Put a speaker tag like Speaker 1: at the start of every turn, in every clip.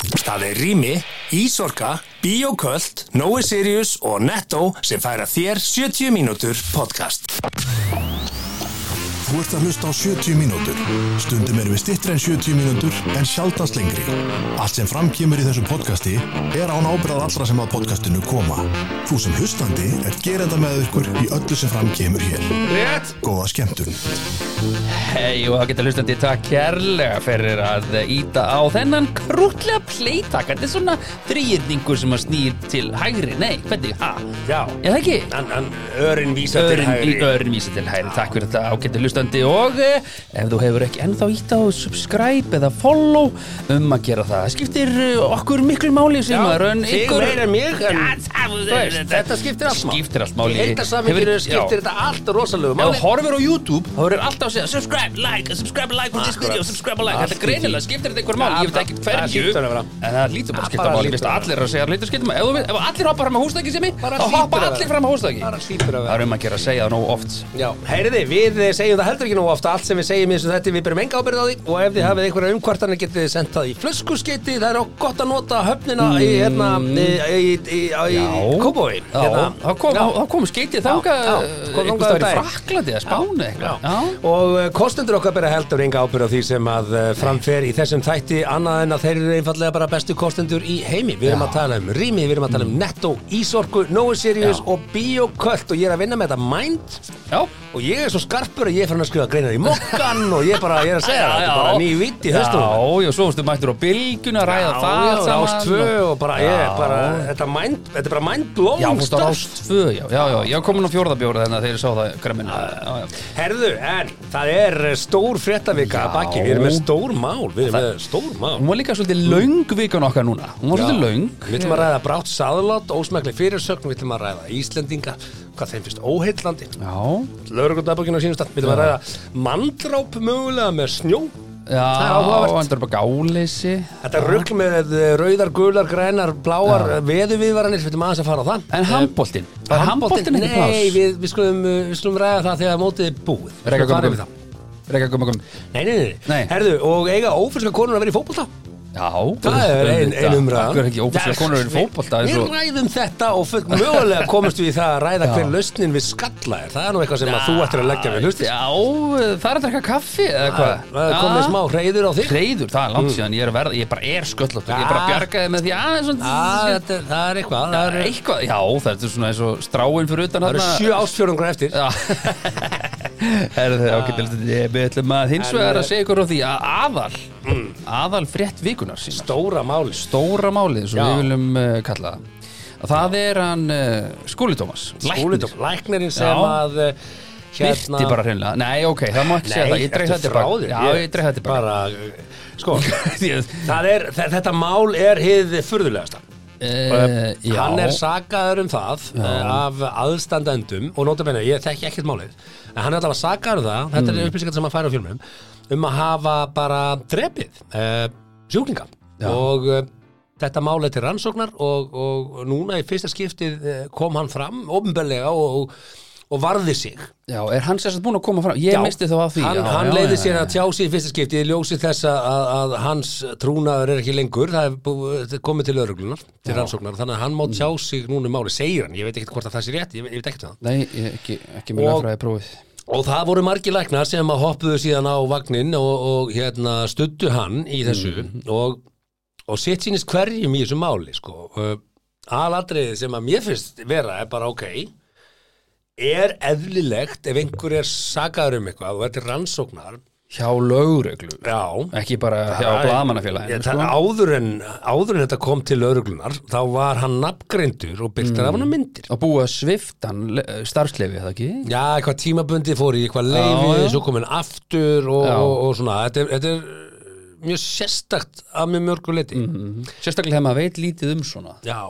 Speaker 1: Það er Rými, Ísorka, Bíoköld, Nói Sirius og Netto sem færa þér 70 mínútur podcast.
Speaker 2: Þú ert að hlusta á 70 mínútur. Stundum erum við stittri en 70 mínútur en sjaldast lengri. Allt sem framkýmur í þessu podcasti er án ábyrðað allra sem að podcastinu koma. Þú sem hlustandi er gerenda með ykkur í öllu sem framkýmur hér.
Speaker 3: Rétt
Speaker 2: Góða skemmtun.
Speaker 3: Hei og það getur hlustandi takk kærlega fyrir að íta á þennan krútlega pleitak Þetta er svona þrýðningur sem að snýr til hægri Nei, hvernig, ha?
Speaker 1: Já.
Speaker 3: Er það ekki?
Speaker 1: Hann, hann, örin vísa til
Speaker 3: Örin,
Speaker 1: hægri.
Speaker 3: örin vísa til hægri, takk fyrir þetta ágættu hlustandi og eh, ef þú hefur ekki ennþá ítt á subscribe eða follow um að gera það, það skiptir eh, okkur miklu máli sem að raun
Speaker 1: þig meira en mig, en
Speaker 3: Já, það,
Speaker 1: þú veist, þetta skiptir allt máli.
Speaker 3: Skiptir allt máli
Speaker 1: Í heildarsamhenginu
Speaker 3: Hefur- já.
Speaker 1: skiptir þetta allt rosalegu
Speaker 3: Ef þú
Speaker 1: máli.
Speaker 3: horfir á YouTube, þá verður alltaf að segja subscribe, like, subscribe, like on this
Speaker 1: Akkurat.
Speaker 3: video, subscribe, like
Speaker 1: Allt
Speaker 3: Þetta
Speaker 1: í
Speaker 3: greinilega
Speaker 1: því.
Speaker 3: skiptir þetta einhver máli,
Speaker 1: Ja,
Speaker 3: ég veit ekki
Speaker 1: það- það
Speaker 3: hverju
Speaker 1: hlýtur að vera.
Speaker 3: En það lítur bara
Speaker 1: Ja,
Speaker 3: að skipta
Speaker 1: bara
Speaker 3: máli,
Speaker 1: hlýtur
Speaker 3: veist
Speaker 1: að vera.
Speaker 3: allir eru að segja að lítur skipta máli Ef, þú vilt- ef allir hoppar fram á húsdæki sem ég,
Speaker 1: Bara
Speaker 3: þá
Speaker 1: hlýtur
Speaker 3: hoppa
Speaker 1: að vera.
Speaker 3: allir fram á húsdæki
Speaker 1: Bara hlýtur að vera.
Speaker 3: Það er um að gera að segja það nógu oft
Speaker 1: Já, heyriði, við eh, segjum það heldur ekki nú ofta allt sem við segjum í þessu þetta við berum enga ábyrð á því og ef þið hafið einhverja umkvartanir getið þið sent það í flöskuskeiti það er ó- gott að nota höfnina í, hérna, í, í, í, Hérna, í, í Kópói
Speaker 3: Mm. Já, þá kom, þá kom skeitið þangað
Speaker 1: já,
Speaker 3: eh,
Speaker 1: kom
Speaker 3: einhvers
Speaker 1: þangað
Speaker 3: staðar
Speaker 1: um
Speaker 3: í
Speaker 1: daginn.
Speaker 3: Fraklandi eða Spáni
Speaker 1: Já.
Speaker 3: eitthvað Já.
Speaker 1: Og uh, kostendur okkar bera heldur enga ábyrð á því sem að uh, framfer í þessum þætti annað en að þeir eru einfallega bara bestu kostendur í heimi. Við erum
Speaker 3: Já. Mm.
Speaker 1: að tala um Rými, við erum að tala um Netto, Ísorku, Nói Sirius
Speaker 3: Já.
Speaker 1: og Bioköld og ég er að vinna með þetta Mind
Speaker 3: Já,
Speaker 1: og ég er svo skarpur að ég er fann að skrifa greinar í mokkan og ég er bara, ég er að segja það,
Speaker 3: Já,
Speaker 1: þetta er
Speaker 3: já.
Speaker 1: bara ný vitt í höstum.
Speaker 3: Já, já, svo varstu mættur á bylgjuna að ræða það
Speaker 1: já,
Speaker 3: saman
Speaker 1: Rás 2 og bara, ég er
Speaker 3: Já.
Speaker 1: bara, þetta, mind, þetta er bara
Speaker 3: Já,
Speaker 1: mindblowing
Speaker 3: hún stóð rást tvö, já, já, já, ég var komin á fjórðabjóra þannig að þeir sá það gremmina já, já.
Speaker 1: Herðu, en það er stór fréttavika að baki, við erum með stór mál, við erum með stór mál.
Speaker 3: Hún var líka svolítið löng vikan okkar núna Hún var
Speaker 1: Já.
Speaker 3: svolítið löng
Speaker 1: Við ætlum að ræða brátt saðlát, ósmækli fyrirsögn, við ætlum að ræða Íslendinga, hvað þeim finnst óheillandi,
Speaker 3: Já,
Speaker 1: laurugundabokkinu á sínum stað, við ætlum að ræða mandráp mögulega með snjó.
Speaker 3: já,
Speaker 1: Það er áhugavert.
Speaker 3: hann er bara gáleysi
Speaker 1: Þetta rugl með eh, rauðar, gular, grænar, bláar, veðuviðvaranir, við ætlum aðeins að fara á það.
Speaker 3: En handbóltin, var handbóltin ekki
Speaker 1: Nei,
Speaker 3: pláss?
Speaker 1: við, við, skulum, eh, við skulum ræða það þegar mótið er búið. Við
Speaker 3: Rekka
Speaker 1: skulum fara yfir það.
Speaker 3: gummikum Rekka gummikum
Speaker 1: Nei, nei, nei,
Speaker 3: Nei.
Speaker 1: Herðu, og eiga ófyrska konur að vera í fótbolta?
Speaker 3: Já,
Speaker 1: Það er ein, ein umræða
Speaker 3: Akkur er ekki ófæslega konur er í fótbolta eins
Speaker 1: Við
Speaker 3: og-
Speaker 1: ræðum þetta og full mögulega komumst við í það að ræða hver lausnin við skalla er Það er nú eitthvað sem að þú ættir að leggja við hlustis
Speaker 3: Já, það er að drekka kaffi eða hvað
Speaker 1: Það er komið smá reyður á þig
Speaker 3: Reyður, það er langt síðan, ég er að verða, ég bara er sköllótt Ég bara
Speaker 1: Ah.
Speaker 3: bjargaði með því aðeins svona-
Speaker 1: Á, þetta er- Það er eitthvað
Speaker 3: Það
Speaker 1: Það
Speaker 3: er
Speaker 1: eru-
Speaker 3: eitthvað, já, það er svona eins og stráin fyrir utan
Speaker 1: það eru
Speaker 3: þarna.
Speaker 1: sjö ástfjörungur eftir
Speaker 3: Já, er
Speaker 1: Ah.
Speaker 3: það ákveðilegt Við ætlum að hins
Speaker 1: En,
Speaker 3: vegar
Speaker 1: eh,
Speaker 3: að segja ykkur á því að aðal
Speaker 1: Mm.
Speaker 3: aðal frétt vikunar sína
Speaker 1: Stóra máli
Speaker 3: stóra málið sem
Speaker 1: Já.
Speaker 3: við viljum uh, kalla það að það er hann uh, Skúli Tómas
Speaker 1: Skúlidóm, læknirinn sem
Speaker 3: Já.
Speaker 1: að eh,
Speaker 3: Hérna... Byrti bara hreinlega, nei ok, það má ekki segja það,
Speaker 1: Nei,
Speaker 3: ég dreif
Speaker 1: ertu
Speaker 3: það
Speaker 1: frá
Speaker 3: tilbaka
Speaker 1: þér?
Speaker 3: Já, ég dreif það tilbaka
Speaker 1: Bara, eh, sko
Speaker 3: Ég-
Speaker 1: Það er, þe- þetta mál er hið furðulegasta
Speaker 3: Eh, já.
Speaker 1: hann er sakaður um það já. af aðstandendum og notabene, ég þekki ekkert málið en hann er allavega sakaður um það, þetta
Speaker 3: Mm.
Speaker 1: er upplýsingar sem hann fær á fjölmum, um að hafa bara drepið uh, sjúklinga
Speaker 3: Já.
Speaker 1: og uh, þetta mál er til rannsóknar og, og núna í fyrsta skiptið eh, kom hann fram ofnbörlega og, og, og varði sig
Speaker 3: Já, er hann sérstætt búin að koma fram? Ég
Speaker 1: Já.
Speaker 3: misti þá af því
Speaker 1: hann,
Speaker 3: já,
Speaker 1: hann
Speaker 3: já,
Speaker 1: leiði
Speaker 3: já,
Speaker 1: sér
Speaker 3: já.
Speaker 1: að tjá sig í fyrsta skipti í ljósi þess að, að, að hans trúnaður er ekki lengur það er bú- þetta er komið til öruglunar til rannsóknar, þannig að hann má tjá sig núna um máli segir hann, ég veit ekki hvort að það sé rétt ég, ég veit ekki það,
Speaker 3: Nei, ég- ekki, ekki með
Speaker 1: Og-
Speaker 3: lögfræði prófið
Speaker 1: og það voru margir læknar sem að hoppuðu síðan á vagnin og, og hérna studdu hann í þessu
Speaker 3: Mhm.
Speaker 1: og, og sitt sínist hverjum í þessu máli sko, Uh, aladriðið sem að mér finnst vera er bara ok er eðlilegt ef einhver er sakaður um eitthvað og þetta er rannsóknar
Speaker 3: Hjá lögreglu
Speaker 1: Já,
Speaker 3: Ekki bara hjá sko.
Speaker 1: Það er-
Speaker 3: blamannafélaginu
Speaker 1: Ég, það, áður, en, áður en þetta kom til öruglunar þá var hann nafngrindur og
Speaker 3: Mm.
Speaker 1: byrtar af hann myndir
Speaker 3: að búa sviftan starfsleifi, er það ekki?
Speaker 1: Já, eitthvað tímabundi fór í eitthvað
Speaker 3: Já,
Speaker 1: leifi
Speaker 3: já.
Speaker 1: svo kom hann aftur og,
Speaker 3: Já.
Speaker 1: og, og svona þetta er, þetta er mjög sérstakt af mjög mörgu liti
Speaker 3: Mm. Mhm. Sérstaklega þegar maður veit lítið um svona
Speaker 1: Já,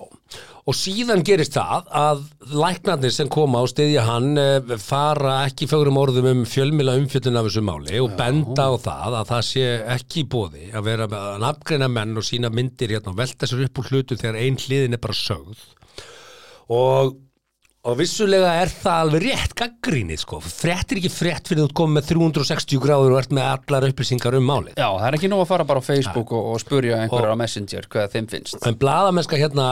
Speaker 1: og síðan gerist það að læknarnir sem koma á stiðja hann eh, fara ekki fögrum orðum um fjölmila umfjöldin af þessu máli og benda á það að það sé ekki í bóði að vera með að nafngreina menn og sína myndir hérna og velta sér upp úr hlutu þegar ein hliðin er bara sögð og Og vissulega er það alveg rétt gaggrínið sko. Frett er ekki frett fyrir þú ert komið með 360 gráður og ert með allar upplýsingar um málið.
Speaker 3: Já, það er ekki nóg að fara bara á Facebook og, og spurja einhverjar á Messenger hvað þeim finnst
Speaker 1: En blaðamennska hérna,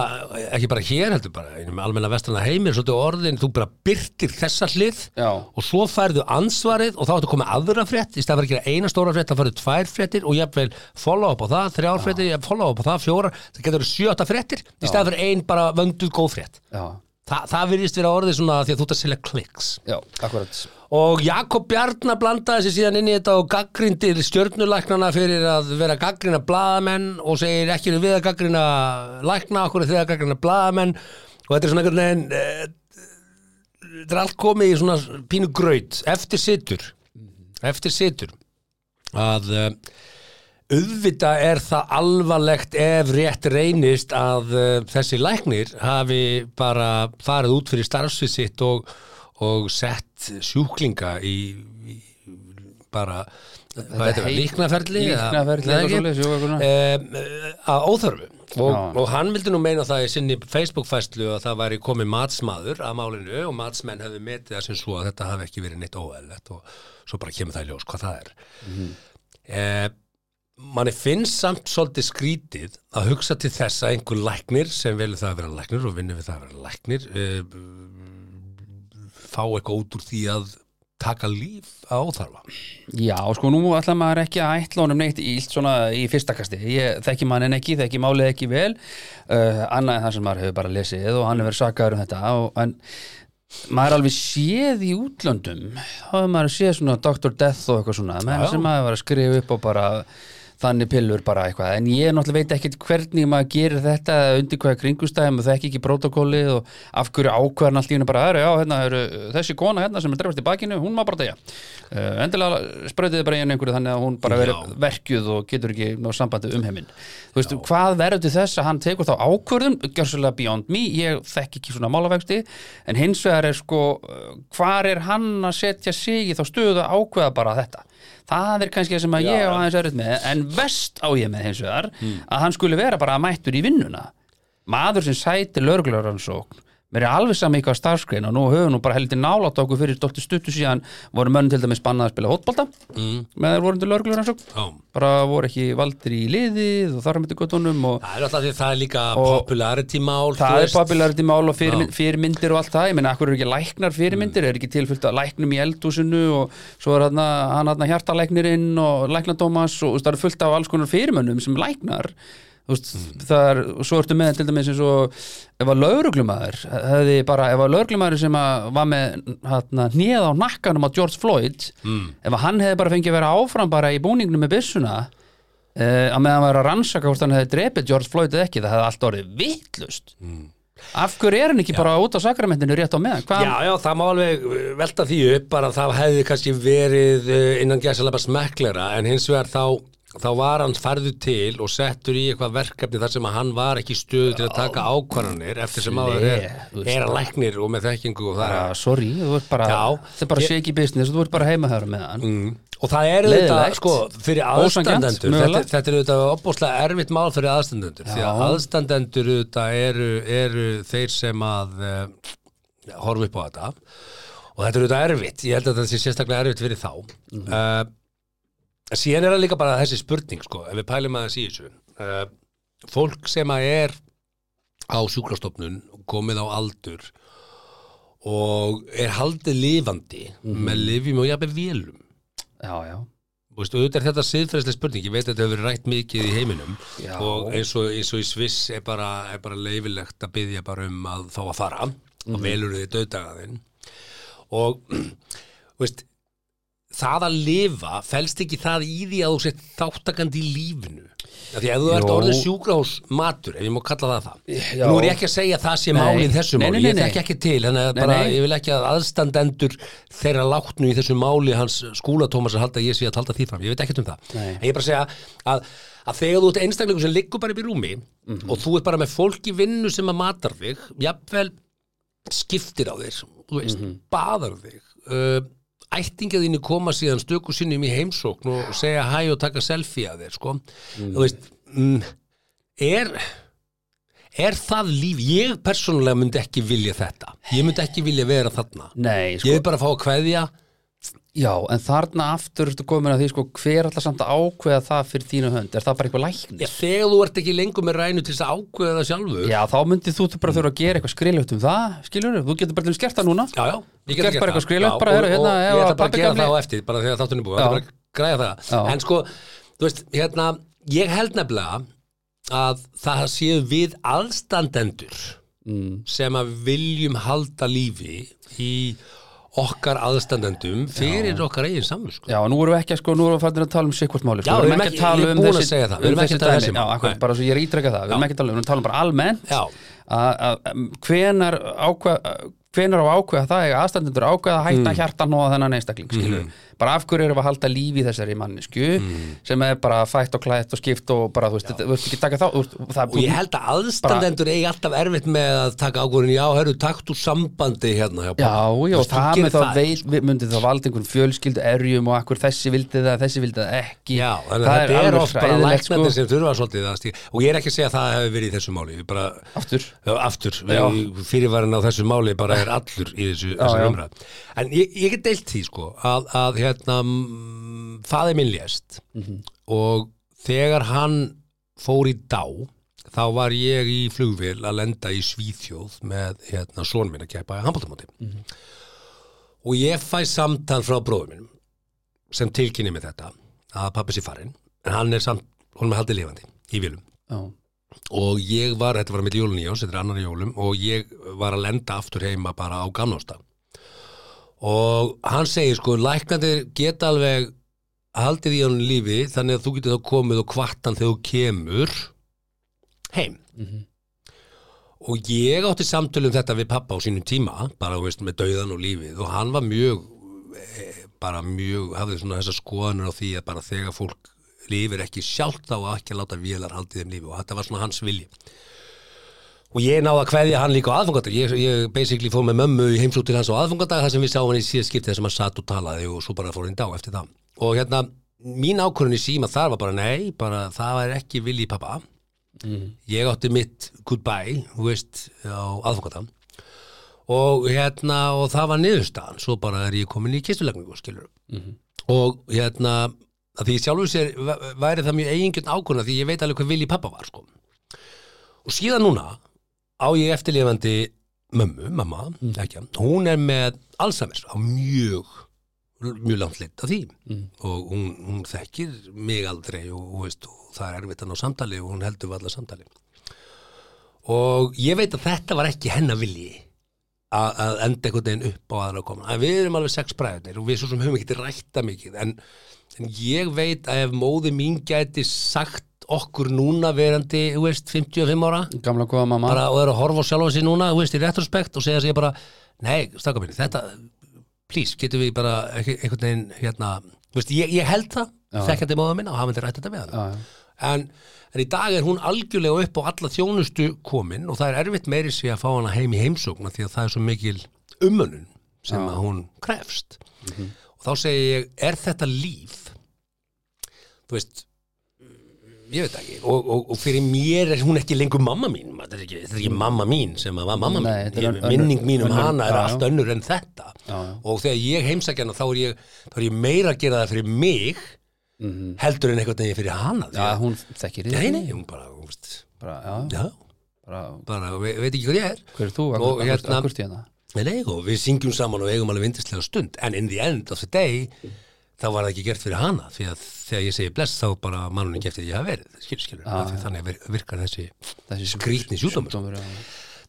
Speaker 1: ekki bara hér heldur bara, einum almenna vestrana heimir, svolítið orðin, þú bara byrtir þessa hlið
Speaker 3: Já.
Speaker 1: og svo færðu ansvarið og þá ertu að koma aðra frétt, í stað fyrir að gera eina stóra frétt, þá færðu tvær fréttir og jafnvel follow up á það, þrjár fréttir, ég follow up á það, fjórar, það getur verið sjötta fréttir, í stað fyrir ein bara vönduð góð frétt.
Speaker 3: Já,
Speaker 1: Þa, það virðist vera orðið svona því að þú ert að selja kliks.
Speaker 3: já, akkurat
Speaker 1: Og Jakob Bjarnar blandaði sér síðan inn í þetta og gaggrindir stjörnulæknana fyrir að vera gaggrina blaðamenn og segir ekki eru við að gaggrina lækna okkur er þið að gaggrina blaðamenn og þetta er svona einhvern veginn eh, þetta er allt komið í svona pínu graut eftir situr eftir situr að eh, auðvita er það alvarlegt ef rétt reynist að uh, þessi læknir hafi bara farið út fyrir starfsvið sitt og, og sett sjúklinga í, í bara hvað heitir það,
Speaker 3: heit-
Speaker 1: líknaferli eða-
Speaker 3: líknaferli
Speaker 1: eða
Speaker 3: eða
Speaker 1: ekki?
Speaker 3: svoleiðis, jú, eitthvað svona.
Speaker 1: Em, eh, að óþörfu og,
Speaker 3: Já.
Speaker 1: og hann vildi nú meina það í sinni Facebook-fæslu að það væri komið matsmaður að málinu og matsmenn hefði metið það sem svo að þetta hafi ekki verið neitt óæðilegt og svo bara kemur það í ljós hvað það er
Speaker 3: Mhm.
Speaker 1: eh, manni finnst samt svolítið skrítið að hugsa til þess að einhver læknir sem velur það að vera læknir og vinnur við það að vera læknir eh, fá eitthvað út úr því að taka líf á þarfa
Speaker 3: Já, sko, nú ætla maður ekki að ætla honum neitt ílt svona í fyrsta kasti. Ég þekki mannin ekki, þekki málið ekki vel, uh, annað en það sem maður hefur bara lesið og hann hefur sakaður um þetta. Og, en maður er alveg séð í útlöndum, þá hefur maður séð svona Dr. Death og eitthvað svona, menn
Speaker 1: Já.
Speaker 3: sem maður var að skrifa upp og bara þannig pillur bara eitthvað. En ég náttúrulega veit ekkert hvernig maður gerir þetta eða undir hvaða kringustæðum og þekki ekki prótokólið og af hverju ákvarðan allt í hennu bara, "Herra, já, hérna, er, þessi kona hérna sem er drefast í bakinu, hún má bara deyja. Uh, endilega spröytiði bara í henni einhverju þannig að hún bara verið verkjuð og getur ekki ná sambandi um heiminn. Þú veist, hvað verður til þess að hann tekur þá ákvörðum, gjörsulega beyond me, ég þekki ekki svona málavegsti, en hins vegar er sko, uh, hvar er hann að setja sig í þá stöðu að ákveða bara þetta? Það er kannski það sem að ég á aðeins erut með, en vest á ég með hins vegar, að hann skulle vera bara mættur í vinnuna. Maður sem sæti lögreglaransókn, mér er alveg saman eitthvað starfskrein og nú höfum nú bara heldur nálátt okkur fyrir dóttir stuttu síðan voru mönn til dæmis bannað að spila hótbolta mm. með þeir voru til lögreglaransókn
Speaker 1: Já.
Speaker 3: bara voru ekki valdir í liðið og þar með þetta gottunum og
Speaker 1: það er alltaf því að það er líka
Speaker 3: Og-
Speaker 1: popularity mál
Speaker 3: það er popularity mál og fyrirmynd, fyrirmyndir og allt það, ég meina, akkur eru ekki læknar fyrirmyndir er ekki tilfyllt að læknum í eldhúsinu og svo er hann, hann hann hjartalæknirinn og læknadómas og, og það er fullt af alls konar fyrirmönnum sem læknar Þú veist, það er, og svo ertu með til dæmis eins og ef að lauruglumæður hefði bara, ef að lauruglumæður sem að var með hérna, hnéð á nakkanum á George Floyd ef að hann hefði bara fengið að vera áfram bara í búningnum með byssuna uh, að meðan maður að rannsaka hvort hann hefði drepið George Floyd eða ekki, það hefði allt orðið vittlust
Speaker 1: Mm.
Speaker 3: af hverju er hann ekki bara út á sakramentinu rétt á meðan Hvað-
Speaker 1: Já, já, það má alveg uh, velta því upp bara að það hefði kannski verið uh, innan gæsalabba smekklera en hins vegar þá, þá var hann færðu til og settur í eitthvað verkefni þar sem að hann var ekki í stöðu til að taka ákvarðanir eftir sem áður er,
Speaker 3: þú veist.
Speaker 1: er að læknir og með þekkingu og það
Speaker 3: bara, Ah, sorry, þú ert bara
Speaker 1: Já.
Speaker 3: þetta er bara shaky business, þú ert bara heima þar með hann
Speaker 1: Mm. Og það er auðvitað,
Speaker 3: Leiðinlegt.
Speaker 1: sko, fyrir
Speaker 3: Ósanngjarnt,
Speaker 1: aðstandendur, þetta,
Speaker 3: mögulegt.
Speaker 1: þetta er auðvitað opbúslega erfitt mál fyrir aðstandendur, því að aðstandendur auðvitað eru, eru þeir sem að uh, horfa upp á þetta og þetta er auðvitað erfitt, ég held að þetta sé sérstaklega erfitt fyrir þá. Mm
Speaker 3: Mhm.
Speaker 1: síðan er það líka bara þessi spurning, sko, ef við pælum aðeins í þessu. Uh, fólk sem að er á sjúkrastofnun, komið á aldur og er haldið lifandi
Speaker 3: Mhm.
Speaker 1: með lifjum og jafnveg vélum
Speaker 3: já, já,
Speaker 1: Þú veist, auðvitað er þetta siðferðislega spurning, ég veit að þetta hefur verið rætt mikið í heiminum
Speaker 3: Já.
Speaker 1: og eins, og eins og í Sviss er bara, er bara leifilegt að byggja bara um að fá að fara
Speaker 3: Mhm.
Speaker 1: og velur þið döðdagaðinn og þú veist, það að lifa felst ekki það í því að þú sett þáttakandi í lífinu af því að þú ert
Speaker 3: Jó.
Speaker 1: orðin sjúkrahús matur ef ég má kalla það það
Speaker 3: Já.
Speaker 1: nú er ég ekki að segja að það sé málið þessu
Speaker 3: Nei,
Speaker 1: máli
Speaker 3: nei, nei,
Speaker 1: ég
Speaker 3: nei.
Speaker 1: þekki ekki til, þannig að bara
Speaker 3: nei.
Speaker 1: ég vil ekki að aðstandendur þeirra látnu í þessu máli hans skúla Tómas að halda að ég sé að halda því fram, ég veit ekkert um það
Speaker 3: Nei.
Speaker 1: en ég er bara að segja að, að þegar þú ert einstaklingur sem liggur bara upp í rúmi og þú ert bara með fólk í vinnu sem að matar þig jafnvel skiptir á þér þú veist, baðar þig uh, ættingið þínu koma síðan stöku sinnum í heimsókn og segja hæ og taka selfie að þér sko, þú veist mm, er er það líf, ég persónulega myndi ekki vilja þetta ég myndi ekki vilja vera þarna
Speaker 3: Nei, sko,
Speaker 1: ég vil bara fá að kveðja
Speaker 3: já, en þarna aftur ertu komin að því, sko, hver allar samt að ákveða það fyrir þínu hönd, er það bara eitthvað læknir?
Speaker 1: Já, þegar þú ert ekki lengur með rænu til þess að ákveða það sjálfu
Speaker 3: Já, þá myndið þú bara þurfa að gera eitthvað skrilugt um það, skilur þú, getur bara til skert það núna
Speaker 1: já, já,
Speaker 3: Þú
Speaker 1: ég get
Speaker 3: gert bara
Speaker 1: gert
Speaker 3: eitthvað
Speaker 1: það.
Speaker 3: skrilegt,
Speaker 1: Já,
Speaker 3: bara,
Speaker 1: og-
Speaker 3: heyrðu, hérna,
Speaker 1: og ég
Speaker 3: ef að
Speaker 1: ætla bara að
Speaker 3: pabbi
Speaker 1: gera
Speaker 3: gamli-
Speaker 1: það á eftir, bara þegar þáttunni búið, ég ætla
Speaker 3: Já.
Speaker 1: bara að græja það
Speaker 3: Já.
Speaker 1: en sko, þú veist, hérna ég held nefnilega að það séu við aðstandendur
Speaker 3: mm.
Speaker 1: sem að viljum halda lífi í okkar aðstandendum fyrir okkar eigin samvisku
Speaker 3: Já, nú erum við ekki að sko, nú erum við farin að tala um sikkvort
Speaker 1: Já,
Speaker 3: sko.
Speaker 1: við erum ekki- ég er búinn að segja það, við erum ekki að tala um þessi
Speaker 3: Já,
Speaker 1: mál.
Speaker 3: akkur,
Speaker 1: Nei.
Speaker 3: bara svo ég er ítrekkað það, við erum ekki að tala um, við erum að tala um bara almennt
Speaker 1: Já.
Speaker 3: að- að um, hvenar ákveða hvenar á að ákveða það, eða aðstandendur ákveða að hætta mm. hjartan og þennan einstakling skilur mm. bara af hverju erum við að halda lífi í þessari mannesku
Speaker 1: Mm.
Speaker 3: sem er bara fætt og klætt og skipt og bara, þú veist, þetta- þú veist ekki að taka þá þú veist, það er
Speaker 1: og ég held að aðstandendur eigi alltaf erfitt með að taka ákvörðin, já, herru, takt úr sambandi hérna, hjá pabba.
Speaker 3: Já,
Speaker 1: Þú
Speaker 3: já, og
Speaker 1: veist, þú
Speaker 3: það
Speaker 1: gerir
Speaker 3: með þá
Speaker 1: það.
Speaker 3: veit, við myndum þá valda einhvern fjölskyldu erjum og akkur þessi vildi það, þessi vildi það ekki
Speaker 1: Já, þannig að þetta er
Speaker 3: alveg
Speaker 1: oft bara
Speaker 3: hræðilegt, sko.
Speaker 1: læknandi sem þurfa svolítið að stíga og ég er ekki að segja að það hefur verið í þessu máli ég bara,
Speaker 3: Aftur.
Speaker 1: Já, aftur
Speaker 3: Já.
Speaker 1: fyrirværin á þessu máli bara er allur í þessu, þessu
Speaker 3: já.
Speaker 1: umræð en ég, ég get deilt því sko að, að hérna mm, faðir minn lést
Speaker 3: Mhm.
Speaker 1: og þegar hann fór í dá þá var ég í flugvél að lenda í Svíþjóð með hérna son minn að keppa í handbóltamóti
Speaker 3: Mhm.
Speaker 1: og ég fæ samtal frá bróðum minnum sem tilkynni mig þetta að pappi sér farinn en hann er samt, honum er haldið lifandi í vilum
Speaker 3: Já,
Speaker 1: og ég var, þetta var mitt jólun í ás, þetta er annar jólum og ég var að lenda aftur heima bara á gamlásta og hann segir sko læknandir geta alveg haldið í honum lífi þannig að þú getur þá komið og kvartan þegar þú kemur heim og ég átti samtölu um þetta við pappa á sínum tíma bara þú veist, með dauðan og lífið og hann var mjög eh, bara mjög, hafði svona þessar skoðanur á því að bara þegar fólk lifir ekki sjálft þá á ekki að láta vélar haldið þeim lífi og þetta var svona hans vilji og ég náði að kveðja hann líka á aðfangadag ég, ég basically fór með mömmu í heimsótt til hans á aðfangadag þar sem við sáum hann í síða skiptið sem hann satt og talaði og svo bara fór hann í dag eftir það og hérna, mín ákvörðun í síma þar var bara nei, bara það var ekki vilji pappa ég átti mitt goodbye, þú veist á aðfangadag og hérna, og það var niðurstaðan svo bara er ég komin í kistulagningu, skilur og hérna að því sjálfur sér væ- væri það mjög eigingjörn ákvörna því ég veit alveg hvað vilji pappa var sko. og síðan núna á ég eftirlifandi mömmu, mamma, ekki hún er með Alzheimer's á mjög mjög langt leitt af því og hún, hún þekkir mig aldrei og, og, veist, og það er erfitt að ná samtali og hún heldur við alla samtali og ég veit að þetta var ekki hennar vilji að að enda einhvern veginn upp á aðra komin en við erum alveg sex bræðunir og við svo sem höfum ekki rækta mikið en, en ég veit að ef móði mín gæti sagt okkur núna verandi, þú veist, 55 ára
Speaker 3: gamla góða mamma
Speaker 1: bara, og er að horfa á sjálfa sig núna, þú veist, í retrospekt og segja sig bara, nei, stakka minni, þetta please, getum við bara ekki- einhvern veginn, hérna, þú veist, ég, ég held það, þekkjandi móða minna og hafa myndi rætt þetta við hann
Speaker 3: já.
Speaker 1: en, en í dag er hún algjörlega upp á alla þjónustu komin og það er erfitt meiri sig að fá hana heim í heimsókna því að það er svo mikil umönnun sem að hún krefst og þá segi ég, er þetta líf þú veist ég veit ekki, og, og, og fyrir mér er hún ekki lengur mamma mín þetta er ekki, þetta er ekki mamma mín sem að var mamma
Speaker 3: Nei,
Speaker 1: mín
Speaker 3: þetta er
Speaker 1: Ég-
Speaker 3: önnur-
Speaker 1: minning mín um
Speaker 3: önnur-
Speaker 1: hana er
Speaker 3: já, já.
Speaker 1: allt önnur en þetta
Speaker 3: já.
Speaker 1: og þegar ég heimsækja hana þá er ég, þá er ég meira að gera það fyrir mig heldur en eitthvað neginn fyrir hana því
Speaker 3: Mhm. Já,
Speaker 1: að-
Speaker 3: hún þekkir þig
Speaker 1: Nei, nei, hún bara, hún veist,
Speaker 3: bara, já,
Speaker 1: já,
Speaker 3: bara,
Speaker 1: bara, ve veit ekki hvað ég er.
Speaker 3: hver er þú,
Speaker 1: Og
Speaker 3: akkur, akkur,
Speaker 1: hérna-
Speaker 3: akkur stíðan
Speaker 1: Nei, nei, og við syngjum saman og eigum alveg vindislega stund, en in the end of the day, þá var það ekki gert fyrir hana, því að þegar ég segi bless, þá bara mannun ekki eftir því að ég hafa verið, skilur, skilur, ah, því þannig vir- virkar þessi
Speaker 3: Þessi sjúk-
Speaker 1: skrýtni sjúkdómur.
Speaker 3: Dómur, já.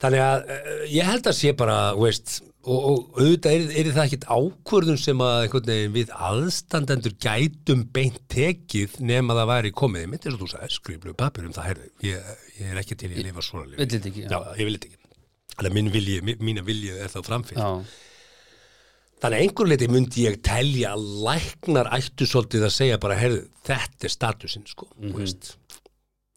Speaker 1: Þannig að eh, ég held að sé bara, þú veist, og, og auðvitað er, er það ekkit ákvörðun sem að einhvern veginn við aðstandendur gætum beint tekið nema það væri komið, ég myndi eins og þú sagði, skriflu papir um það, herðu, ég, ég er ekki til í að lifa svona lífi.
Speaker 3: Vill þetta ekki, já.
Speaker 1: Já, ég vil þetta ekki. Þannig að minn vilji, mi- mína vilji er þá framfylg.
Speaker 3: Já.
Speaker 1: Þannig að einhver leiti myndi ég telja að læknar ættu svolítið að segja bara, heyrðu, þetta er statusinn, sko, þú veist.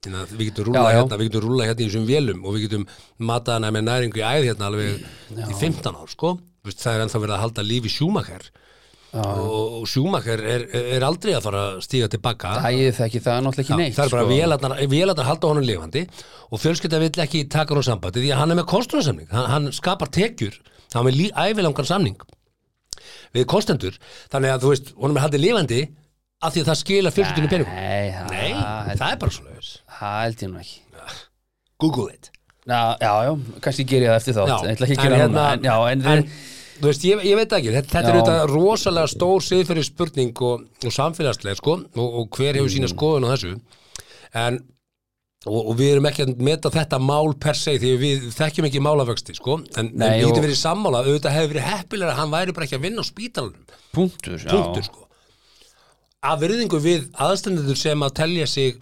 Speaker 1: Þannig að við getum rúla
Speaker 3: Mhm. Já, já.
Speaker 1: hérna, við getum rúla hérna í þessum vélum og við getum matað hana með næringu í æð hérna alveg í 15 ár, sko. Þú Veist, það er ennþá verið að halda lífi sjúmakar. og, og sjúmakar er, er, er aldrei að fara að stíga tilbaka
Speaker 3: Æ, það ekki, það er náttúrulega ekki neitt sko.
Speaker 1: það er bara vélarnar, vélarnar halda honum lifandi og fjölskylda vill ekki taka honum sambandi því að hann er með kostunarsamning, hann, hann skapar tekjur hann er með lí- ævilangan samning við kostendur þannig að þú veist, honum er haldið lifandi af því að það skila fjölskyldinu peningum
Speaker 3: Nei, Ah, það-
Speaker 1: Nei,
Speaker 3: það
Speaker 1: það er bara svoleiðis
Speaker 3: það held ég nú ekki
Speaker 1: Google it
Speaker 3: Já, já, já, kannski ger ég það eftir þátt
Speaker 1: Já, hérna-
Speaker 3: Ég ætla ekki að gera það núna hérna. en, Já, en,
Speaker 1: en þú veist, ég, ég veit það ekki, þetta, þetta er
Speaker 3: Já.
Speaker 1: auðvitað rosalega stór siðferði spurning og, og samfélagslega, sko, og, og hver hefur
Speaker 3: Mm.
Speaker 1: sína skoðun á þessu, en og, og við erum ekki að meta þetta mál per se, því við þekkjum ekki málavöxti, sko, en, en
Speaker 3: Nei,
Speaker 1: við
Speaker 3: og-
Speaker 1: getum verið sammála, auðvitað hefur verið heppilega að hann væri bara ekki að vinna á spítalunum,
Speaker 3: punktur, já.
Speaker 1: punktur, sko af virðingu við aðstendendur sem að telja sig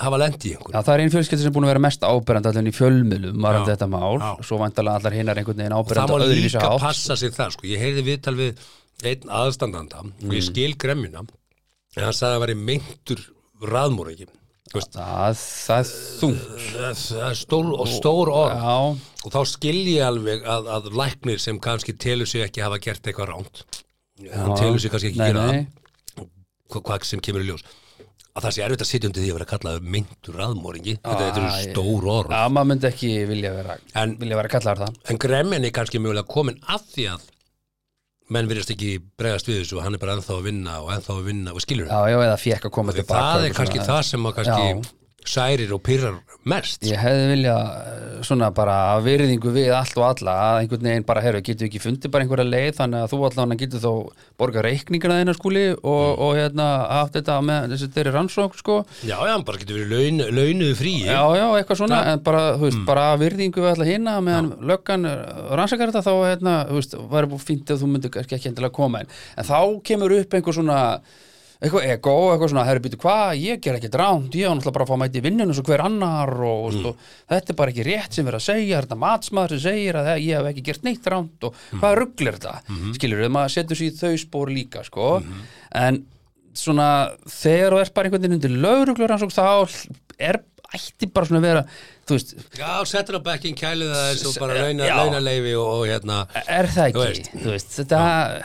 Speaker 1: hafa lendi í einhverju.
Speaker 3: Já, það er einn fjölskyldi sem er búin að vera mest áberandi allan í fjölmiðlum varandi
Speaker 1: Já,
Speaker 3: þetta mál,
Speaker 1: já.
Speaker 3: svo vantarlega allar hinnar einhvern veginn
Speaker 1: það
Speaker 3: áberandi
Speaker 1: má
Speaker 3: á öðruvísi
Speaker 1: líka
Speaker 3: hátt.
Speaker 1: passa sig það sko. ég heyrði viðtal við einn aðstandanda og
Speaker 3: Mm.
Speaker 1: ég skil gremmjuna en hann sagði að það væri meintur raðmóringi það,
Speaker 3: Það, það er þungt
Speaker 1: það er stór og stór orð
Speaker 3: Já,
Speaker 1: og þá skil ég alveg að, að læknir sem kannski telur sig ekki hafa gert eitthvað ránt hann
Speaker 3: Já.
Speaker 1: telur sig kannski ekki
Speaker 3: Nei,
Speaker 1: gera
Speaker 3: nei.
Speaker 1: það hva- hvað sem kemur í ljós að það sé erfitt að sitja undir því að vera kallaður meintur raðmóringi þetta, þetta eru
Speaker 3: Æ.
Speaker 1: stór orð
Speaker 3: já maður myndi ekki vilja vera,
Speaker 1: En-
Speaker 3: vilja vera kallar það
Speaker 1: En gremjan er kannski mögulega komin af því að menn virðast ekki bregðast við þessu og hann er bara ennþá að vinna og ennþá að vinna og skilur
Speaker 3: Já, já, eða fekk að koma
Speaker 1: það.
Speaker 3: tilbaka
Speaker 1: Það er
Speaker 3: eitthvað
Speaker 1: kannski
Speaker 3: svona.
Speaker 1: það sem að kannski særir og pyrrar mest.
Speaker 3: Ég hefði vilja eh, svona bara af virðingu við allt og alla að einhvern veginn bara, herru, getur ekki fundið bara einhverja leið þannig að þú allan getur þó borga reikningina þeirna skúli og,
Speaker 1: Mm.
Speaker 3: og hérna haft þetta með þessi þeirri rannsók sko.
Speaker 1: Já, já, hann bara getur verið laun, launuðu fríi.
Speaker 3: Já, já, eitthvað svona en bara, þú veist, bara af virðingu við alla hinna meðan löggan eh, rannsakar þetta þá, hérna, þú veist, væri búið fínt að þú myndir kannski ekki endilega koma en, en þá kemur upp einhver svona eitthvað ego, eitthvað svona, herru býtu hvað, ég ger ekki dránd, ég á náttúrulega bara að fá að mæti í vinnun eins og hver annar og, mm. og þetta er bara ekki rétt sem verið að segja, þetta er matsmaður sem segir að ég hef ekki gert neitt dránd og hvað rugglir þetta, mm -hmm. skilur við, maður setur sér í þau spór líka, sko en svona, þegar þú ert bara einhvern veginn undir lögruglur hans og þá er, ætti bara svona að vera þú veist,
Speaker 1: Já, settur á bekkin, kælið það eins og bara launa,
Speaker 3: eh, Já.
Speaker 1: launaleifi og, og hérna.
Speaker 3: er það ekki
Speaker 1: Þú
Speaker 3: þú
Speaker 1: veist.
Speaker 3: veist, þetta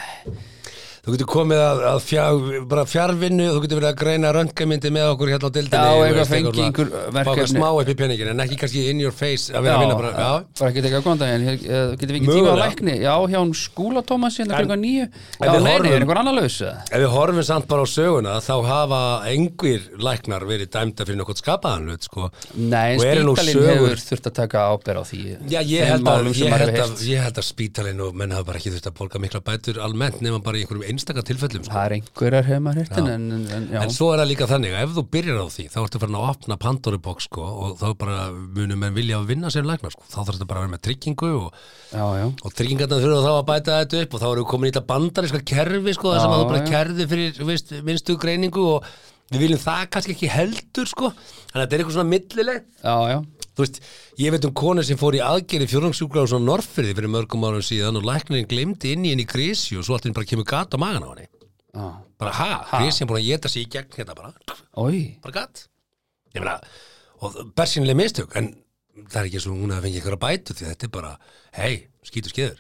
Speaker 1: Þú getur komið að, að fjár, bara fjárvinnu, þú getur verið að greina röntgamyndi með okkur hérna á dildinni.
Speaker 3: Já,
Speaker 1: þú
Speaker 3: eitthvað
Speaker 1: veist,
Speaker 3: fengi
Speaker 1: svona-
Speaker 3: einhver
Speaker 1: Fá eitthvað
Speaker 3: verkefni.
Speaker 1: smá upp í peningin, en ekki kannski in your face að vera að vinna bara, já.
Speaker 3: bara ekki tekið að góðan daginn ég- eh, getum við ekki tíma að
Speaker 1: Mögulega.
Speaker 3: lækni já, hjá hún skúla Tómas hérna klukkan nýju já,
Speaker 1: við
Speaker 3: nei, nei,
Speaker 1: horfum-
Speaker 3: er einhver annar laus eða?
Speaker 1: Ef við horfum samt bara á söguna þá hafa engir læknar verið dæmda fyrir nokkuð skapaðan hlut sko.
Speaker 3: nei,
Speaker 1: Og eru nú
Speaker 3: spítalinn
Speaker 1: sögur-
Speaker 3: hefur þurft að taka ábyrð á því
Speaker 1: Já, ég
Speaker 3: þeim
Speaker 1: held, að,
Speaker 3: málum sem
Speaker 1: ég,
Speaker 3: maður
Speaker 1: held
Speaker 3: hefur
Speaker 1: að,
Speaker 3: heyrt.
Speaker 1: ég held að spítalinn og menn hafa bara ekki þurft að borga mikla bætur almennt nema bara í einhverjum einstaka tilfellum sko.
Speaker 3: það er einhverjar hefur maður hirtin en, en, en, já.
Speaker 1: En svo er það líka þannig, ef þú byrjar á því þá ertu farin að opna Pandora-box sko, og þá bara munum menn vilja að vinna sér læknar sko. þá þarf þetta bara að vera með tryggingu og,
Speaker 3: já, já,
Speaker 1: og tryggingarna þurfa þá að bæta þetta upp og þá erum við komin í þetta bandaríska kerfi sko, þar sem
Speaker 3: Já,
Speaker 1: að þú bara
Speaker 3: já.
Speaker 1: kerði fyrir veist, minnstu greiningu og við viljum það kannski ekki heldur sko, þannig að þetta er eitthvað svona millileg
Speaker 3: já, já
Speaker 1: þú veist, ég veit um konu sem fór í aðgerði fjórnangsjúkla á svona norfyrði fyrir mörgum árum síðan og læknirinn glemdi inn í henni grísi og svo allt henni bara kemur gat á magan á henni
Speaker 3: já.
Speaker 1: bara ha, ha. grísi er búin að geta sig í gegn hérna bara,
Speaker 3: Oj,
Speaker 1: bara gat ég meina, og bersinlega mistök en það er ekki svo hún að fengi ykkur að bætu því þetta er bara, hei, skýtur skeður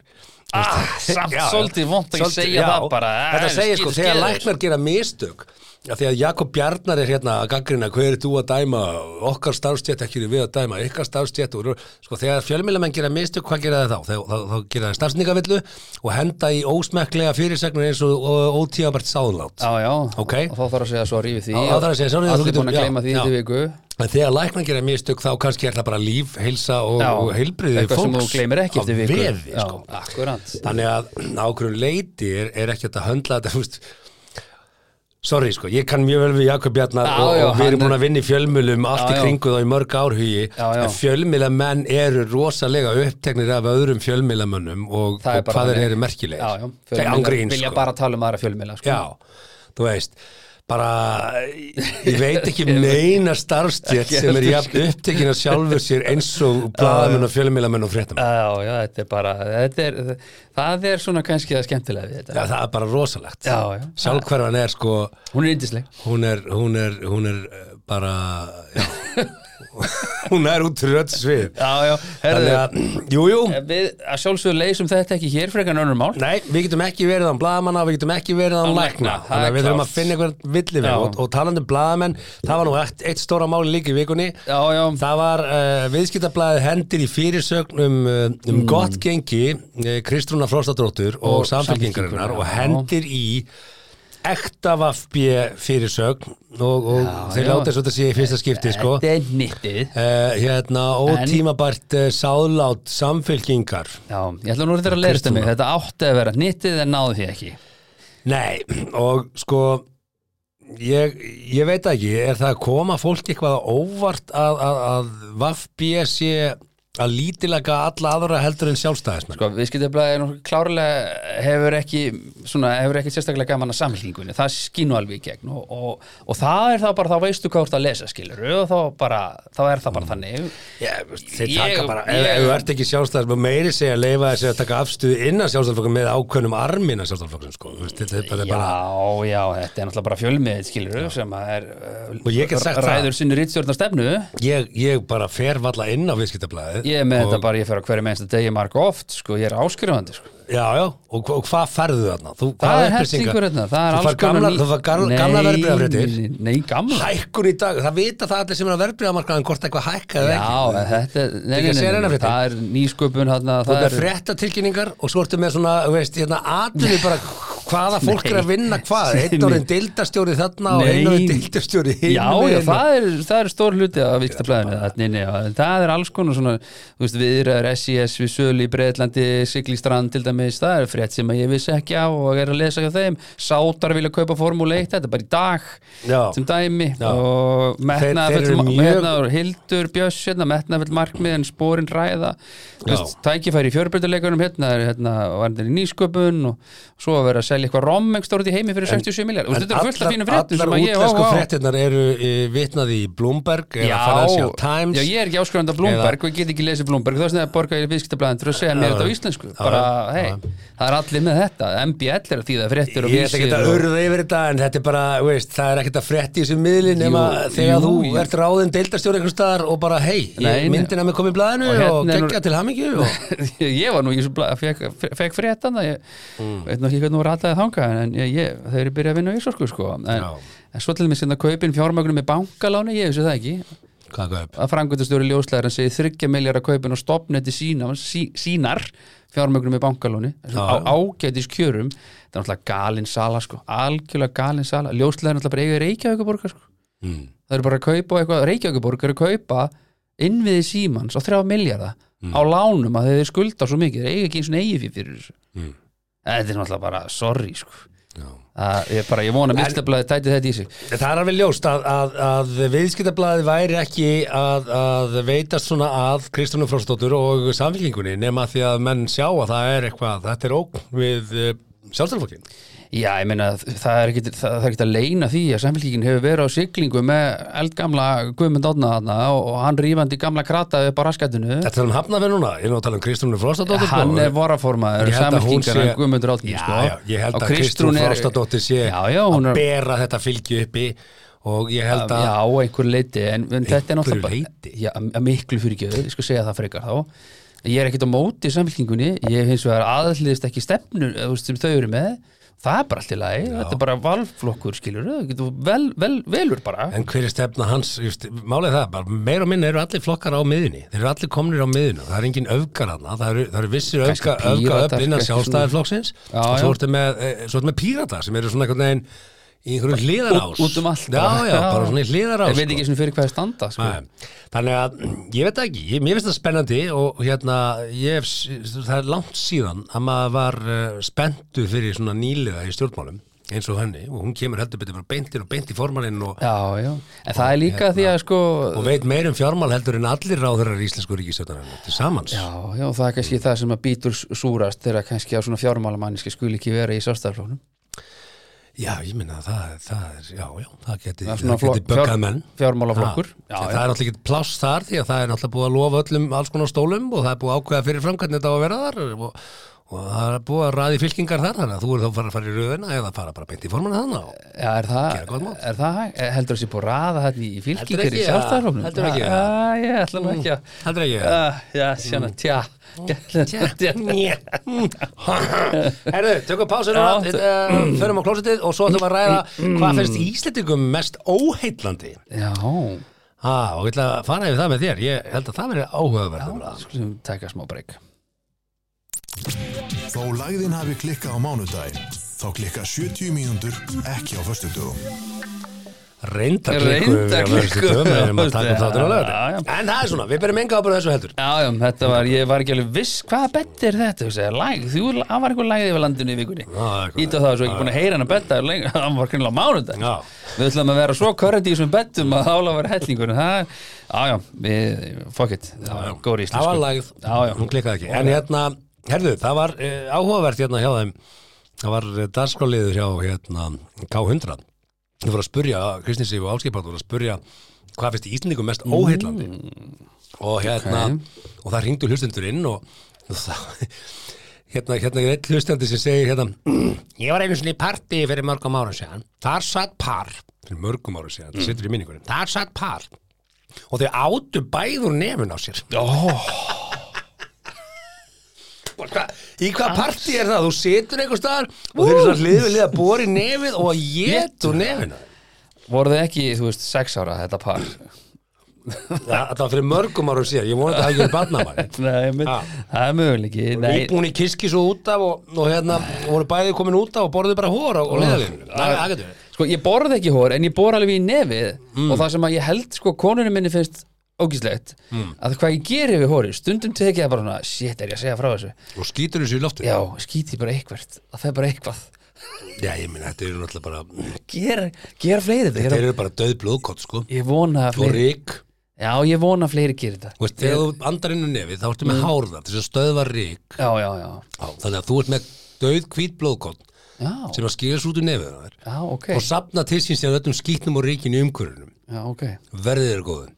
Speaker 3: ah, samt
Speaker 1: Já, já.
Speaker 3: svolítið vont að ég
Speaker 1: Svolítið,
Speaker 3: segja
Speaker 1: já.
Speaker 3: það bara
Speaker 1: Þetta
Speaker 3: eh,
Speaker 1: segir sko,
Speaker 3: skýt-
Speaker 1: þegar
Speaker 3: skýður.
Speaker 1: læknar gera mistök að því að Jakob Bjarnar er hérna að gaggrina, hver er þú að dæma okkar starfstjætt ekki eru við að dæma, ykkar starfstjætt og sko þegar fjölmélamenn gera mistök hvað gera það þá? Þá, þá, þá gera það starfsningavillu og henda í ósmekklega fyrirsegnur eins og, og ótíðabært sáðlát
Speaker 3: Já, já,
Speaker 1: Ok.
Speaker 3: og þá þarf að segja sorry við því
Speaker 1: Já, þá þarf að segja sorry, þú
Speaker 3: Allir
Speaker 1: getur-
Speaker 3: búin að
Speaker 1: já,
Speaker 3: gleyma því
Speaker 1: já.
Speaker 3: þetta viku
Speaker 1: en þegar læknar gera mistök þá kannski er það bara líf, heilsa og,
Speaker 3: Já,
Speaker 1: og heilbriði
Speaker 3: Eitthvað sem þú
Speaker 1: fólks
Speaker 3: gleymir ekki
Speaker 1: á
Speaker 3: eftir viku
Speaker 1: veði,
Speaker 3: Já,
Speaker 1: sko.
Speaker 3: akkurant
Speaker 1: Þannig að ákveðum leiti er, er ekki hægt að höndla þetta, þú veist Sorry, sko, ég kann mjög vel við Jakob Bjarnar
Speaker 3: Já,
Speaker 1: og,
Speaker 3: já,
Speaker 1: og við erum
Speaker 3: hann er-
Speaker 1: búin að vinna í fjölmjölum allt
Speaker 3: Já,
Speaker 1: í
Speaker 3: já.
Speaker 1: kringu þá í mörg árhugi
Speaker 3: Já, já.
Speaker 1: en fjölmjöla menn eru rosalega uppteknir af öðrum fjölmjölamönnum og,
Speaker 3: Það er
Speaker 1: og
Speaker 3: bara
Speaker 1: hvað þeir
Speaker 3: þannig.
Speaker 1: eru merkilegir
Speaker 3: Já, já,
Speaker 1: Þeir án
Speaker 3: fjölmiðlar
Speaker 1: gríns,
Speaker 3: vilja
Speaker 1: sko.
Speaker 3: bara tala um aðra fjölmiðla sko.
Speaker 1: Já, þú veist bara, ég veit ekki um neina starfstjett
Speaker 3: Ekki
Speaker 1: sem er
Speaker 3: heldur, sko.
Speaker 1: jafn upptekin að sjálfur sér eins og blaðamenn og fjölmjölamenn og fréttamenn
Speaker 3: já, já, þetta er bara þetta er, Það er svona kannski það skemmtilega við þetta
Speaker 1: Já, það er bara rosalegt
Speaker 3: Já, já.
Speaker 1: Sjálfhverfan er sko
Speaker 3: Hún er yndisleg
Speaker 1: hún er, hún er, hún er eh, bara já, hún er út rödd svið
Speaker 3: Já, já, herðu, eh,
Speaker 1: Þannig að, jú, jú
Speaker 3: við að sjálfsögðu leysum þetta ekki hér frekar en önnur mál
Speaker 1: Nei, við getum ekki verið án blaðamanna og við getum ekki verið án
Speaker 3: Án
Speaker 1: lækna
Speaker 3: lækna, það
Speaker 1: Þannig
Speaker 3: er
Speaker 1: að við þurfum að
Speaker 3: klárt.
Speaker 1: finna einhvern villi við
Speaker 3: Já.
Speaker 1: og, og talandi um blaðamenn, það var nú eitt, eitt stóra máli líka í vikunni
Speaker 3: Já, já,
Speaker 1: Það var uh, viðskiptablaðið hendir í fyrirsögn um, uh, um gott gengi uh, Kristrúna Frostadróttur og,
Speaker 3: Mm. Og
Speaker 1: samfélkingarinnar og
Speaker 3: Samfylkingarinnar,
Speaker 1: hendir í ekta vaffbjö fyrirsögn og, og þeir
Speaker 3: já.
Speaker 1: láta þess að þetta sé í fyrsta skipti sko.
Speaker 3: þetta er nýttið
Speaker 1: Uh, hérna, ótímabært uh, sáðlát samfylkingar
Speaker 3: Já, ég ætla nú að þetta að leyrsta mig Þetta átti að vera nýttið en náði því ekki
Speaker 1: Nei, og sko ég, ég veit ekki er það að koma fólk eitthvað á óvart að, að, að VFB sé að lítilega alla aðra heldur en sjálfstæðismenn
Speaker 3: Sko, viðskiptablaðið er nú klárlega hefur ekki, svona, hefur ekki sérstaklega gaman að samlíkunni, það skínu alveg í gegn og, og, og það er þá bara, þá veistu hvað þú ert að lesa, skilur og þá bara, þá er það
Speaker 1: Mm.
Speaker 3: bara þannig
Speaker 1: ég, Þeir
Speaker 3: Ég-
Speaker 1: taka bara, ef,
Speaker 3: ég-
Speaker 1: ef þú ert ekki sjálfstæðismenn meiri segja að leifa þessi að taka afstuði innan sjálfstæðisflokkum með ákveðnum armina sjálfstæðisflokkum sko. Þú veist, þetta er bara- bara
Speaker 3: Já, já, þetta er náttúrulega bara fjölmið, skilur sem að er, uh,
Speaker 1: Og ég get sagt það.
Speaker 3: ræður sinni rítstjórn á stefnu
Speaker 1: ég, ég bara fer valla inn á viðskiptablaðið
Speaker 3: Ég er með
Speaker 1: og-
Speaker 3: þetta bara, ég fer á hverju mennsta degi marg oft, sko, ég er áskrifandi, sko
Speaker 1: Já, já, og, og hvað færðu þarna? Þú,
Speaker 3: Það
Speaker 1: hvaða
Speaker 3: er
Speaker 1: upplýsingar?
Speaker 3: hellingur hérna, það er
Speaker 1: Þú fær
Speaker 3: alls konar
Speaker 1: gamla,
Speaker 3: ný-
Speaker 1: þú fær gar-
Speaker 3: Nei,
Speaker 1: gamla verðbríðafréttir
Speaker 3: nei, Nei, gamla
Speaker 1: Hækkun í dag, það vita það allir sem er á verðbríðamarkaðan hvort eitthvað hækka eða
Speaker 3: Já,
Speaker 1: ekki
Speaker 3: þetta, er- nei,
Speaker 1: Ekki að
Speaker 3: nei, nei,
Speaker 1: segja
Speaker 3: nei,
Speaker 1: hennar
Speaker 3: nei,
Speaker 1: fréttir.
Speaker 3: það er nýsköpun þarna,
Speaker 1: Þú
Speaker 3: það
Speaker 1: ert með
Speaker 3: er
Speaker 1: fréttatilkynningar og svo ertu með svona, þú veist, hérna atvinni bara hvaða fólk er að vinna hvað
Speaker 3: Nei.
Speaker 1: Einn orðin deildastjóri þarna og einn
Speaker 3: Nei.
Speaker 1: orðin deildastjóri hinum
Speaker 3: Já, já,
Speaker 1: megin.
Speaker 3: það er, það er stór hluti af viktablaðinu, þannig, nei, já, en það er alls konar svona, þú veist, viðræður SIS við Sölu í Breitlandi, Siglistrand til dæmis, það er frétt sem að ég vissi ekki á og er að lesa hjá þeim, Sátar vilja kaupa Formule 1, þetta er bara í dag
Speaker 1: Já.
Speaker 3: sem dæmi
Speaker 1: Já.
Speaker 3: og
Speaker 1: Þeir- þeir
Speaker 3: metnaðafell
Speaker 1: eru mjög-
Speaker 3: metnaður, Hildur Björs, hérna, metnaðafell markmiðin, spórin ræða, þú
Speaker 1: Já.
Speaker 3: veist, tækifæri í fjörbreytileikunum, hérna, er, hérna, varðin í nýsköpun og svo að vera að selja eitthvað rommengstórið í heimi fyrir 67 miljard,
Speaker 1: En
Speaker 3: þetta er fullt af fínum
Speaker 1: allar-
Speaker 3: fréttum sem
Speaker 1: Allar
Speaker 3: að ég
Speaker 1: útlensku
Speaker 3: á, á.
Speaker 1: fréttirnar eru e, vitnaði í Bloomberg eða
Speaker 3: Já,
Speaker 1: Financial Times
Speaker 3: já, ég er ekki áskrifandi af Blomberg og ég get ekki lesið Blomberg þá er það að borga í viðskiptablaðin til að segja mér
Speaker 1: Já,
Speaker 3: þetta á
Speaker 1: já.
Speaker 3: íslensku
Speaker 1: Já,
Speaker 3: bara,
Speaker 1: já.
Speaker 3: hei, það er allir með þetta MBL er að þýða fréttir og
Speaker 1: Ég ætla ekki að
Speaker 3: og-
Speaker 1: urða yfir þetta en þetta er bara, þú veist, það er ekkert að frétti í þessum miðli nema
Speaker 3: Jú,
Speaker 1: þegar
Speaker 3: jú,
Speaker 1: þú
Speaker 3: jú.
Speaker 1: ert ráðin deildastjóri einhvers staðar og bara hei,
Speaker 3: Nei, nei.
Speaker 1: myndin að mig kom í blaðinu
Speaker 3: Og
Speaker 1: og,
Speaker 3: hérna er nú-
Speaker 1: geggja til hamingju og...
Speaker 3: ég var nú í þessu blað, fekk, fekk fréttan það, ég
Speaker 1: Mm.
Speaker 3: veit nú ekki hvernig voru alltaf þanga en ég, ég, þau eru byrjað að vinna í sorku sko. en,
Speaker 1: Já.
Speaker 3: en svo til mér sinna kaupin fjármögnum með bankaláni, ég vissi það ekki
Speaker 1: Hvað gaup?
Speaker 3: að frangöndastjóri ljóslegar segir þryggja miljara kaupin og stopneti sína, sí, sínar fjármögnum í bankalóni á ágætis kjörum, þetta er náttúrulega galin sala sko, algjörlega galin sala ljóslegar náttúrulega bara eiga reykjaukuborgar sko
Speaker 1: Mm.
Speaker 3: það eru bara að kaupa eitthvað, reykjaukuborgar er að kaupa innviði símans á þrjá miljarda á lánum að þeir skulda svo mikið, þeir eiga ekki eins og eigi fyrir þessu
Speaker 1: Mm.
Speaker 3: þetta er náttúrulega bara, sorry sko
Speaker 1: Já.
Speaker 3: að ég bara, ég vona mistablaði tæti þetta í sig
Speaker 1: Það er alveg ljóst að, að, að viðskiptablaði væri ekki að, að veitast svona að Kristjánu Fróstóttur og samfélkingunni nema því að menn sjá að það er eitthvað, þetta er ógn við uh, sjálfstæðarflokkin.
Speaker 3: Já, ég meina, það er ekkit, það, það er ekkit að leina því að samfélkingin hefur verið á siglingu með eldgamla Guðmund Átna þarna og, og hann rífandi gamla krataði upp á raskatinu
Speaker 1: Þetta er um hafnafinn núna, ég er nú að tala um Kristjánu Fróstóttur.
Speaker 3: Hann er varaformaður
Speaker 1: Ég held að hún
Speaker 3: samfélkingar
Speaker 1: sé-
Speaker 3: Guðmundur Átni
Speaker 1: Já,
Speaker 3: sko.
Speaker 1: já, ég held
Speaker 3: Og
Speaker 1: að Kristrún
Speaker 3: er-
Speaker 1: Frostadóttir sé
Speaker 3: Já, já, hún
Speaker 1: að
Speaker 3: er
Speaker 1: bera þetta fylgi uppi og ég held að
Speaker 3: Já, einhver leiti, en, en þetta er náttúrulega bara-
Speaker 1: Einhverju leyti?
Speaker 3: Já, að miklu fyrir ekki, ég skal segja það frekar þá Ég er ekkit á móti samfélkingunni ég hef hins vegar aðhliðist ekki stefnu eh, þú veist, sem þau eru með Það er bara allt í lagi, þetta er bara valflokkur skilur, þú getur vel, vel, velur bara
Speaker 1: En hver er stefna hans, just, málið er það, bara meir og minna eru allir flokkar á miðinni, þeir eru allir komnir á miðinu, það er engin öfgar hana, það eru, það eru vissir
Speaker 3: Kannski
Speaker 1: öfga, öfga
Speaker 3: píratar,
Speaker 1: öfl innan
Speaker 3: kannski
Speaker 1: sjálfstæðarflokksins
Speaker 3: Já,
Speaker 1: og
Speaker 3: já.
Speaker 1: svo ertu með, eh, svo ertu með pírata sem eru svona einhvern veginn í einhverjum hliðarás.
Speaker 3: Út- út um allt
Speaker 1: Já,
Speaker 3: bara.
Speaker 1: já, bara svona í hliðarás.
Speaker 3: Ég veit
Speaker 1: sko.
Speaker 3: ekki svona fyrir hvað er standa sko.
Speaker 1: Nei. Þannig að mm, ég veit það ekki, ég, mér finnst það spennandi og hérna, ég hef, s- það er langt síðan að maður var uh, spenntu fyrir svona nýliða í stjórnmálum eins og henni og hún kemur heldur betur bara beintir og beint í formaninn og,
Speaker 3: Já, já, en það er líka því að sko
Speaker 1: og veit meir um fjármál heldur en allir ráðurar í Íslensku ríkistjórnarinn til samans.
Speaker 3: Já, já, það er kannski það sem að býtur s- súrast þegar kannski að svona fjármálamanniski skuli ekki vera í sjálfstæðarflóknum
Speaker 1: Já, ég minna að það, það er, já, já, það geti,
Speaker 3: Það er svona
Speaker 1: það geti
Speaker 3: flokk-
Speaker 1: böggað
Speaker 3: fjár-
Speaker 1: menn.
Speaker 3: fjármálaflokkur.
Speaker 1: Já, það
Speaker 3: Já, já.
Speaker 1: er náttúrulega ekki pláss þar því að það er náttúrulega búið að lofa öllum alls konar stólum og það er búið að ákveða fyrir framkvæmni þetta á að vera þar og, og það er búið að ræði fylkingar þar þannig að þú eru þá að fara að fara í röðina eða fara bara beint í formana þannig og
Speaker 3: Já, er það,
Speaker 1: Gera gott mál.
Speaker 3: er það, hægt? Eh, heldur þessi búið að raða hérna í
Speaker 1: Heldur
Speaker 3: fylkingar í
Speaker 1: ekki, ja.
Speaker 3: sjálfstæðarhófnum?
Speaker 1: Heldur ekki, Mm. ja.
Speaker 3: Já, ég ætla nú ekki að,
Speaker 1: það er ekki
Speaker 3: Ah, já, sjána,
Speaker 1: Mm.
Speaker 3: tja, tja, tja,
Speaker 1: Né. Herðu, tökum pásu núna
Speaker 3: Já.
Speaker 1: Við, uh, förum á klósitið og svo ætlum við að ræða hvað finnst Íslendingum mest óheillandi
Speaker 3: já,
Speaker 1: ah, og ég ætla að fara yfir það með þér ég held að það um verið áhugaverðum
Speaker 3: skulum taka smá breyk.
Speaker 2: Þó lagðin hafi klikkað á mánudaginn, þá klikka 70 mínútur ekki á föstudögum.
Speaker 1: reynda
Speaker 3: Reyndar klikku.
Speaker 1: um
Speaker 3: Já, já.
Speaker 1: en það er svona, við berum enga ábyrðu þessu heldur
Speaker 3: Já, já, þetta var, ég var ekki alveg viss, hvaða bett er þetta, þú segir, læg, þú, það var eitthvað lægið yfir landinu í vikunni.
Speaker 1: Já, eitthvað.
Speaker 3: Ít á það, svo ekki búin að heyra hann að betta, lengi, hann var kynnilega mánudag.
Speaker 1: Já.
Speaker 3: Við ætlum að vera svo körrandi í þessum bettum að ála vera hellingur, en það, já, já, við, fuck it, það var góri íslensku.
Speaker 1: það var lagð,
Speaker 3: Já, já.
Speaker 1: hún klikkaði ekki en hérna, herðu, það var uh, áhugavert hérna hjá þeim það var darskráliður hjá hérna, K100 þú voru að spurja, Kristins Sif og Áskipart voru að spurja hvað finnst Íslendingum mest óheillandi og hérna og það hringdu hlustendur inn og, og það Hérna, hérna er einn hlustandi sem segir hérna, ég var einu svona í partí fyrir mörgum árum séðan, þar satt par fyrir mörgum árum séðan, það sittur í minningunum þar satt par og þau átu bæður nefn á sér
Speaker 3: Ó,
Speaker 1: Og Hva, í hvað partí er það? Þú situr einhver staðar og þeir eru svona hlið við hlið að bóra í nefið og að getu nefina
Speaker 3: voru þið ekki, þú veist, sex ára þetta par?
Speaker 1: Það var fyrir mörgum árum síðan, ég vonið að það hafi verið barnamann
Speaker 3: Nei, mynd,
Speaker 1: Ha.
Speaker 3: það er möguleiki, nei,
Speaker 1: Útbúin í kiski svo út af og, og hérna voru bæði komin út af og borðið bara hóra og leðalínu Það getur við
Speaker 3: Sko, ég borði ekki hór, en ég borði alveg í nefið
Speaker 1: Mm.
Speaker 3: og það sem að ég held, sko, konunum minni finnst ógíslegt,
Speaker 1: Mm.
Speaker 3: að hvað ég geri við hóri, stundum tekið það bara svona, shit, er ég að segja frá þessu?
Speaker 1: Og skýtur þessu í lofti
Speaker 3: Já, skýti bara eitthvert, það fer bara eitthvað.
Speaker 1: Já, ég minn, þetta eru náttúrulega bara
Speaker 3: Ger, ger fleiri þetta.
Speaker 1: Þeir
Speaker 3: Gera,
Speaker 1: eru bara döð blóðkott, sko
Speaker 3: ég vona að
Speaker 1: Og
Speaker 3: fleiri,
Speaker 1: rík
Speaker 3: já, ég vona að fleiri gerir þetta.
Speaker 1: Þú veist, þegar þú andar inn í nefið, þá ertu með hárða til þess að stöðva rík
Speaker 3: Já, já, já,
Speaker 1: Þannig að þú ert með döð hvít blóðkott
Speaker 3: já,
Speaker 1: sem að skýrast út úr nefið á þér
Speaker 3: já, ok,
Speaker 1: og safna til sín sér öllum skýtnum og ríkinu umhverjunum.
Speaker 3: já, ok,
Speaker 1: Verðið er góðum.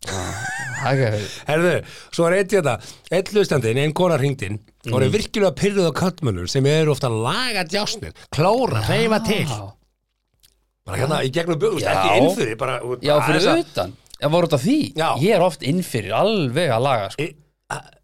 Speaker 3: það er
Speaker 1: Herðu, svo er eitt þetta, eitt hlustandinn, einn kona hringdinn, mm. voru virkilega pyrruð á kattmönnum sem eru ofta að laga djásnir, klóra, reyfa til.
Speaker 3: Já,
Speaker 1: Bara hérna í gegnum bugust,
Speaker 3: Já.
Speaker 1: ekki innfyrir, bara...
Speaker 3: já, fyrir
Speaker 1: aðeins að-
Speaker 3: utan, ég voru þetta því,
Speaker 1: Já.
Speaker 3: ég er oft innfyrir, alveg að laga, sko.
Speaker 1: Í- a-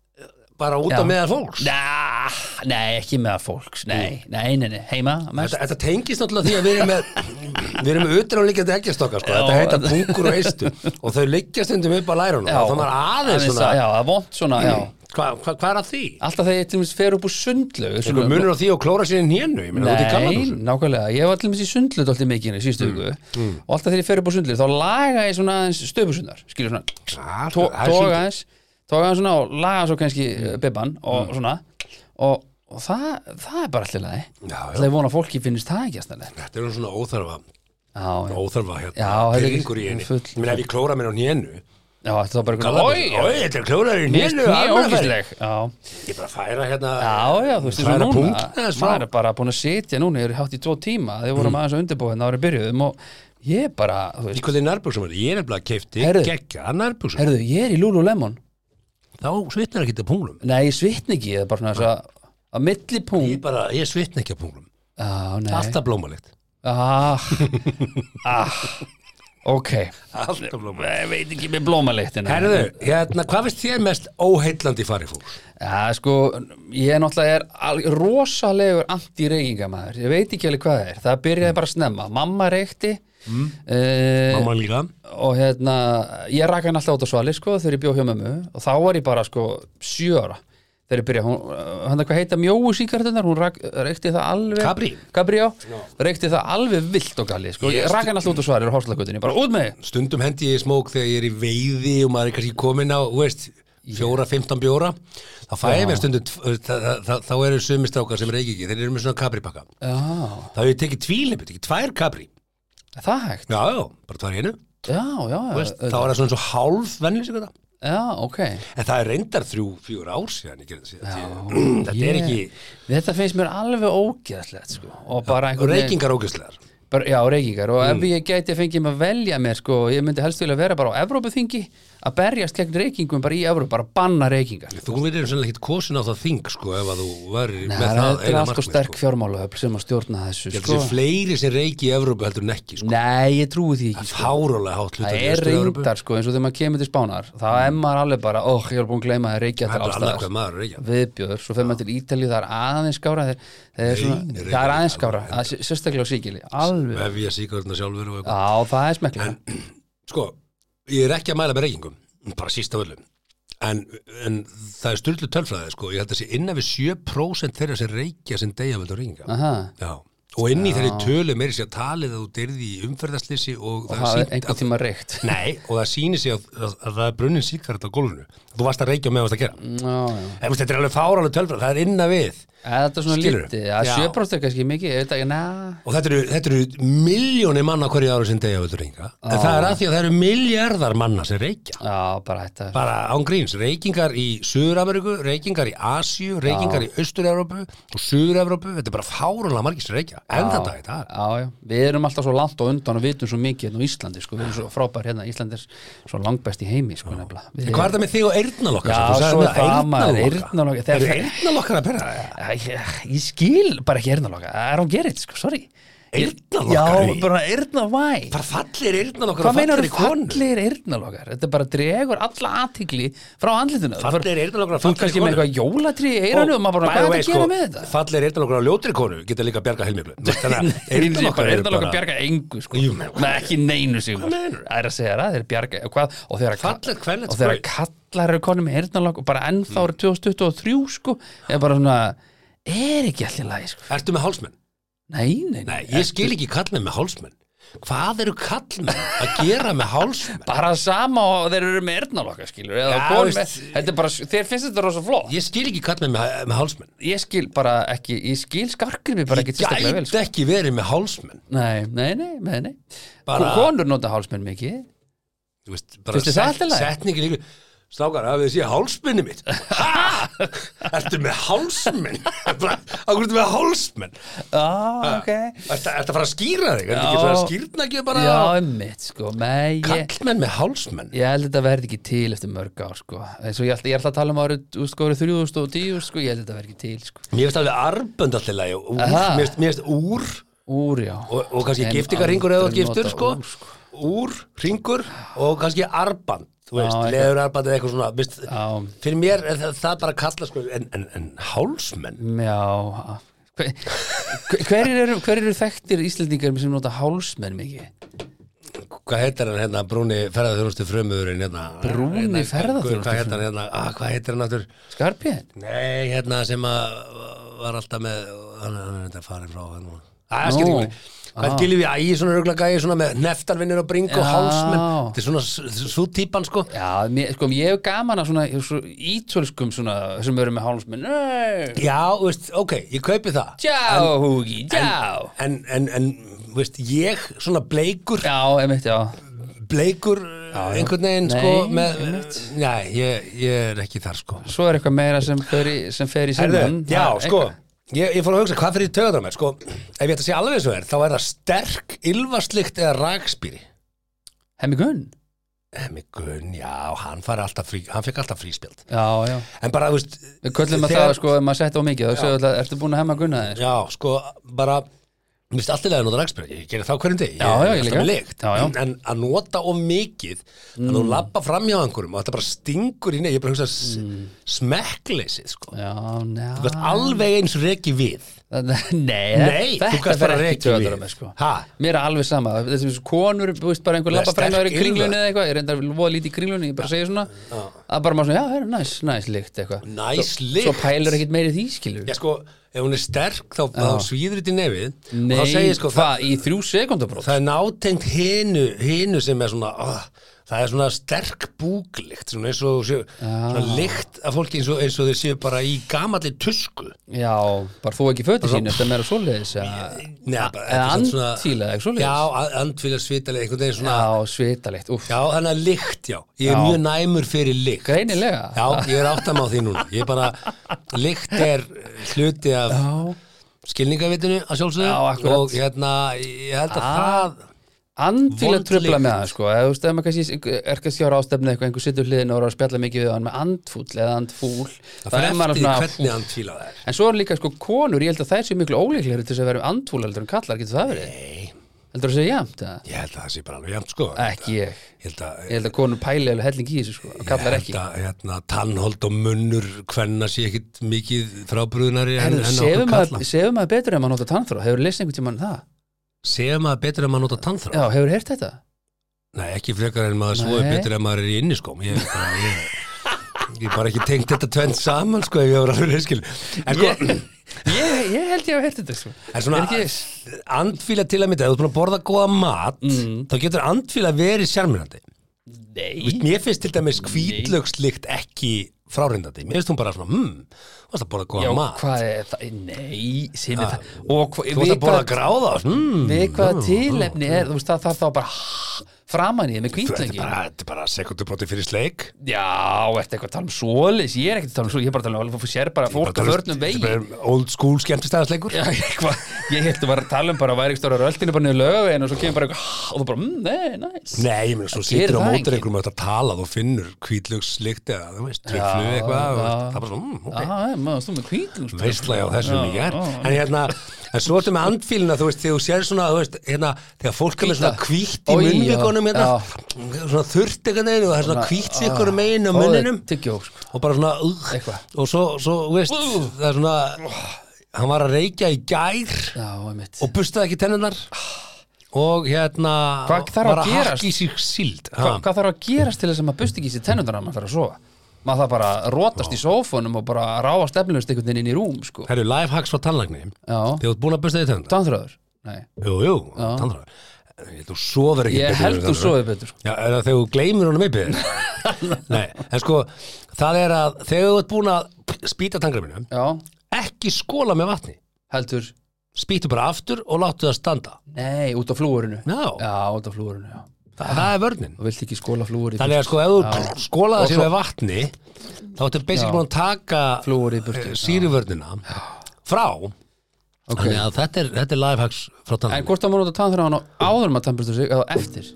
Speaker 1: Bara út
Speaker 3: Já.
Speaker 1: á meðal fólks.
Speaker 3: Nah, nei, ekki með fólks, nei, nei, nei, nei, heima mest.
Speaker 1: Þetta, þetta tengist náttúrulega því að við erum með við erum með utráðlíkjandi eggjastokka sko. þetta heita pungur og eistu og þau liggjast stundum upp að læra hana þannig að aðeins svona Mm.
Speaker 3: að- Já, það er vont svona, já.
Speaker 1: hvað hva, hva er að því?
Speaker 3: Alltaf þegar ég til dæmis fer upp úr sundlaug
Speaker 1: Sko, munur á því að klóra sér í hénu ég meina, þú ert í
Speaker 3: Nei,
Speaker 1: kallanum
Speaker 3: nákvæmlega, ég var til dæmis í sundlaug dálítið mikið hérna í
Speaker 1: Mm,
Speaker 3: síðustu viku og alltaf þegar ég fer upp úr sundlaug þá laga ég svona aðeins stöpusunnar, skilur svona
Speaker 1: Ah,
Speaker 3: tó-
Speaker 1: það er svolítið.
Speaker 3: toga aðeins, toga aðeins svona og laga svo kannski mm. bibban og svona og, og það, það er bara allir lagi.
Speaker 1: Já, já.
Speaker 3: Það er vona að fólki finnst það ekki að snælega.
Speaker 1: Þetta er nú svona óþarfa,
Speaker 3: Já, já,
Speaker 1: óþarfa hérna,
Speaker 3: Já, þetta er
Speaker 1: pyrringur í
Speaker 3: ekki
Speaker 1: henni.
Speaker 3: full-
Speaker 1: Ég meina ef ég klóra mér á hénu,
Speaker 3: já, þetta er
Speaker 1: oi,
Speaker 3: bara eitthvað, oi,
Speaker 1: oi, þetta er klórar í
Speaker 3: mér
Speaker 1: hénu,
Speaker 3: er ógísleg, já.
Speaker 1: Ég bara færa hérna,
Speaker 3: Já, já, þú veist, eins og
Speaker 1: færa
Speaker 3: núna,
Speaker 1: punkt þess frá.
Speaker 3: maður er Mm. bara búin að sitja núna, ég er hátt í tvo tíma, þið vorum aðeins að undirbúið árið byrjuðum og ég bara, þú
Speaker 1: Í
Speaker 3: veist,
Speaker 1: hvernig nærbuxum er þetta? Ég er nefnilega keifti,
Speaker 3: Heyrðu.
Speaker 1: geggja, nærbuxum.
Speaker 3: herðu, ég er í Lululemon,
Speaker 1: Þá svitnar ekki þetta punglum.
Speaker 3: nei, ég svitni ekki, það er bara svona þess að, að milli
Speaker 1: Ég
Speaker 3: punkt,
Speaker 1: bara, ég svitna ekki á punglum.
Speaker 3: já, nei,
Speaker 1: Alltaf blómalikt.
Speaker 3: ah, ah, ok,
Speaker 1: Alltaf blómalikt.
Speaker 3: ég veit ekki með blómaliktina,
Speaker 1: Herðu, hérna, hvað finnst þér mest óheillandi farið fólks?
Speaker 3: Já, sko, ég náttúrulega er al- rosalegur anti-reykingamæður, ég veit ekki alveg hvað það er, það byrjaði bara snemma, mamma reykti, mm.
Speaker 1: Mamma líka.
Speaker 3: og hérna, ég rak hann alltaf át á svali sko, þegar ég bjó hjá mömmu og þá var ég bara sko sjö ára þegar ég byrja, hún, hann það hvað heita mjóu síkartunar, hún rak, reykti það alveg
Speaker 1: Capri.
Speaker 3: Capri, já, reykti það alveg vilt og galli, sko,
Speaker 1: Ég
Speaker 3: ég rak hann alltaf út á svali og háslagutinni, bara út með þig
Speaker 1: Stundum hendi ég í smók þegar ég er í veiði og maður er kannski komin á, þú veist, fjóra, fimmtán bjóra. Þá fæ ég mér stundum, tv- þá- þá- þá- þá eru sumi strákar sem reiki ekki, þeir eru með svona kapripakka.
Speaker 3: Já,
Speaker 1: Þá hef ég tekið tvílimpið, ekki tvær kapri.
Speaker 3: er það hægt,
Speaker 1: Já, já, bara tvær í einu.
Speaker 3: já, já,
Speaker 1: þú
Speaker 3: já,
Speaker 1: Veist, þá er það svona svo hálf vennlis ykkur það.
Speaker 3: já ok
Speaker 1: En það er reyndar þrjú, fjúr ár síðan, ég gerði það síðan. Ég- Þetta er
Speaker 3: Ég-
Speaker 1: ekki
Speaker 3: Þetta finnst mér alveg ógeðslegt, sko, og bara einhvern veginn-
Speaker 1: reykingar ógæslegar. Mm.
Speaker 3: bara, já, reykingar og ef ég gæti að fengi mig að velja mér sko, ég myndi helst vilja vera bara á Evrópuþingi að berjast gegn reykingum bara í Evrópu, bara banna reykingar
Speaker 1: Þú verður sannlega ekkit kosin á það þing sko ef að þú verður
Speaker 3: Nei,
Speaker 1: með
Speaker 3: það
Speaker 1: það
Speaker 3: þetta er
Speaker 1: eina
Speaker 3: allt og
Speaker 1: markmið
Speaker 3: sterk
Speaker 1: sko.
Speaker 3: fjármálaöfl sem að stjórna þessu
Speaker 1: Ég held
Speaker 3: sko.
Speaker 1: að sé fleiri sem reiki í Evrópu heldur en ekki sko.
Speaker 3: Nei, ég trúi því ekki sko.
Speaker 1: Fárólega hátt hlutur
Speaker 3: Það er reyndar sko, eins og þegar maður kemur til Spánar þá er maður alveg bara, óh, ég er búin að gleyma það reykja
Speaker 1: Mm. Það er
Speaker 3: þetta alls
Speaker 1: annað hvað
Speaker 3: staðar."
Speaker 1: maður reikja
Speaker 3: viðbjöður, svo fyrir maður til Ítalíu það er aðeins skára þeir, þeir
Speaker 1: Nei,
Speaker 3: er svona,
Speaker 1: nei,
Speaker 3: það er
Speaker 1: nei, alveg
Speaker 3: aðeins skára að, sé- sérstaklega á síkili, alveg
Speaker 1: Ef ég síkvörna sjálfur og eitthvað
Speaker 3: Já, það er smekklega
Speaker 1: Sko, ég er ekki að mæla með reykingum bara síst af öllum en, en það er styrlu tölfræði sko. ég held að sé innan við 7% þeirra sem reykja sem deyja völdu reykinga
Speaker 3: Aha.
Speaker 1: Já. og inn í þeirri tölu meiri sér talið að þú dyrði í umferðarslisi og,
Speaker 3: og
Speaker 1: er
Speaker 3: það
Speaker 1: sýnt
Speaker 3: er einhvern tíma reykt Já,
Speaker 1: Nei, og það sýnir sig að, að, að það er brunnin síkart á gólfinu. Þú varst að reykja með varst að gera. Mm.
Speaker 3: já
Speaker 1: En, veist, þetta er alveg fáralega tölfræð, það er inna við.
Speaker 3: Eða þetta er svona
Speaker 1: Skilurðu?
Speaker 3: lítið, að
Speaker 1: Já.
Speaker 3: sjöbróst er kannski mikið, ég veit ekki, na
Speaker 1: Og þetta eru, þetta eru miljónir manna á hverju ára sem degja völdur reynga. En það
Speaker 3: Ah.
Speaker 1: er að því að það eru miljardar manna sem reykja.
Speaker 3: Já, bara þetta
Speaker 1: Bara án gríns, reykingar í Suður-Ameríku, reykingar í Asíu, reykingar í Austur-Evrópu og Suður-Evrópu. Þetta er bara fáralega margir sem reykja. En þetta er það.
Speaker 3: Já, já, við erum alltaf svo langt og undan og vitum svo mikið hérna á Íslandi, sko, við erum svo frábær hérna, Íslandi er svo langbest í heimi, sko, nefnilega Við-
Speaker 1: En hvað er það með þig og eyrnalokka?
Speaker 3: Já,
Speaker 1: sem þú sagðir
Speaker 3: svo er
Speaker 1: með
Speaker 3: það maður,
Speaker 1: eyrnalokka.
Speaker 3: eyrnalokka. Þegar-
Speaker 1: Eru eyrnalokkar að perra það?
Speaker 3: Æ, ég, ég skil bara ekki eyrnaloka, I don't get it, sko, sorry
Speaker 1: Eyrnalokkar?
Speaker 3: Já, bara eyrnavæ
Speaker 1: Bara fallir eyrnalokkar
Speaker 3: Hvað
Speaker 1: og
Speaker 3: meinar
Speaker 1: fallir
Speaker 3: þú fallir eyrnalokar? Þetta bara dregur alla athygli frá andlitinu Þú
Speaker 1: Fallegir eyrnalokkar og
Speaker 3: þú ert
Speaker 1: fallegir
Speaker 3: kannski með
Speaker 1: konur.
Speaker 3: eitthvað jólatri í eyranu og maður bara,
Speaker 1: by
Speaker 3: hvað
Speaker 1: the
Speaker 3: er
Speaker 1: way, sko,
Speaker 3: þetta að gera með þetta?
Speaker 1: Fallegir eyrnalokkar á ljótri konu geta líka bjarga heilmiklu Þannig að eyrnalokkar eru
Speaker 3: Eyrnalokar
Speaker 1: bara
Speaker 3: bjarga engu sko
Speaker 1: Jú, menn,
Speaker 3: Nei, ekki neinu sig
Speaker 1: Hvað meinar?
Speaker 3: Það er að segja það, þeir bjarga og hvað, og þeir að
Speaker 1: Fallegt Mm. kvenlegt
Speaker 3: og þeir að
Speaker 1: spraut.
Speaker 3: kallar eru konum með eyrnalokk og bara ennþá eru 2023 sko er bara svona, er ekki allir lagi sko
Speaker 1: Ertu með hálsmenn?
Speaker 3: Nei, nei,
Speaker 1: Nei, ég skil ekki kallmenn með hálsmenn Hvað eru kallmenn að gera með hálsmenn?
Speaker 3: bara sama og þeir eru með eyrnalokka skilur eða
Speaker 1: Já,
Speaker 3: konum með,
Speaker 1: veist-
Speaker 3: þetta er bara, þeir finnst þetta rosa flott
Speaker 1: Ég skil ekki kallmenn með, með hálsmenn
Speaker 3: ég skil bara ekki, ég skil skarkrifi bara
Speaker 1: Ég
Speaker 3: ekki sérstaklega vel sko.
Speaker 1: gæti ekki verið með hálsmenn
Speaker 3: nei, nei, nei, nei, nei.
Speaker 1: Bara-
Speaker 3: konur nota hálsmenn mikið
Speaker 1: Þú veist, bara
Speaker 3: Finnst þér það allt í lagi?
Speaker 1: setningin ykkur Strákar, hafið þið séð hálsmenni mitt Ha! Ertu með hálsmenn? Bara, Af hverju ertu með hálsmenn?
Speaker 3: ah, ok
Speaker 1: Ertu ertu að fara að skýra þig? Ertu
Speaker 3: Já.
Speaker 1: ekki að skýrna ekki bara
Speaker 3: já, mitt, sko, nei ég,
Speaker 1: Kallmenn með hálsmenn?
Speaker 3: ég held þetta verði ekki til eftir mörg ár, sko eins og ég ætla, ég ætla að tala um árið, þú veist, sko, árið 3010, sko, ég held þetta verði ekki til, sko
Speaker 1: Mér finnst alveg arbönd alltaf lægi og úr,
Speaker 3: Aha.
Speaker 1: mér finnst- mér finnst úr
Speaker 3: úr, já,
Speaker 1: og, og kannski
Speaker 3: En
Speaker 1: giftingarringur eða þú ert
Speaker 3: aldrei
Speaker 1: giftur
Speaker 3: nota
Speaker 1: sko.
Speaker 3: úr,
Speaker 1: úr, ringur og kannski arband þú veist,
Speaker 3: Já,
Speaker 1: leður arband eða eitthvað svona veist,
Speaker 3: Já.
Speaker 1: fyrir mér er það, það bara að kalla sko, en, en, en hálsmenn
Speaker 3: já hver, hverjir eru, hver eru þekktir íslendingar sem nota hálsmenn mikið?
Speaker 1: hvað heitir hann hérna brúni ferðarþjónustu frömuðurinn hérna,
Speaker 3: Brúni
Speaker 1: hérna,
Speaker 3: ferðaþjónustu-
Speaker 1: hvað heitir hann hérna, ah, hvað heitir hann aftur
Speaker 3: Skarpiðin?
Speaker 1: nei, hérna sem að var alltaf með hann, hann er þetta farin frá hann núna.
Speaker 3: Nú. Ah.
Speaker 1: að skilja ekki Hvað er gilið við ægi, svona rögla gæi, svona með neftarvinnir og bring og
Speaker 3: Já.
Speaker 1: hálsmenn, þetta er svona s- svo típan sko.
Speaker 3: Já, mér, sko, ég hef gaman að svona, svona ítölskum svona, sem eru með hálsmenn Nei,
Speaker 1: Já, þú veist, ok, ég kaupi það
Speaker 3: Tjá, húgi, tjá
Speaker 1: En, en, en, þú veist, ég svona bleikur,
Speaker 3: Já, emitt, já
Speaker 1: bleikur eh,
Speaker 3: já.
Speaker 1: einhvern veginn, sko
Speaker 3: Nei,
Speaker 1: með,
Speaker 3: einmitt.
Speaker 1: Nei, ég, ég er ekki þar, sko
Speaker 3: Svo er eitthvað meira sem fer í, sem fer í
Speaker 1: Herðu,
Speaker 3: sinnan
Speaker 1: já, sko Ég, ég fór að hugsa, hvað fyrir töðan á mér, sko Ef ég ætta að sé alveg eins og er, þá er það sterk, ylfaslikt eða rakspýri
Speaker 3: Hemmi Gunn
Speaker 1: Hemmi Gunn, já, hann, fari alltaf frí, hann fekk alltaf fríspjöld
Speaker 3: Já, já
Speaker 1: En bara, þú veist
Speaker 3: Við köllum að
Speaker 1: þegar-
Speaker 3: það, sko, ef maður setja á mikið þá segja alltaf, ertu búin að hemma Gunna þér?
Speaker 1: Já, sko, bara Mér finnst alltaf að nota rakspyrra, ég gerir þá hverjum deg
Speaker 3: Já, já, ég líka.
Speaker 1: líkt,
Speaker 3: Já, Mm. já.
Speaker 1: En að nota of mikið að þú labba fram hjá einhverjum og þetta bara stingur í neð, ég bara hugsa mm. smekkleysið, sko
Speaker 3: Já,
Speaker 1: Þú veist,
Speaker 3: njá
Speaker 1: alveg eins reki við
Speaker 3: Nei,
Speaker 1: Nei, þú
Speaker 3: þetta
Speaker 1: gæst
Speaker 3: fer
Speaker 1: bara
Speaker 3: ekki
Speaker 1: reki
Speaker 3: töðar
Speaker 1: við
Speaker 3: með, sko
Speaker 1: Ha,
Speaker 3: Mér er alveg sama, þessum konur, þú veist bara einhver
Speaker 1: Nei,
Speaker 3: labba fram
Speaker 1: sterk
Speaker 3: með í kringlunni
Speaker 1: ylfa.
Speaker 3: eða eitthvað, ég reyndar voða lítið í kringlunni, ég bara segi svona, að bara maður svona, já, það er næs, næs lykt eitthvað.
Speaker 1: næs
Speaker 3: Svo
Speaker 1: líkt
Speaker 3: pælur ekkit meiri því, skilur.
Speaker 1: Já, sko, ef hún er sterk þá, þá svíður þetta í nefið og
Speaker 3: Nei,
Speaker 1: þá segir, sko, það,
Speaker 3: hvað, í þrjú sekundabrót?
Speaker 1: það er nátengt hinu, hinu sem er svona oh, það er svona sterk búklikt svona eins og séu, svona lykt af fólki eins og, eins og þeir séu bara í gamalli tusku
Speaker 3: Já, bara þú ekki föti sínu, þetta er meira svoleiðis að-
Speaker 1: Nei, bara,
Speaker 3: eða
Speaker 1: þetta er svona-
Speaker 3: andfýla, eitthvað svoleiðis?
Speaker 1: Já, a- andfýla svitalega, einhvern veginn svona Já,
Speaker 3: Já, svitalikt, úff,
Speaker 1: þannig að lykt, já Ég er mjög næmur fyrir lykt
Speaker 3: greinilega.
Speaker 1: Já, ég er áttam á því núna Ég er bara, lykt er hluti af
Speaker 3: Já.
Speaker 1: skilningavitinu að
Speaker 3: Já,
Speaker 1: sjálfsögðu
Speaker 3: akkurat.
Speaker 1: og hérna, ég held að
Speaker 3: Ah.
Speaker 1: það
Speaker 3: andfíla
Speaker 1: Vond
Speaker 3: tröfla
Speaker 1: lykt.
Speaker 3: með það sko, eða þú veist, ef maður kannski er kannski ára ástefni eitthvað, einhver sittur hliðin og er að spjalla mikið við hann með andfúll eða andfúl
Speaker 1: Það
Speaker 3: þá
Speaker 1: fer
Speaker 3: er maður
Speaker 1: eftir því
Speaker 3: svona-
Speaker 1: hvernig hann fíla það er.
Speaker 3: En svo er líka sko konur, ég held að þær séu miklu ólíklegri til þess að vera um andfúl heldur en kallar, getur það verið?
Speaker 1: Nei,
Speaker 3: Heldur það að segja jæmt? eða?
Speaker 1: ég held að það sé bara alveg jæmt sko.
Speaker 3: Ekki ég.
Speaker 1: Ég held að,
Speaker 3: Ég held að konur pæli alveg helling í þessu sko, og kallar
Speaker 1: Ég
Speaker 3: ekki.
Speaker 1: held að, hérna, tannhold og munnur hvenna sé ekkit mikið frábrúðunari en, en
Speaker 3: Herðu,
Speaker 1: okkur
Speaker 3: sefum
Speaker 1: kalla.
Speaker 3: maður sefur maður betur ef maður nota tannþró? Hefur lesið einhvern tímann um það?
Speaker 1: Sefum maður betur en maður nota
Speaker 3: Já,
Speaker 1: tannþrá?
Speaker 3: hefur heyrt þetta?
Speaker 1: Nei, ekki frekar en maður svoði
Speaker 3: Nei.
Speaker 1: betur en maður er í inniskóm. Ég, bara, ég, ég bara ekki tengt þetta tvent saman sko ef ég var alveg reyskil. En sko,
Speaker 3: Ég, ég, ég held ég hef heyrt þetta sko.
Speaker 1: En svona
Speaker 3: Er ekki-
Speaker 1: andfýla til að mynda, ef þú ert búin að borða góða mat,
Speaker 3: Mm.
Speaker 1: þá getur andfýla verið sjarmirandi. Þú veist,
Speaker 3: Nei.
Speaker 1: Mér finnst til dæmis hvítlökslikt ekki frárindandi. Mér finnst hún bara svona, hmm, þú varst að borða góða
Speaker 3: Já,
Speaker 1: mat. Ah,
Speaker 3: hvað er það? Nei, sem er það. Og
Speaker 1: Þú varst að borða gráða, hmm.
Speaker 3: við hvaða tilefni er, þú veist, það þarf þá bara framan í þig með
Speaker 1: Þetta er
Speaker 3: kvítlengi.
Speaker 1: bara, þetta er bara sekundubróti fyrir sleik.
Speaker 3: Já, ertu eitthvað að tala um svolis? Ég er ekkert að tala um svolis, ég er bara að tala um alveg sér bara fólk að
Speaker 1: Bara, þetta
Speaker 3: vörnum
Speaker 1: er
Speaker 3: vegi.
Speaker 1: bara Old school skemmtistæðasleikur.
Speaker 3: Já, eitthvað, ég held að vera að tala um bara að væri ekki stóra röltinu bara niður lögavegin og svo kemur bara eitthvað og þú bara, mm, nei, næs.
Speaker 1: Nei, ég meina, svo
Speaker 3: Það
Speaker 1: situr á
Speaker 3: gerir það
Speaker 1: mótur
Speaker 3: enginn.
Speaker 1: einhverjum og þetta talað og finnur hvítlökslikt eða, þú veist, tröflu eitthvað. og
Speaker 3: já.
Speaker 1: Það er bara svona, hmm, ok.
Speaker 3: Já, maður stóð með kvítlum.
Speaker 1: veistla á þessum
Speaker 3: Já,
Speaker 1: í gerð
Speaker 3: já.
Speaker 1: en hérna, en svo ertu með andfílina þú veist, þegar þú sér svona, þú veist, hérna þegar fólk er með svona
Speaker 3: Hvíta.
Speaker 1: kvítt í
Speaker 3: Oj,
Speaker 1: munnvikunum
Speaker 3: já,
Speaker 1: hérna,
Speaker 3: já.
Speaker 1: svona þurrt einhvern veginn og það er svona kvítt sig ykkur megin á munninum
Speaker 3: Tyggjó, sko.
Speaker 1: og bara svona, uh,
Speaker 3: Eitthvað.
Speaker 1: og svo, svo, þú veist það er svona, hann var að reykja í gær
Speaker 3: Já, einmitt.
Speaker 1: og bustaði ekki tennunar og hérna
Speaker 3: Ah. Hvað þarf að
Speaker 1: var að
Speaker 3: gerast?
Speaker 1: hakka í sig síld
Speaker 3: Hva,
Speaker 1: ha.
Speaker 3: hvað þarf að gerast til þess að maður busti ekki sér tennundar að maður fer að sofa? Maður það bara að rótast í sófónum og bara ráast efnilegust einhvern veginn inn í rúm, sko.
Speaker 1: Herru, lifehacks frá tannlagni
Speaker 3: Já,
Speaker 1: þegar þú ert búin að bustaði tennunar
Speaker 3: tannþröður. Nei,
Speaker 1: jú, jú, tannlagni Ég held þú sofir ekki
Speaker 3: ég
Speaker 1: betur
Speaker 3: held
Speaker 1: en
Speaker 3: þú
Speaker 1: tannlæknir.
Speaker 3: sofið betur, sko.
Speaker 1: Já, er það þegar þú gleymir honum yfir Nei, en sko það er að þegar þú ert búin að spýta tangrafinu,
Speaker 3: Já,
Speaker 1: ekki skóla með vatni
Speaker 3: heldur.
Speaker 1: spýtu bara aftur og láttu það standa
Speaker 3: Nei, út á flúurinu.
Speaker 1: Já.
Speaker 3: Já, út á flúurinu, já.
Speaker 1: Þa, það er vörnin
Speaker 3: og vilt ekki skóla flúor í
Speaker 1: Þannig að sko ef þú skólaði
Speaker 3: Og
Speaker 1: sér
Speaker 3: svo-
Speaker 1: með vatni þá ertu basic
Speaker 3: Já.
Speaker 1: búin að taka
Speaker 3: Flúor í burtu,
Speaker 1: eh,
Speaker 3: já.
Speaker 1: sýrivörnina frá
Speaker 3: Ok.
Speaker 1: Þannig að þetta er, þetta er lifehacks frá
Speaker 3: En
Speaker 1: tangrafinu
Speaker 3: hvort á maður nota tannþráðan á áður en maður tannbustur sig eða eftir?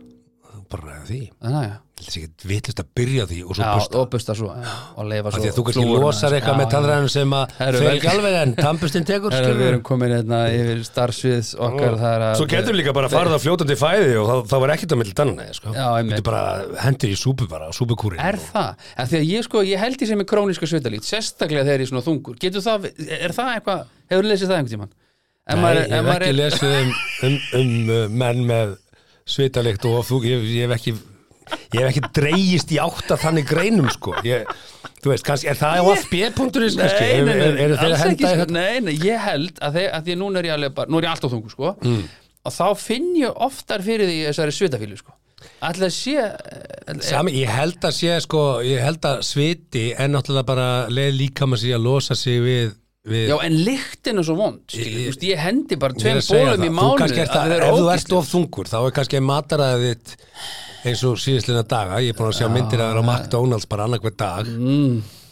Speaker 1: bara ræða því
Speaker 3: Þannig að já,
Speaker 1: Þetta er ekki vitlust að byrja því og svo
Speaker 3: já
Speaker 1: busta
Speaker 3: og busta svo já, og leifa
Speaker 1: Af
Speaker 3: svo
Speaker 1: Því að þú kannski
Speaker 3: flúorinu
Speaker 1: losar
Speaker 3: aðeins.
Speaker 1: eitthvað
Speaker 3: Já,
Speaker 1: með tannræðinu sem að
Speaker 3: Herru,
Speaker 1: fer
Speaker 3: vel-
Speaker 1: ekki alveg en tannbustin tekur
Speaker 3: já. Herra, við
Speaker 1: skilurðu.
Speaker 3: erum komin hérna yfir starfsviðs okkar það er að
Speaker 1: Svo getur líka bara að fara það fljótandi fæði og það, það var ekkert á milli tannana sko.
Speaker 3: Já, einmitt.
Speaker 1: Þetta bara hendur í súpu bara, súpukúrin
Speaker 3: Er það? En því að ég sko, ég held í sem er króníska svitalíkt sérstaklega þegar ég er svona þungur getur það, er það eitthvað, hefur lesið það einhvern tímann? En
Speaker 1: Nei,
Speaker 3: maður-
Speaker 1: ég
Speaker 3: en
Speaker 1: hef
Speaker 3: maður
Speaker 1: ekki
Speaker 3: er-
Speaker 1: lesið um, um, um uh, menn með svitalikt og þú, ég, ég hef ekki ég hef ekki dreigist í átta þannig greinum sko ég, þú veist, kannski, er það á FB.is kannski,
Speaker 3: Nei, nei, nei,
Speaker 1: Er- eru þeir að
Speaker 3: alls ekki,
Speaker 1: henda í
Speaker 3: sko.
Speaker 1: þetta
Speaker 3: Nei, nei, ég held að, þeir, að því að núna er ég alveg bara, nú er ég alltaf þungu, sko
Speaker 1: Mm.
Speaker 3: og þá finn ég oftar fyrir því í þessari svitafílu, sko Ætli að sé eh, ætli-
Speaker 1: Sami, ég held að sé sko, ég held að sviti en náttúrulega bara leið líka maður sér að losa sig við, við
Speaker 3: Já, en lyktin er svo vond, skilur,
Speaker 1: Ég-
Speaker 3: þú veist, ég hendi bara
Speaker 1: Ég er
Speaker 3: tveim
Speaker 1: að segja
Speaker 3: bólum
Speaker 1: það.
Speaker 3: í
Speaker 1: Þú
Speaker 3: mánuð
Speaker 1: kannski ert
Speaker 3: af því
Speaker 1: að, ef
Speaker 3: þeir eru
Speaker 1: þú ert
Speaker 3: ógeðslegir.
Speaker 1: of þungur þá er kannski mataraðið þitt eins og síðislega daga ég er búin að sjá myndir að það er á McDonalds bara annarkvæð dag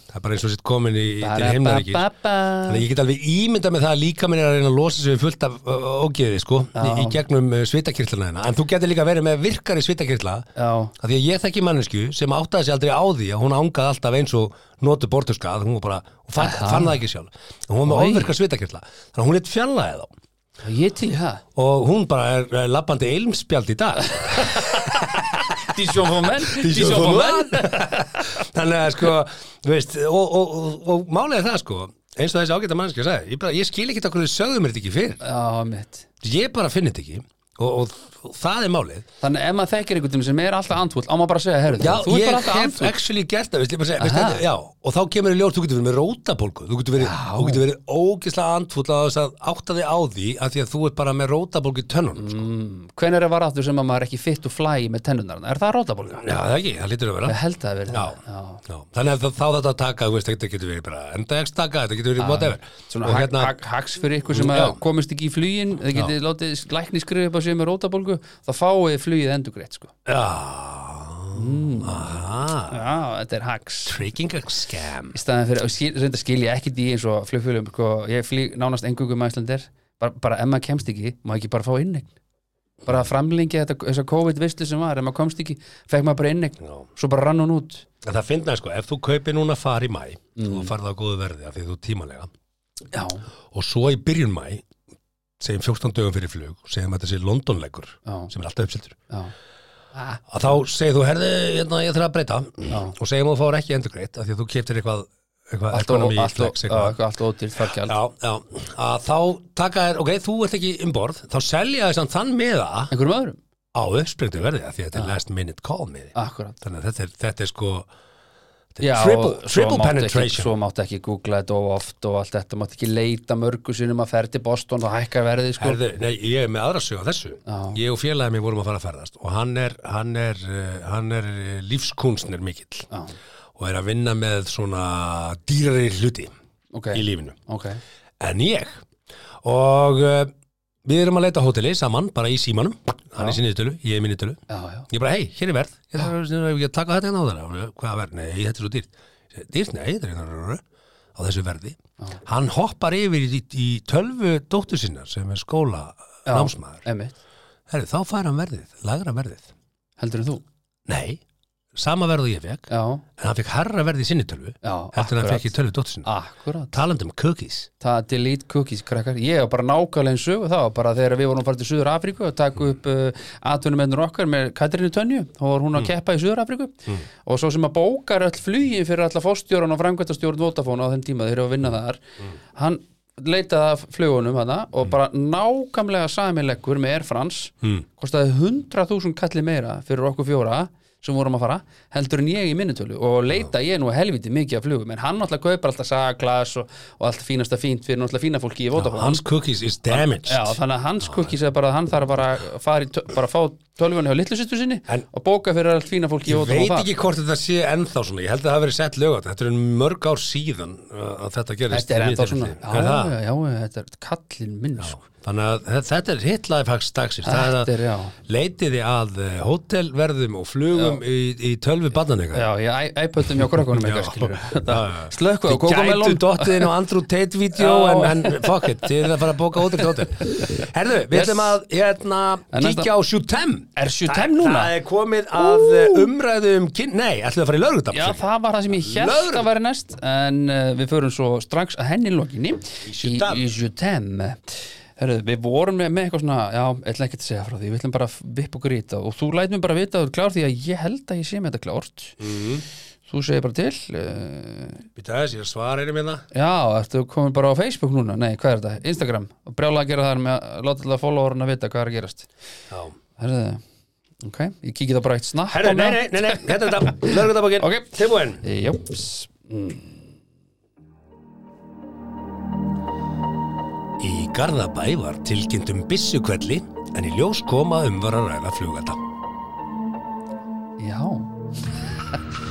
Speaker 1: það er bara eins og sitt komin í til
Speaker 3: Mm. Bara
Speaker 1: heimnaríkis
Speaker 3: ba- ba- ba.
Speaker 1: þannig að ég get alveg ímyndað með það að líka minn er að reyna að losa sig við fullt af ö, ógeði sko í, í gegnum uh, svitakirtlana hérna en þú getur líka verið með virkari svitakirtla
Speaker 3: Já,
Speaker 1: að því að ég þekki mannesku sem áttaði sig aldrei á því að hún ángaði alltaf eins og notu bortuska að hún var bara, hún fann, fann það ekki sjálf En hún var með
Speaker 3: Oj.
Speaker 1: ofvirka svitakirtla þannig að hún leitt fjallaði þá
Speaker 3: Já, ég til í það
Speaker 1: og hún bara er, er lappandi eilmspjald í dag
Speaker 3: Dísjón fór menn,
Speaker 1: Dísjón
Speaker 3: dísjón
Speaker 1: fór
Speaker 3: fór menn
Speaker 1: þannig að sko þú veist, og, og, og, og málið er það sko eins og þessi ágæta mannskja sagði ég, bara, ég skil ekki okkur þið sögðu mér þetta ekki fyrr
Speaker 3: Já, mitt
Speaker 1: ég bara finn þetta ekki og, og, og það er málið
Speaker 3: Þannig ef maður þekkir einhvern veginn sem er alltaf andfúll á maður bara að segja, herru,
Speaker 1: Já,
Speaker 3: þú ert
Speaker 1: ég
Speaker 3: bara
Speaker 1: hef
Speaker 3: alltaf andfúll
Speaker 1: actually gert það, veist, ég bara segja, veist,
Speaker 3: Aha.
Speaker 1: þetta, já, og þá kemur í ljós, þú getur verið með rótabólgu, þú getur verið, þú getur verið ógislega andfúll að þess að átta þig á því að því að þú ert bara með rótabólgu í tönnunum,
Speaker 3: Mm.
Speaker 1: sko.
Speaker 3: Hvenær er varáttur sem að maður er ekki fit og fly með tennunarna? Er það rótabólga?
Speaker 1: Já, það ekki, það lítur að vera.
Speaker 3: Ég held að það verið
Speaker 1: Já.
Speaker 3: það. Já.
Speaker 1: Já, þannig að þá þá þetta að taka, þú veist, þetta getur verið bara endagstaka, þetta getur verið whatever.
Speaker 3: Svona
Speaker 1: Og hérna-
Speaker 3: hag, hag, hags fyrir ykkur sem að
Speaker 1: Já.
Speaker 3: komist ekki í flugin, þið getið látið lækni skrifa upp á sig með rótabólgu, þá fáið flugið endugreitt sko.
Speaker 1: Já,
Speaker 3: Mm.
Speaker 1: aha,
Speaker 3: Já, þetta er hags.
Speaker 1: tricking a scam.
Speaker 3: Í staðan fyrir, og skil, reynda skil ég ekki því eins og um flugfjölum, sko, ég flýg nánast engungum með Íslandir, bara, bara ef maður kemst ekki, má ekki bara fá innegn. bara að framlengja þetta, þessa COVID-visli sem var ef maður komst ekki, fekk maður bara innegn
Speaker 1: Já.
Speaker 3: svo bara rann hún út
Speaker 1: En það finna sko, ef þú kaupir núna far í mæ
Speaker 3: Mm.
Speaker 1: og farð á góðu verði af því þú ert tímanlega
Speaker 3: já,
Speaker 1: og svo í byrjun mæ segjum 14 dögum fyrir flug segjum að þetta sé Londonleikur
Speaker 3: já,
Speaker 1: sem er alltaf uppsettur
Speaker 3: já,
Speaker 1: að þá segir þú, herði, hérna, ég þarf að breyta
Speaker 3: Já.
Speaker 1: og segjum að þú fáir ekki endurgreitt af því að þú keftir eitthvað, eitthvað
Speaker 3: allt, og,
Speaker 1: economy
Speaker 3: allt, og,
Speaker 1: flex
Speaker 3: já,
Speaker 1: eitthvað.
Speaker 3: eitthvað allt ódýrt fargjald
Speaker 1: Já, já, að þá taka þér, ok, þú ert ekki um borð, þá selja þess að þann meða
Speaker 3: einhverjum öðrum,
Speaker 1: á uppspringtu verði af því að þetta er last minute call meði.
Speaker 3: akkurat
Speaker 1: Þannig að þetta er, þetta er sko þetta er
Speaker 3: já,
Speaker 1: triple,
Speaker 3: og svo
Speaker 1: triple
Speaker 3: mátti ekki,
Speaker 1: penetration.
Speaker 3: svo mátti ekki googla þetta of oft og allt þetta, mátti ekki leita mörgu sinum að fer til Boston og hækkar verðið sko.
Speaker 1: Herðu, nei, ég er með aðra sög á þessu.
Speaker 3: Já.
Speaker 1: Ég og félagið mér vorum að fara að ferðast og hann er, hann er, eh, hann er eh, lífskunstner mikill
Speaker 3: já,
Speaker 1: og er að vinna með svona dýrari hluti
Speaker 3: ok,
Speaker 1: í lífinu.
Speaker 3: ok
Speaker 1: en ég og uh, við erum að leita á hóteli saman, bara í símanum hann
Speaker 3: Já.
Speaker 1: er sinni tölu, ég er minni tölu
Speaker 3: já, já,
Speaker 1: ég bara, hei, hér er verð, ég þarf að- ég að taka þetta hérna á þeirra hvað verð, nei, þetta er svo dýrt Ég segi, dýrt, nei, þetta er hérna á þessu verði hann hoppar yfir í, í tölvu dóttur sinnar sem er skóla
Speaker 3: Já.
Speaker 1: námsmaður
Speaker 3: emitt,
Speaker 1: Herri, þá fær hann verðið, lagra verðið
Speaker 3: heldur en þú
Speaker 1: nei, sama verð og ég fekk
Speaker 3: já,
Speaker 1: en hann fekk harra verðið sinni tölvu
Speaker 3: já,
Speaker 1: eftir hann fekk í tölvu dóttur sinnar
Speaker 3: akkurat
Speaker 1: talandi um cookies
Speaker 3: það delete cookies krakkar ég var bara nákvæmlega eins og það var bara þegar við vorum að fara til Suður Afríku að taka upp uh, atvinnumennur okkar með Katrínu Tönju þá var hún að keppa í Suður Afríku og svo sem að bókar öll flugin fyrir alla fórstjóran og framkvæmtastjórn Vodafone á þeim tíma þeir eru að vinna þar hann leitaði að flugunum hana og bara nákvæmlega samileggur með Air France
Speaker 1: Mm.
Speaker 3: kostaði 100.000 kalli meira fyrir okkur fjóra sem vorum að fara, heldur en ég í minnutölu og leita ég nú helviti mikið af flugum en hann náttúrulega kaupar alltaf saglas og, og allt fínasta fínt fyrir náttúrulega fína fólki í Vodafone
Speaker 1: hans cookies is damaged
Speaker 3: Já, þannig að hans kukkis er bara að hann þarf bara að fara í, töl- bara að fá tölvunni á litlu sýttu sinni
Speaker 1: En-
Speaker 3: og bóka fyrir allt fína fólki í
Speaker 1: Ég
Speaker 3: Vodafone
Speaker 1: veit
Speaker 3: þar.
Speaker 1: ekki hvort þetta sé ennþá svona, ég held að það hafi verið sett lög á þetta, þetta er mörg ár síðan uh, að þetta gerist.
Speaker 3: Þetta
Speaker 1: í
Speaker 3: er ennþá
Speaker 1: viðtölum
Speaker 3: svona
Speaker 1: þínum.
Speaker 3: Já,
Speaker 1: Er
Speaker 3: já,
Speaker 1: það?
Speaker 3: já, já, þetta er kallinn minn sko.
Speaker 1: Þannig að þe- þetta er hitt lifehacks dagsins, það
Speaker 3: Þetta
Speaker 1: er
Speaker 3: er, já
Speaker 1: að leitiði að eh, hótelverðum og flugum í, í tölvi bannan eitthvað.
Speaker 3: Já, ég æpöldum hjá krökkunum eitthvað skilur Slökku á
Speaker 1: Þið
Speaker 3: kókamelón
Speaker 1: gætu dottiðin og Andrew Tate vídeo
Speaker 3: Sko, Já.
Speaker 1: en, en fuck it, þið erum að fara að bóka hótel til hótel. Herðu, við
Speaker 3: Yes.
Speaker 1: ætlum að hérna,
Speaker 3: En næsta-
Speaker 1: kíkja á Shootem.
Speaker 3: Er Shootem núna?
Speaker 1: Það er komið að uh, umræðu um kyn... Nei, ætlum við að fara í lögutap.
Speaker 3: Já, það var það sem ég held
Speaker 1: Lögreglan.
Speaker 3: að væri næst en uh, við förum svo strax að henni lokinni
Speaker 1: Jutem.
Speaker 3: í Jutem Herðu, við vorum með, með eitthvað svona já, ég ætla ekki að segja frá því, við ætlum bara að vipp og grýta og þú læt mér bara vita að þú er klár því að ég held að ég sé með þetta klárt
Speaker 1: Mhm.
Speaker 3: þú segir bara til uh,
Speaker 1: Býta þess, ég er að svara einum hérna.
Speaker 3: já, ertu komin bara á Facebook núna nei, hvað er þetta, Instagram og brjála að gera það með að láta alltaf followerna vita hvað er að gerast
Speaker 1: Já.
Speaker 3: Herðu, ok, ég kíkja það bara eitt snapp
Speaker 1: Herru,
Speaker 3: á
Speaker 1: nei,
Speaker 3: meðan.
Speaker 1: nei, nei, nei, hérna er þetta, lörgundabokkin,
Speaker 3: Ok.
Speaker 1: tilbúin.
Speaker 3: Jóps,
Speaker 1: Í Garðabæ var tilkynnt um byssukvelli, en í ljós koma um var að ræða flugata.
Speaker 3: já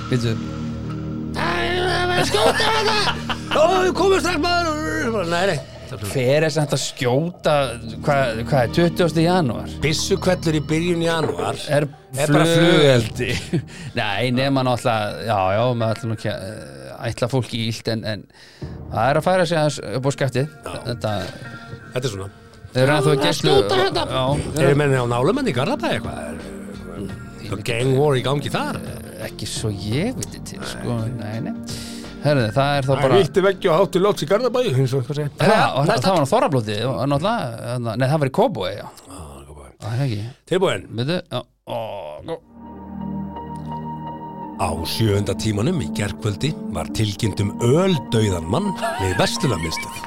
Speaker 3: Veitu,
Speaker 1: Ó, komið strax maður, bara, nei, nei. það er flugvél.
Speaker 3: Hver er samt að skjóta hvað hva er 20. janúar?
Speaker 1: Byssukvellur í byrjun janúar.
Speaker 3: Er,
Speaker 1: Er bara flugeldi.
Speaker 3: Nei, nema náttúrulega Já, já, maður ætla nú ekki að eh, ætla fólki í ílt en, en það er að færa sig aðeins upp á skaftið Þetta,
Speaker 1: Þetta er svona.
Speaker 3: þeir eru ennþá í gæslu Skjóta
Speaker 1: hérna.
Speaker 3: þetta
Speaker 1: Eru menni á nálum enn í Garðabæ eitthvað? Er, er, er gang war í gangi þar?
Speaker 3: Ekki svo ég viti til, sko Nei, nei Herðu, það er þá bara
Speaker 1: vilti veggja og hátu loks í Garðabæ, eins og eitthvað segja.
Speaker 3: Herðu, og það var á Þorrablóti og náttúrulega, þarna- Nei, það var í Kóboi, já
Speaker 1: Ah,
Speaker 3: Það er ekki
Speaker 1: Tilbúin.
Speaker 3: Veitu, já Ó, gó.
Speaker 1: Á sjöunda tímanum í gerkvöldi var tilkynnt um öldauðan mann við vestunarmiðstöð.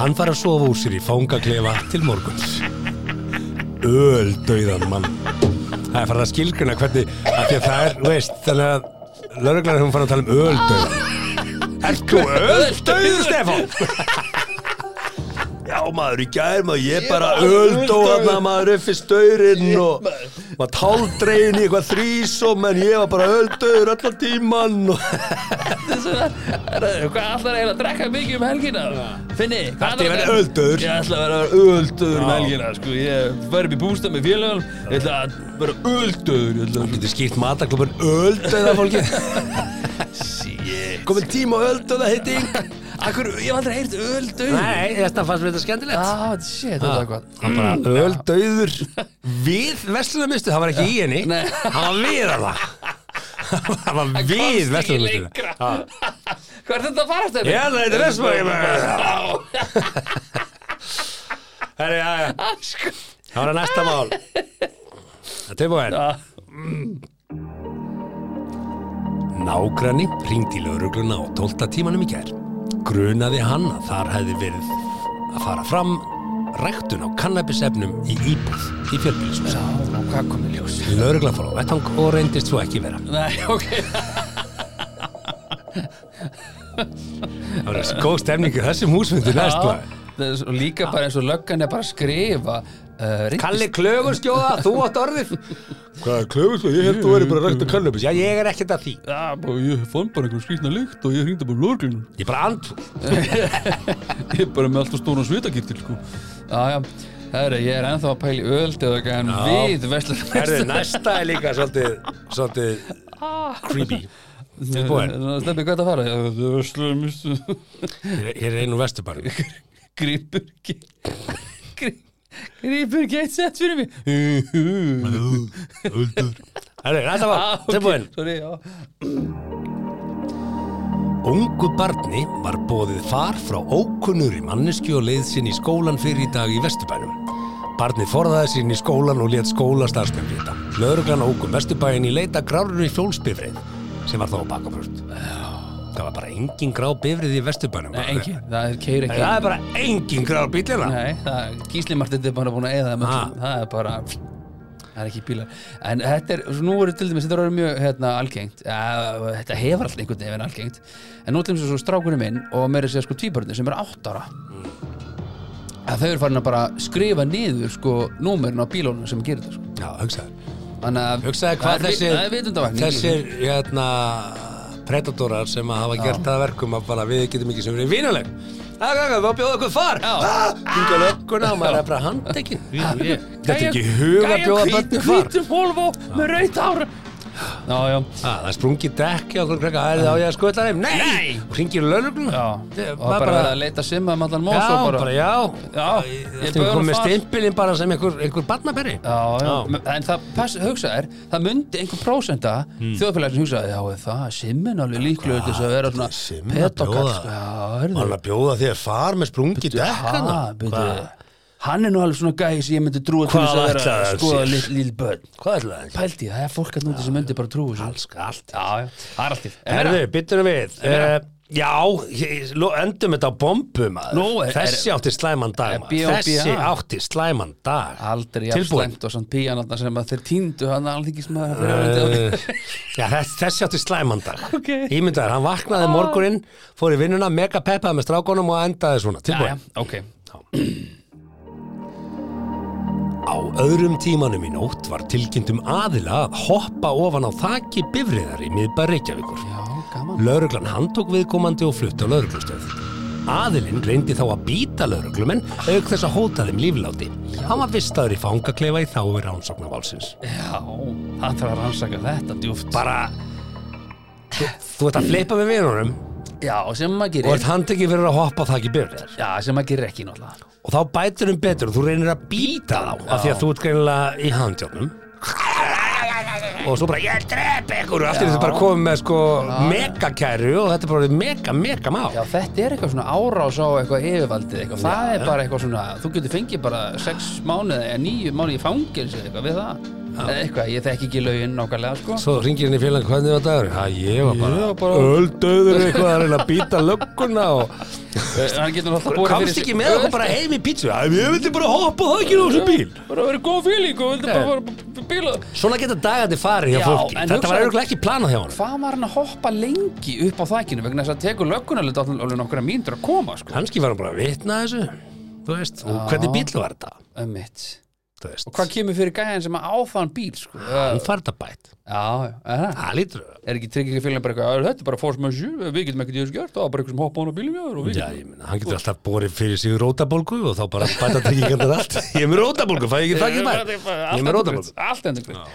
Speaker 1: Hann fara að sofa úr sér í fangaklefa til morguns. Öldauðan mann. Það er farið að skilgruna hvernig, af því að það er, þú veist, þannig að lauruglan er hún farið að tala um öldauðan. Ert þú öldauður, Stefán? Já, maður, í gær, maður, ég bara öldóðna, maður, upp fyrir staurinn og maður táldregin í eitthvað þrísom, en ég var bara öldauður allan tíman og...
Speaker 3: Þessu var- Herðu, Hvað allar eiginlega að drekka mikið um helgina? Finni, hvað
Speaker 1: Þetta er verið öldur.
Speaker 3: Ég ætla að vera öldur um helgina sko. Ég fer upp í bústað með félagum Ég ætla að vera öldur Ég ætla
Speaker 1: Þú getur skýrt mataklubun öldauða fólki
Speaker 3: að sí
Speaker 1: Komið tíma á öldauða hitting
Speaker 3: Akkur, ég hef aldrei heyrt öl döð
Speaker 1: Nei, þetta fannst mér þetta skemmtilegt
Speaker 3: Ah, shit, þetta er eitthvað
Speaker 1: Hann bara öl döður Hmm, Við Vestlunarmistu, það var ekki í henni
Speaker 3: Nei.
Speaker 1: Það var við hana Það var við
Speaker 3: komst ekki
Speaker 1: Vestlunarmistu
Speaker 3: lengra Hvað er þetta að fara eftir?
Speaker 1: Ah. Já, það heitir Vestlunarmistu
Speaker 3: Já,
Speaker 1: Herri, já, já
Speaker 3: sko
Speaker 1: Það var að næsta mál Þetta er búin
Speaker 3: Já.
Speaker 1: Nágranni ringdi í laurugluna á 12. tímanum í gær Grunaði hann að þar hefði verið að fara fram ræktun á kannabisefnum í íbúð í fjölbýlisum
Speaker 3: Já, hvað komið ljós?
Speaker 1: Lauruglan fór á vettvang og reyndist svo ekki vera
Speaker 3: Nei, ok
Speaker 1: Það var góð stemningu þessum húsfundi næst
Speaker 3: Já,
Speaker 1: maður.
Speaker 3: það er svo líka bara eins og löggan er bara að skrifa uh,
Speaker 1: Kalli klögurskjóða, þú átt orðið Hvað er klögurskjóða? Ég held þú verið bara rækt að kannabis Já, ég er ekkert að því
Speaker 3: Já, bara, ég fann bara einhver skrýtna lykt og ég hringdi bara lorglinu
Speaker 1: Ég er bara andfúl
Speaker 3: Ég er bara með alltaf stóran svitakirtil sko. Já, já, herri, ég er ennþá að pæli öldið en
Speaker 1: Já.
Speaker 3: við verslar
Speaker 1: Herðu, næsta er líka svolítið, svolítið creepy Tilbúin,
Speaker 3: Steppi, hvað er það að fara? Já, Þú verslar mistu
Speaker 1: hér hér er einu vesturbarn
Speaker 3: Grípur ge- grí- Grípur geitt sett fyrir mig Ú, ú.
Speaker 1: Herðu, næsta
Speaker 3: Já,
Speaker 1: var,
Speaker 3: Ah, ok,
Speaker 1: tilbúin
Speaker 3: Sorry, já
Speaker 1: Ungu barni var bóðið far frá ókunnur í mannesku og leið sinni í skólan fyrir í dag í Vesturbænum. Barni forðaði sinni í skólan og létt skóla starfsmenn vita. Lörglan ókum Vesturbæin í leita grárur í fjólsbifrið sem var þá á bakafröst. Það var bara engin grá bifrið í Vesturbænum.
Speaker 3: Nei, engin, það er keir ekki
Speaker 1: Það er bara engin grá hérna. bílina.
Speaker 3: Nei, það, Gísli Martin er bara búin að eða það,
Speaker 1: Ha.
Speaker 3: það er bara það er ekki bílar en þetta er, nú eru til dæmis, þetta eru mjög hérna, algengt, Eh, þetta hefur alltaf einhvern veginn algengt, en nú til dæmis er svo strákunum minn og meira sér sko tvíbörnir sem eru átt ára Mm. að þau eru farin að bara skrifa niður sko númerin á bílónum sem gerir þetta sko.
Speaker 1: Já, hugsaði.
Speaker 3: þannig að
Speaker 1: Hugsaði
Speaker 3: það
Speaker 1: hvað
Speaker 3: er vi- það er
Speaker 1: þessir,
Speaker 3: vitundarvakning
Speaker 1: þessir hérna, predatorar sem að hafa gert það að verkum að bara við getum ekki sem verið vínuleg. Það er gangað, við bjóðum okkur far.
Speaker 3: Já.
Speaker 1: Hinga lögguna og maður er bara handekinn. Þetta er ekki huga að bjóða bönni far.
Speaker 3: hvítum hólf og með raut ára já, já,
Speaker 1: Ah, það er sprungið dekki á okkur krakka, það er þá ég að skvölda þeim. Nei!
Speaker 3: Nei!
Speaker 1: Og hringir í lögluna.
Speaker 3: já og bara, bara að leita simma um allan mós
Speaker 1: Já,
Speaker 3: og
Speaker 1: bara, já.
Speaker 3: Já, ég
Speaker 1: Þetta er
Speaker 3: bauð honum
Speaker 1: komið
Speaker 3: far.
Speaker 1: stimpilinn bara sem einhver, einhver barnaberri.
Speaker 3: Já, já, en það, pass, hugsa þér, það myndi einhver prósenda
Speaker 1: Hmm.
Speaker 3: mm. þjóðfélagsins hugsa, já, er það er simmin alveg líklegur til þess að vera
Speaker 1: Simmi
Speaker 3: svona
Speaker 1: að
Speaker 3: petokall,
Speaker 1: bjóða.
Speaker 3: sko, já, hörðu,
Speaker 1: Hann að bjóða þér far með sprungið dekkana.
Speaker 3: ha, byrju, hann er nú alveg svona gæði sem ég myndi trúa til
Speaker 1: Hvað
Speaker 3: þess að vera
Speaker 1: ætlaði
Speaker 3: að
Speaker 1: hann
Speaker 3: skoða
Speaker 1: sér?
Speaker 3: lill, lill börn.
Speaker 1: Hvað ætlaði hann?
Speaker 3: Pældi, ég, það er fólk að núti sem myndi bara trúa þessu.
Speaker 1: Alls, allt.
Speaker 3: Já, já, það er alltaf.
Speaker 1: Herðu, byttum við. Uh, já, ég- lo- endum þetta á bombum. maður.
Speaker 3: Nú, er-
Speaker 1: Þessi átti slæman dag.
Speaker 3: Er
Speaker 1: maður.
Speaker 3: B.O.B.A.
Speaker 1: Þessi átti slæman dag.
Speaker 3: Aldrei jafn
Speaker 1: Tilbúin.
Speaker 3: slæmt og samt píanatna sem að þeir týndu hann alþingismæður fyrir öndi
Speaker 1: Uh, já, þess, þessi átti slæman dag.
Speaker 3: Ok. Ah.
Speaker 1: Ímyndaður, hann vaknaði um morguninn, fór í vinnuna, mega peppaði með strákunum og endaði svona.
Speaker 3: Já, já,
Speaker 1: Tilbúin.
Speaker 3: ok.
Speaker 1: Á öðrum tímanum í nótt var tilkynnt um aðila að hoppa ofan á þaki bifriðar í miðbæ Reykjavíkur.
Speaker 3: Já, gaman.
Speaker 1: Lauruglan handtók viðkomandi og flutti á lauruglustöð. Aðilinn reyndi þá að býta lauruglumenn auk þess að hóta þeim lífláti. Hann var vistaður í fangaklefa í þáver rannsóknarválsins.
Speaker 3: Já, hann þarf að rannsaka þetta djúft.
Speaker 1: Bara, þú, þú ert að fleipa með vinunum
Speaker 3: Já, sem maður
Speaker 1: og
Speaker 3: gerir.
Speaker 1: ert handtekið fyrir að hoppa það ekki byrjar.
Speaker 3: Já, sem maður gerir ekki náttúrulega.
Speaker 1: Og þá bætur um betur og þú reynir að býta þá af því að þú ert greinilega í handjónum. Og svo bara, ég drep ykkur og allt í þetta bara komið með sko megakæru og þetta er bara orðið mega, mega mál.
Speaker 3: Já, þetta er eitthvað svona árás á eitthvað yfirvaldið eitthvað. Það er bara eitthvað svona, þú getur fengið bara sex mánuði eða níu mánuði í fangilsi eitthvað við það. Eða eitthvað, ég þekki ekki lögin nákvæmlega, sko.
Speaker 1: Svo ringir henni félag hvernig var dagur? Já, ég var bara,
Speaker 3: Ég var bara-
Speaker 1: bara... öldauður eitthvað að reyna að býta lögguna og
Speaker 3: Eh, Hann getur náttúrulega borið fyrir
Speaker 1: kamst
Speaker 3: sig-
Speaker 1: ekki með okkur bara heim í pítsu. Já, ég vildi bara hoppa það ekki úr þessu bíl.
Speaker 3: Bara verið góð fíling og vildi
Speaker 1: Nei.
Speaker 3: bara fara bíla.
Speaker 1: Svona geta dagandi farið hjá
Speaker 3: Já,
Speaker 1: fólki.
Speaker 3: en
Speaker 1: Þetta var
Speaker 3: hugsaðu-
Speaker 1: auðvitað ekki planað hjá hann.
Speaker 3: Hvað var hann að hoppa lengi upp á þækinu vegna þess að tekur löggunarlega alveg nokkra mínútur að koma, sko.
Speaker 1: Kanski var hann bara að vitna þessu, þú veist, og hvernig bíl var þetta,
Speaker 3: Ömmitt.
Speaker 1: þú veist.
Speaker 3: Og hvað kemur fyrir gæðan sem að áfann bíl, sko?
Speaker 1: Hann fær þetta bætt.
Speaker 3: Já, er það?
Speaker 1: Það lítur það.
Speaker 3: er ekki tryggingafélagin bara eitthvað, "Já, þetta er bara force majeure, við getum ekkert í þessu gjört, það var bara eitthvað sem hoppa á hann á bílum hjá þér og við
Speaker 1: Já, ég meina, hann getur alltaf borið fyrir sig rótabólgu og þá bara bæta tryggingarnar allt. Ég er með rótabólgu, fæ ég ekki þakkið bætt? Ég er með rótabólgu.
Speaker 3: Allt endur greitt.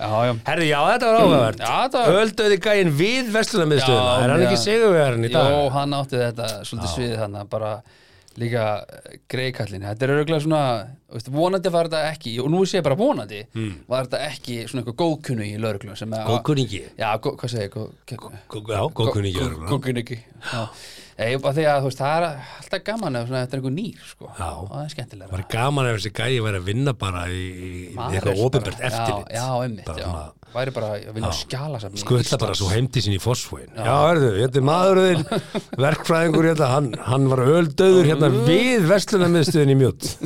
Speaker 3: já, já,
Speaker 1: Herði, já, þetta var áhugavert.
Speaker 3: Já, þetta var-
Speaker 1: Öldauði gæinn við verslunarmiðstöðuna.
Speaker 3: Já,
Speaker 1: Er hann
Speaker 3: já.
Speaker 1: ekki sigurvegarinn í dag?
Speaker 3: Jó, hann átti þetta svolítið sviðið hann bara líka greikallin þetta er örgulega svona, veist, vonandi var þetta ekki og nú sé ég bara vonandi
Speaker 1: Hmm.
Speaker 3: var þetta ekki svona eitthvað góðkunni í lögreglu sem að-
Speaker 1: Góðkunningi.
Speaker 3: Já, gó, hvað segir ég, góðkunni
Speaker 1: Gó- Já, góðkunningi. örugglega.
Speaker 3: Góðkunningi Já, ég bara því að þú veist, það er alltaf gaman ef svona, þetta er einhver nýr, sko
Speaker 1: Já.
Speaker 3: það er
Speaker 1: Það var
Speaker 3: skemmtilega
Speaker 1: gaman ef þessi gæi væri að vinna bara í, í eitthvað ofinbært eftirlit.
Speaker 3: Já, já, einmitt,
Speaker 1: Bara
Speaker 3: já
Speaker 1: svona-
Speaker 3: Væri bara að vinna skjala saman
Speaker 1: Skvölla bara svo heimdi sinni í fósfóin Já, verðu, þetta er maðurðin verkfræðingur hérna, hann, hann var öldauður hérna
Speaker 3: Mm.
Speaker 1: við vestlunarmiðstöðin í mjótt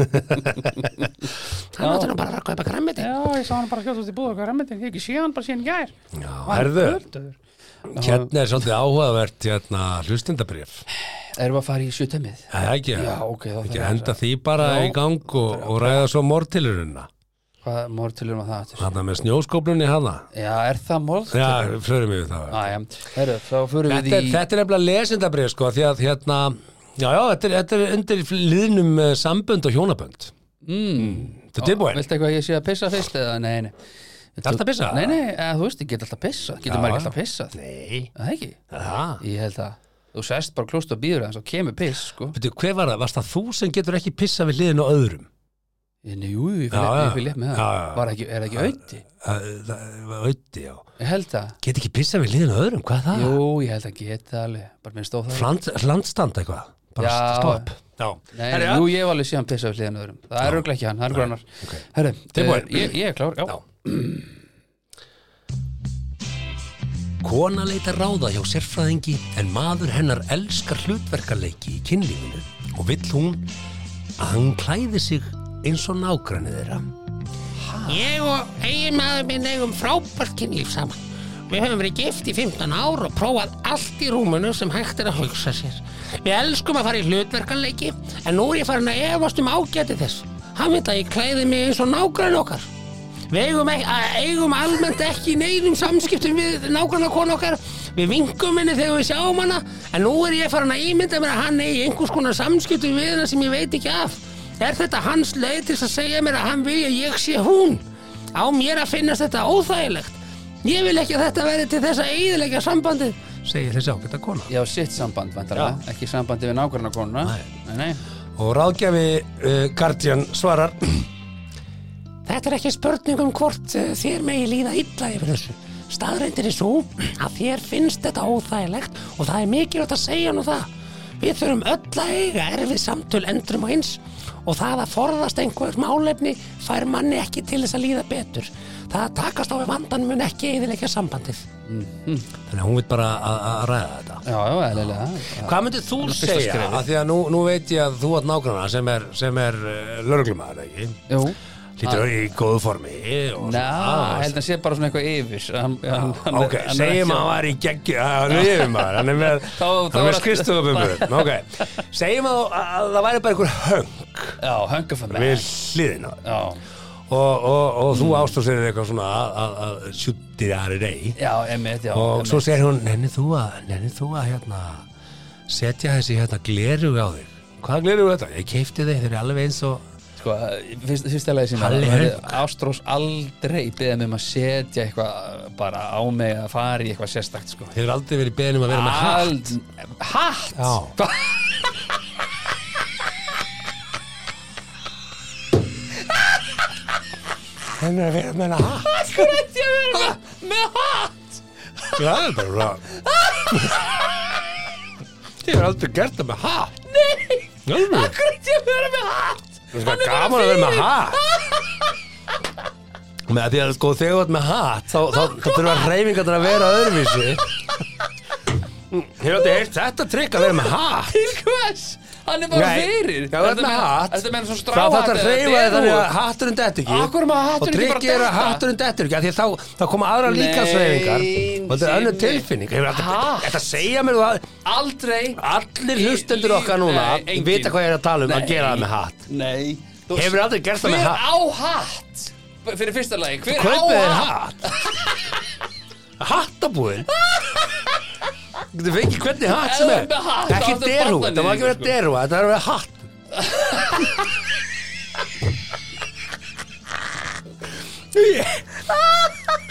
Speaker 1: Hann átti nú bara að fara að kaupa græmiti
Speaker 3: Já, ég sá hann bara hljótt út í búð okkar remmetin, ég hef ekki sé hann bara síðan gær
Speaker 1: Já, herðu, hérna er svolítið áhugavert hérna hlustendabrif
Speaker 3: Erum við að fara í sjötemið?
Speaker 1: Það er ekki,
Speaker 3: Já, ok, þá
Speaker 1: ekki
Speaker 3: þarf
Speaker 1: að
Speaker 3: ég
Speaker 1: henda því bara
Speaker 3: Já.
Speaker 1: í gang og, og ræða svo mortiluruna
Speaker 3: Hvað mortilur maður það aftur?
Speaker 1: Hanna með snjóskóplunni hana
Speaker 3: Já, er það mortilur?
Speaker 1: Já, flörum við það
Speaker 3: Já, já, herru, þá fyrir við
Speaker 1: þetta, er,
Speaker 3: í
Speaker 1: þetta er nefnilega lesendabrið sko því að hérna já já þetta er, þetta er undir liðnum eh, sambönd og hjónabönd mm. þetta er tilbúin
Speaker 3: Viltu eitthvað að ég sé að pissa fyrst eða nei, nei Viltu-
Speaker 1: Alltaf pissa?
Speaker 3: Nei, nei, eða, þú veist, ég get alltaf pissa Getur
Speaker 1: Já.
Speaker 3: maður ekki alltaf pissa
Speaker 1: nei
Speaker 3: Það ekki?
Speaker 1: það
Speaker 3: Ég held að Þú sest bara klóst og býður þess og kemur piss, sko
Speaker 1: Veitu, hver var það? Varst það þú sem getur ekki pissa við liðinu á öðrum?
Speaker 3: Ég, nei, jú, ég
Speaker 1: Já, já.
Speaker 3: fyrir létt með
Speaker 1: Já,
Speaker 3: það
Speaker 1: já, já.
Speaker 3: Var ekki, er það ekki auði?
Speaker 1: Það það var auði, já.
Speaker 3: Ég held að
Speaker 1: Get ekki pissa við liðinu á öðrum, hvað er það?
Speaker 3: Jú, ég held að geta alveg Bara minn stóð það
Speaker 1: Fland, landstand eitthvað, bara
Speaker 3: Já.
Speaker 1: stopp. Já.
Speaker 3: Nei,
Speaker 1: Herra,
Speaker 3: jú, ég hef alveg síðan pissa við hliðan öðrum Það er auðvitað ekki hann, það er grannar
Speaker 1: ok.
Speaker 3: Herru,
Speaker 1: Tilbúin.
Speaker 3: eh, ég, ég er klár, já,
Speaker 1: Já. Kona leitar ráða hjá sérfræðingi en maður hennar elskar hlutverkaleiki í kynlífinu og vill hún að hann klæði sig eins og nágrannir þeirra.
Speaker 4: Ég og eiginmaður minn eigum frábært kynlíf saman. Við höfum verið gift í 15 ár og prófað allt í rúmunu sem hægt er að hugsa sér. Við elskum að fara í hlutverkanleiki en nú er ég farin að efast um ágæti þess. Hann veit að ég klæði mig eins og nágrann okkar. Við eigum, ek- að- eigum almennt ekki í neinum samskiptum við nágrann konu okkar. Við vingum henni þegar við sjáum hana en nú er ég farin að ímynda mér að hann eigi einhvers konar samskiptum við hana sem ég veit ekki af. Er þetta hans leið til þess að segja mér að hann vilja að ég sé hún? Á mér að finnast þetta óþægilegt. Ég vil ekki að þetta verði til þess að eigiðleggja sambandið.
Speaker 1: Segir þessi ágæta kona.
Speaker 3: Já, sitt samband, vantarlega, ekki sambandi við nákvæmna konuna Nei, nei,
Speaker 1: Og ráðgjafi uh, Guardian svarar
Speaker 4: Þetta er ekki spurning um hvort eh, þér megi líða illa yfir þessu. Staðreindir er svo að þér finnst þetta óþægilegt og það er mikilvægt að segja nú það. Við þurfum öll að eiga erfið samtöl endrum og eins og það að forðast einhver málefni fær manni ekki til þess að líða betur. Það að takast á við vandan mun ekki eiginlega sambandið.
Speaker 1: Mhm. Þannig að hún vil bara að að ræða þetta.
Speaker 3: já, já, eðlilega
Speaker 1: Hvað myndir þú
Speaker 3: Þannig að fyrsta
Speaker 1: segja?
Speaker 3: skrefið.
Speaker 1: Af Því að nú, nú veit ég að þú átt nágranna sem er, sem er uh, lörglumæður, ekki?
Speaker 3: Jú,
Speaker 1: Lítur í góðu formi og
Speaker 3: Ná,
Speaker 1: Ah,
Speaker 3: held að sé bara svona eitthvað yfir hann, hann, hann,
Speaker 1: Ok,
Speaker 3: hann-
Speaker 1: segjum að hann var í geggju hann er yfirmaður, hann er með,
Speaker 3: Þá- þá
Speaker 1: hann er
Speaker 3: var
Speaker 1: með
Speaker 3: allt-
Speaker 1: skristofumur ok, segjum að, að það væri bara einhver höng
Speaker 3: Já, höngafæm
Speaker 1: við hliðina og,
Speaker 3: Já,
Speaker 1: og, og
Speaker 3: Mm.
Speaker 1: þú ástofst þér eitthvað svona að- að- að sjúttir aðri rey
Speaker 3: já, emmitt, já
Speaker 1: og
Speaker 3: einmitt.
Speaker 1: svo segir hún, nenni þú að nenni þú að hérna setja þessi hérna gleru á þig hvað gleru er þetta? Ég keipti þig, þeir eru alveg eins og
Speaker 3: Sko, fyrst, fyrsta lagi sem
Speaker 1: Halli
Speaker 3: verði
Speaker 1: Hauk.
Speaker 3: Ástrós aldrei beðið mig um að setja eitthvað bara á mig að fara í eitthvað sérstakt, sko
Speaker 1: þeir eru aldrei verið beðin um að vera með hatt
Speaker 3: Ald, hatt?
Speaker 1: Já.
Speaker 3: Hva?
Speaker 1: þeir eru að vera með hatt
Speaker 3: Hvað sko reyndi ég að vera með, með hatt?
Speaker 1: það er bara svona þeir eru aldrei gert það með hatt
Speaker 3: Nei,
Speaker 1: Jálfur.
Speaker 3: hvað reyndi ég að vera með hatt?
Speaker 1: Það er bara gaman að vera með hatt Með að því að sko þegar þú ert með hatt þá, þá, þá þurfa reyfingarnar að vera öðruvísi Hefur þetta heyrt þetta trikk að vera með hatt
Speaker 3: Til hvers? Hann er bara
Speaker 1: Nei,
Speaker 3: fyrir
Speaker 1: já, þú ert með hatt
Speaker 3: Þetta meina svona
Speaker 1: Það
Speaker 3: stráhatt
Speaker 1: þarf að reyfa þér þannig að hatturinn detti ekki
Speaker 3: Af hverju má hatturinn
Speaker 1: Og
Speaker 3: ekki bara
Speaker 1: trikkið er að
Speaker 3: detta?
Speaker 1: hatturinn dettur ekki af Því að þá, þá koma aðra
Speaker 3: Nei,
Speaker 1: líkasreyfingar Og þetta er önnur
Speaker 3: Simmi.
Speaker 1: tilfinning Hefur
Speaker 3: Ha?
Speaker 1: þetta- Þetta segja mér það
Speaker 3: Aldrei
Speaker 1: Allir hlustendur okkar núna
Speaker 3: Nei, engin.
Speaker 1: Vita hvað ég er að tala um
Speaker 3: Nei.
Speaker 1: að gera það með hatt
Speaker 3: Nei Þú-
Speaker 1: Hefur aldrei gert það með hatt?
Speaker 3: Hver á hatt? F- Fyrir fyrsta lagi, hver
Speaker 1: Kaupið
Speaker 3: á
Speaker 1: þér
Speaker 3: hatt?
Speaker 1: hatt Hattabúðin Þú fengi hvernig hatt sem
Speaker 3: Ef þú ert með hatt,
Speaker 1: er
Speaker 3: þá
Speaker 1: Ekki
Speaker 3: ertu
Speaker 1: derú,
Speaker 3: barnaníðingur,
Speaker 1: þetta má ekki vera
Speaker 3: sko.
Speaker 1: derú Þetta er að vera hatt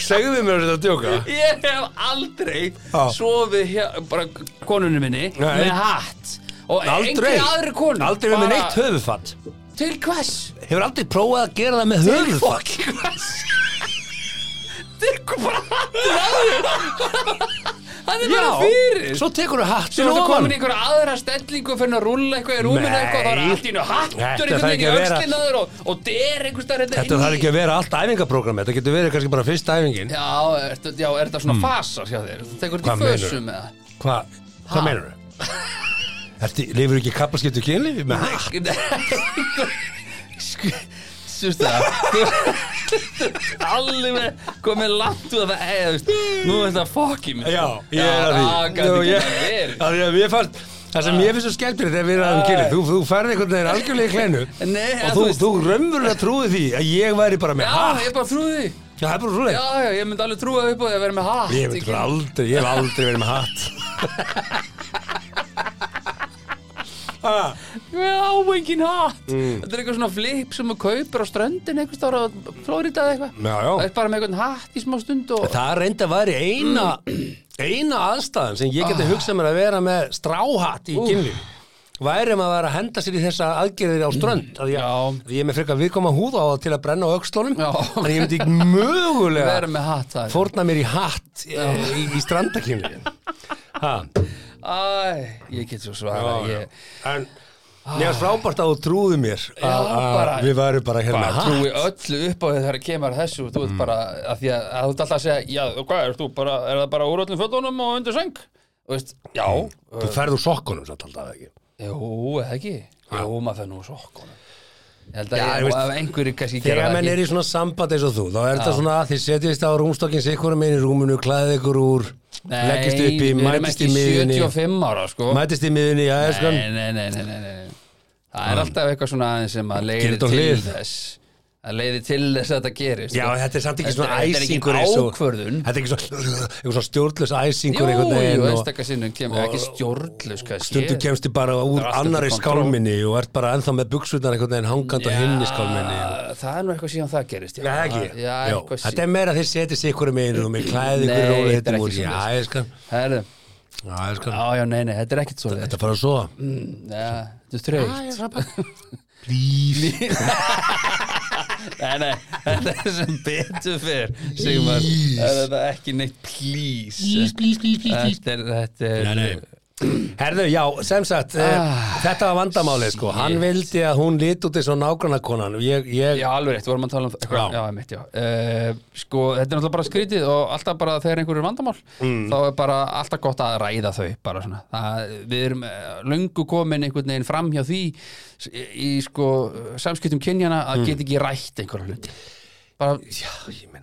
Speaker 1: Segðu mér þetta að djóka
Speaker 3: Ég hef aldrei
Speaker 1: Já.
Speaker 3: sofið hér, bara konunni minni
Speaker 1: Nei.
Speaker 3: með hatt og
Speaker 1: Aldrei
Speaker 3: engri aðri konu
Speaker 1: Aldrei verið með
Speaker 3: Bara-
Speaker 1: neitt höfufatt
Speaker 3: Til hvers?
Speaker 1: Hefur aldrei prófað að gera það með
Speaker 3: Til
Speaker 1: höfufatt
Speaker 3: fokki hvers? Til hvað bara hattur aðri Hann er bara fyrir
Speaker 1: Svo tekur þú hatt
Speaker 3: Svo
Speaker 1: fyrir
Speaker 3: er það
Speaker 1: ofan.
Speaker 3: komin í einhverja aðra stellingu fyrir að rúlla eitthvað í
Speaker 1: Nei.
Speaker 3: rúminu eitthvað þá er allt í nú hattur
Speaker 1: Þetta
Speaker 3: einhvern
Speaker 1: þarf
Speaker 3: veginn
Speaker 1: ekki
Speaker 3: í
Speaker 1: að vera-
Speaker 3: öxlinaður og, og der einhvers staðar hérna
Speaker 1: Þetta
Speaker 3: inn
Speaker 1: þarf
Speaker 3: í-
Speaker 1: ekki að vera allt æfingaprogram Þetta getur verið kannski bara fyrsta æfingin
Speaker 3: Já, er þetta- já, er þetta svona fasar hjá þér? Þú tekur
Speaker 1: Hmm. Hvað
Speaker 3: þetta í
Speaker 1: meinarðu?
Speaker 3: fösum eða?
Speaker 1: Hvað hva meinar þau? Ertu, lifur ekki kappaskiptu kynlífi með hatt?
Speaker 3: Sjöfstu það Allir með komið langt úr það eða, þú veist, Nú er þetta fokki mér
Speaker 1: Já, ég er að því Nú,
Speaker 3: því
Speaker 1: ég- að því að mér fannst Það sem ég finnst svo skemmtilegt er að við erum kynlíf Þú, þú færði einhvern veginn algjörlega í klennu
Speaker 3: Nei,
Speaker 1: Og
Speaker 3: en
Speaker 1: þú,
Speaker 3: þú veist-
Speaker 1: þú raunverulega trúið því að ég væri bara með
Speaker 3: Já,
Speaker 1: hatt
Speaker 3: ég er bara trúið því
Speaker 1: Já, það er bara svoleið
Speaker 3: Já, já, ég myndi alveg trúið upp á því að vera með hatt
Speaker 1: Ég hef
Speaker 3: ekki?
Speaker 1: aldrei, ég hef aldrei verið með hatt Ha,
Speaker 3: Ég á engin hatt
Speaker 1: Mm.
Speaker 3: Þetta er eitthvað svona flip sem þú kaupir á ströndin einhvers þar á Flórida eða eitthvað
Speaker 1: Já, já.
Speaker 3: Það er bara með einhvern hatt í smá stund og
Speaker 1: Það reynda að væri eina eina aðstæðan sem ég
Speaker 3: Ah.
Speaker 1: geti hugsað mér að vera með stráhatt í kynlíf væri maður að vera að henda sér í þessa aðgerðir á strönd að ég,
Speaker 3: Já.
Speaker 1: að ég er með frekar viðkoma húð á það til að brenna á aukslónum
Speaker 3: Já.
Speaker 1: en ég myndi ekki mögulega
Speaker 3: vera með hatt það
Speaker 1: fórna mér í hatt e, í, í strandakynli en
Speaker 3: Æ, ég get svo svara ég,
Speaker 1: mér er frábært að þú trúðu mér að-
Speaker 3: Já, bara-
Speaker 1: að við værum bara hér með
Speaker 3: bara
Speaker 1: hatt
Speaker 3: trúi öllu upp á því þegar kemur að þessu þú
Speaker 1: Mm.
Speaker 3: ert bara, að því að, að þú ert alltaf að segja já, og hvað, er, þú bara, er það bara úr öllum fötunum og undir seng, þú veist, já
Speaker 1: þú ferð úr sokkunum samt alltaf ekki
Speaker 3: jú, eða ekki, jú, maður það nú sokkunum ég held að
Speaker 1: Já,
Speaker 3: ég,
Speaker 1: ég
Speaker 3: og
Speaker 1: veist,
Speaker 3: ef einhverjir kannski gera
Speaker 1: Þegar
Speaker 3: það
Speaker 1: menn er
Speaker 3: ekki
Speaker 1: í svona samband eins og þú, þá er þetta svona að þið setjist á rúmstokkin sikkur meginn í rúmunu, klæðið ykkur úr,
Speaker 3: Nei,
Speaker 1: leggist upp í,
Speaker 3: við erum
Speaker 1: mætist
Speaker 3: ekki
Speaker 1: í miðunni,
Speaker 3: 75 ára, sko
Speaker 1: mætist í miðunni, já, sko. ég
Speaker 3: nei, sko.
Speaker 1: skan,
Speaker 3: nei, nei, nei, nei, nei. það er alltaf eitthvað svona aðeins sem að leiði
Speaker 1: Gerið þetta á
Speaker 3: til
Speaker 1: hlið.
Speaker 3: þess að leiði til þess að þetta gerist sko.
Speaker 1: já, þetta er samt ekki
Speaker 3: Þetta
Speaker 1: svona
Speaker 3: er-
Speaker 1: æsingur
Speaker 3: þetta er
Speaker 1: eins
Speaker 3: ekki
Speaker 1: og,
Speaker 3: ákvörðun
Speaker 1: þetta er ekki svona, eitthvað svona stjórnlös æsingur
Speaker 3: Jú,
Speaker 1: einhvern
Speaker 3: jú,
Speaker 1: veginn og
Speaker 3: einstakar sinnum kemur ekki stjórnlaus hvað
Speaker 1: stundum
Speaker 3: sé.
Speaker 1: kemst þið bara úr
Speaker 3: er allt
Speaker 1: annari
Speaker 3: undir kontroll.
Speaker 1: skálminni og ert bara ennþá með buksutnar einhvern veginn hangand á hinni skálminni.
Speaker 3: Já, Það er nú eitthvað síðan það gerist já.
Speaker 1: Nei, ekki,
Speaker 3: Já,
Speaker 1: Jó,
Speaker 3: eitthvað
Speaker 1: þetta
Speaker 3: síðan
Speaker 1: er meira að þið setjist ykkur meginn í rúmi, klæðið
Speaker 3: Nei,
Speaker 1: ykkur rólið
Speaker 3: þetta
Speaker 1: hittum
Speaker 3: er ekki
Speaker 1: úr, já,
Speaker 3: svoleiðis.
Speaker 1: ég skan,
Speaker 3: Herðu,
Speaker 1: já, ég skan,
Speaker 3: já, já, nei, nei, þetta er ekkert svo leið
Speaker 1: þetta fara að sofa.
Speaker 3: Þetta er þreytt
Speaker 1: Please
Speaker 3: Nei, nei, þetta er sem betur fyrr Sigmar, þetta er ekki neitt please
Speaker 1: please, please,
Speaker 3: Þetta er, þetta er
Speaker 1: Herðu, já, sem sagt ah, Þetta var vandamálið, sko Hann vildi að hún lit út í svo nágrannakonan ég, ég,
Speaker 3: Já, alveg rétt, vorum að tala um
Speaker 1: Já.
Speaker 3: eitthvað, já, mitt, já. Uh, sko, þetta er náttúrulega bara skrítið og alltaf bara þegar einhverju vandamál,
Speaker 1: Mm.
Speaker 3: þá er bara alltaf gott að ræða þau, bara svona. Það, við erum eh, löngu komin einhvern veginn fram hjá því s- í, í sko, eh, samskiptum kynjana
Speaker 1: Mm.
Speaker 3: að geta ekki rætt einhverja hluti. Bara, já,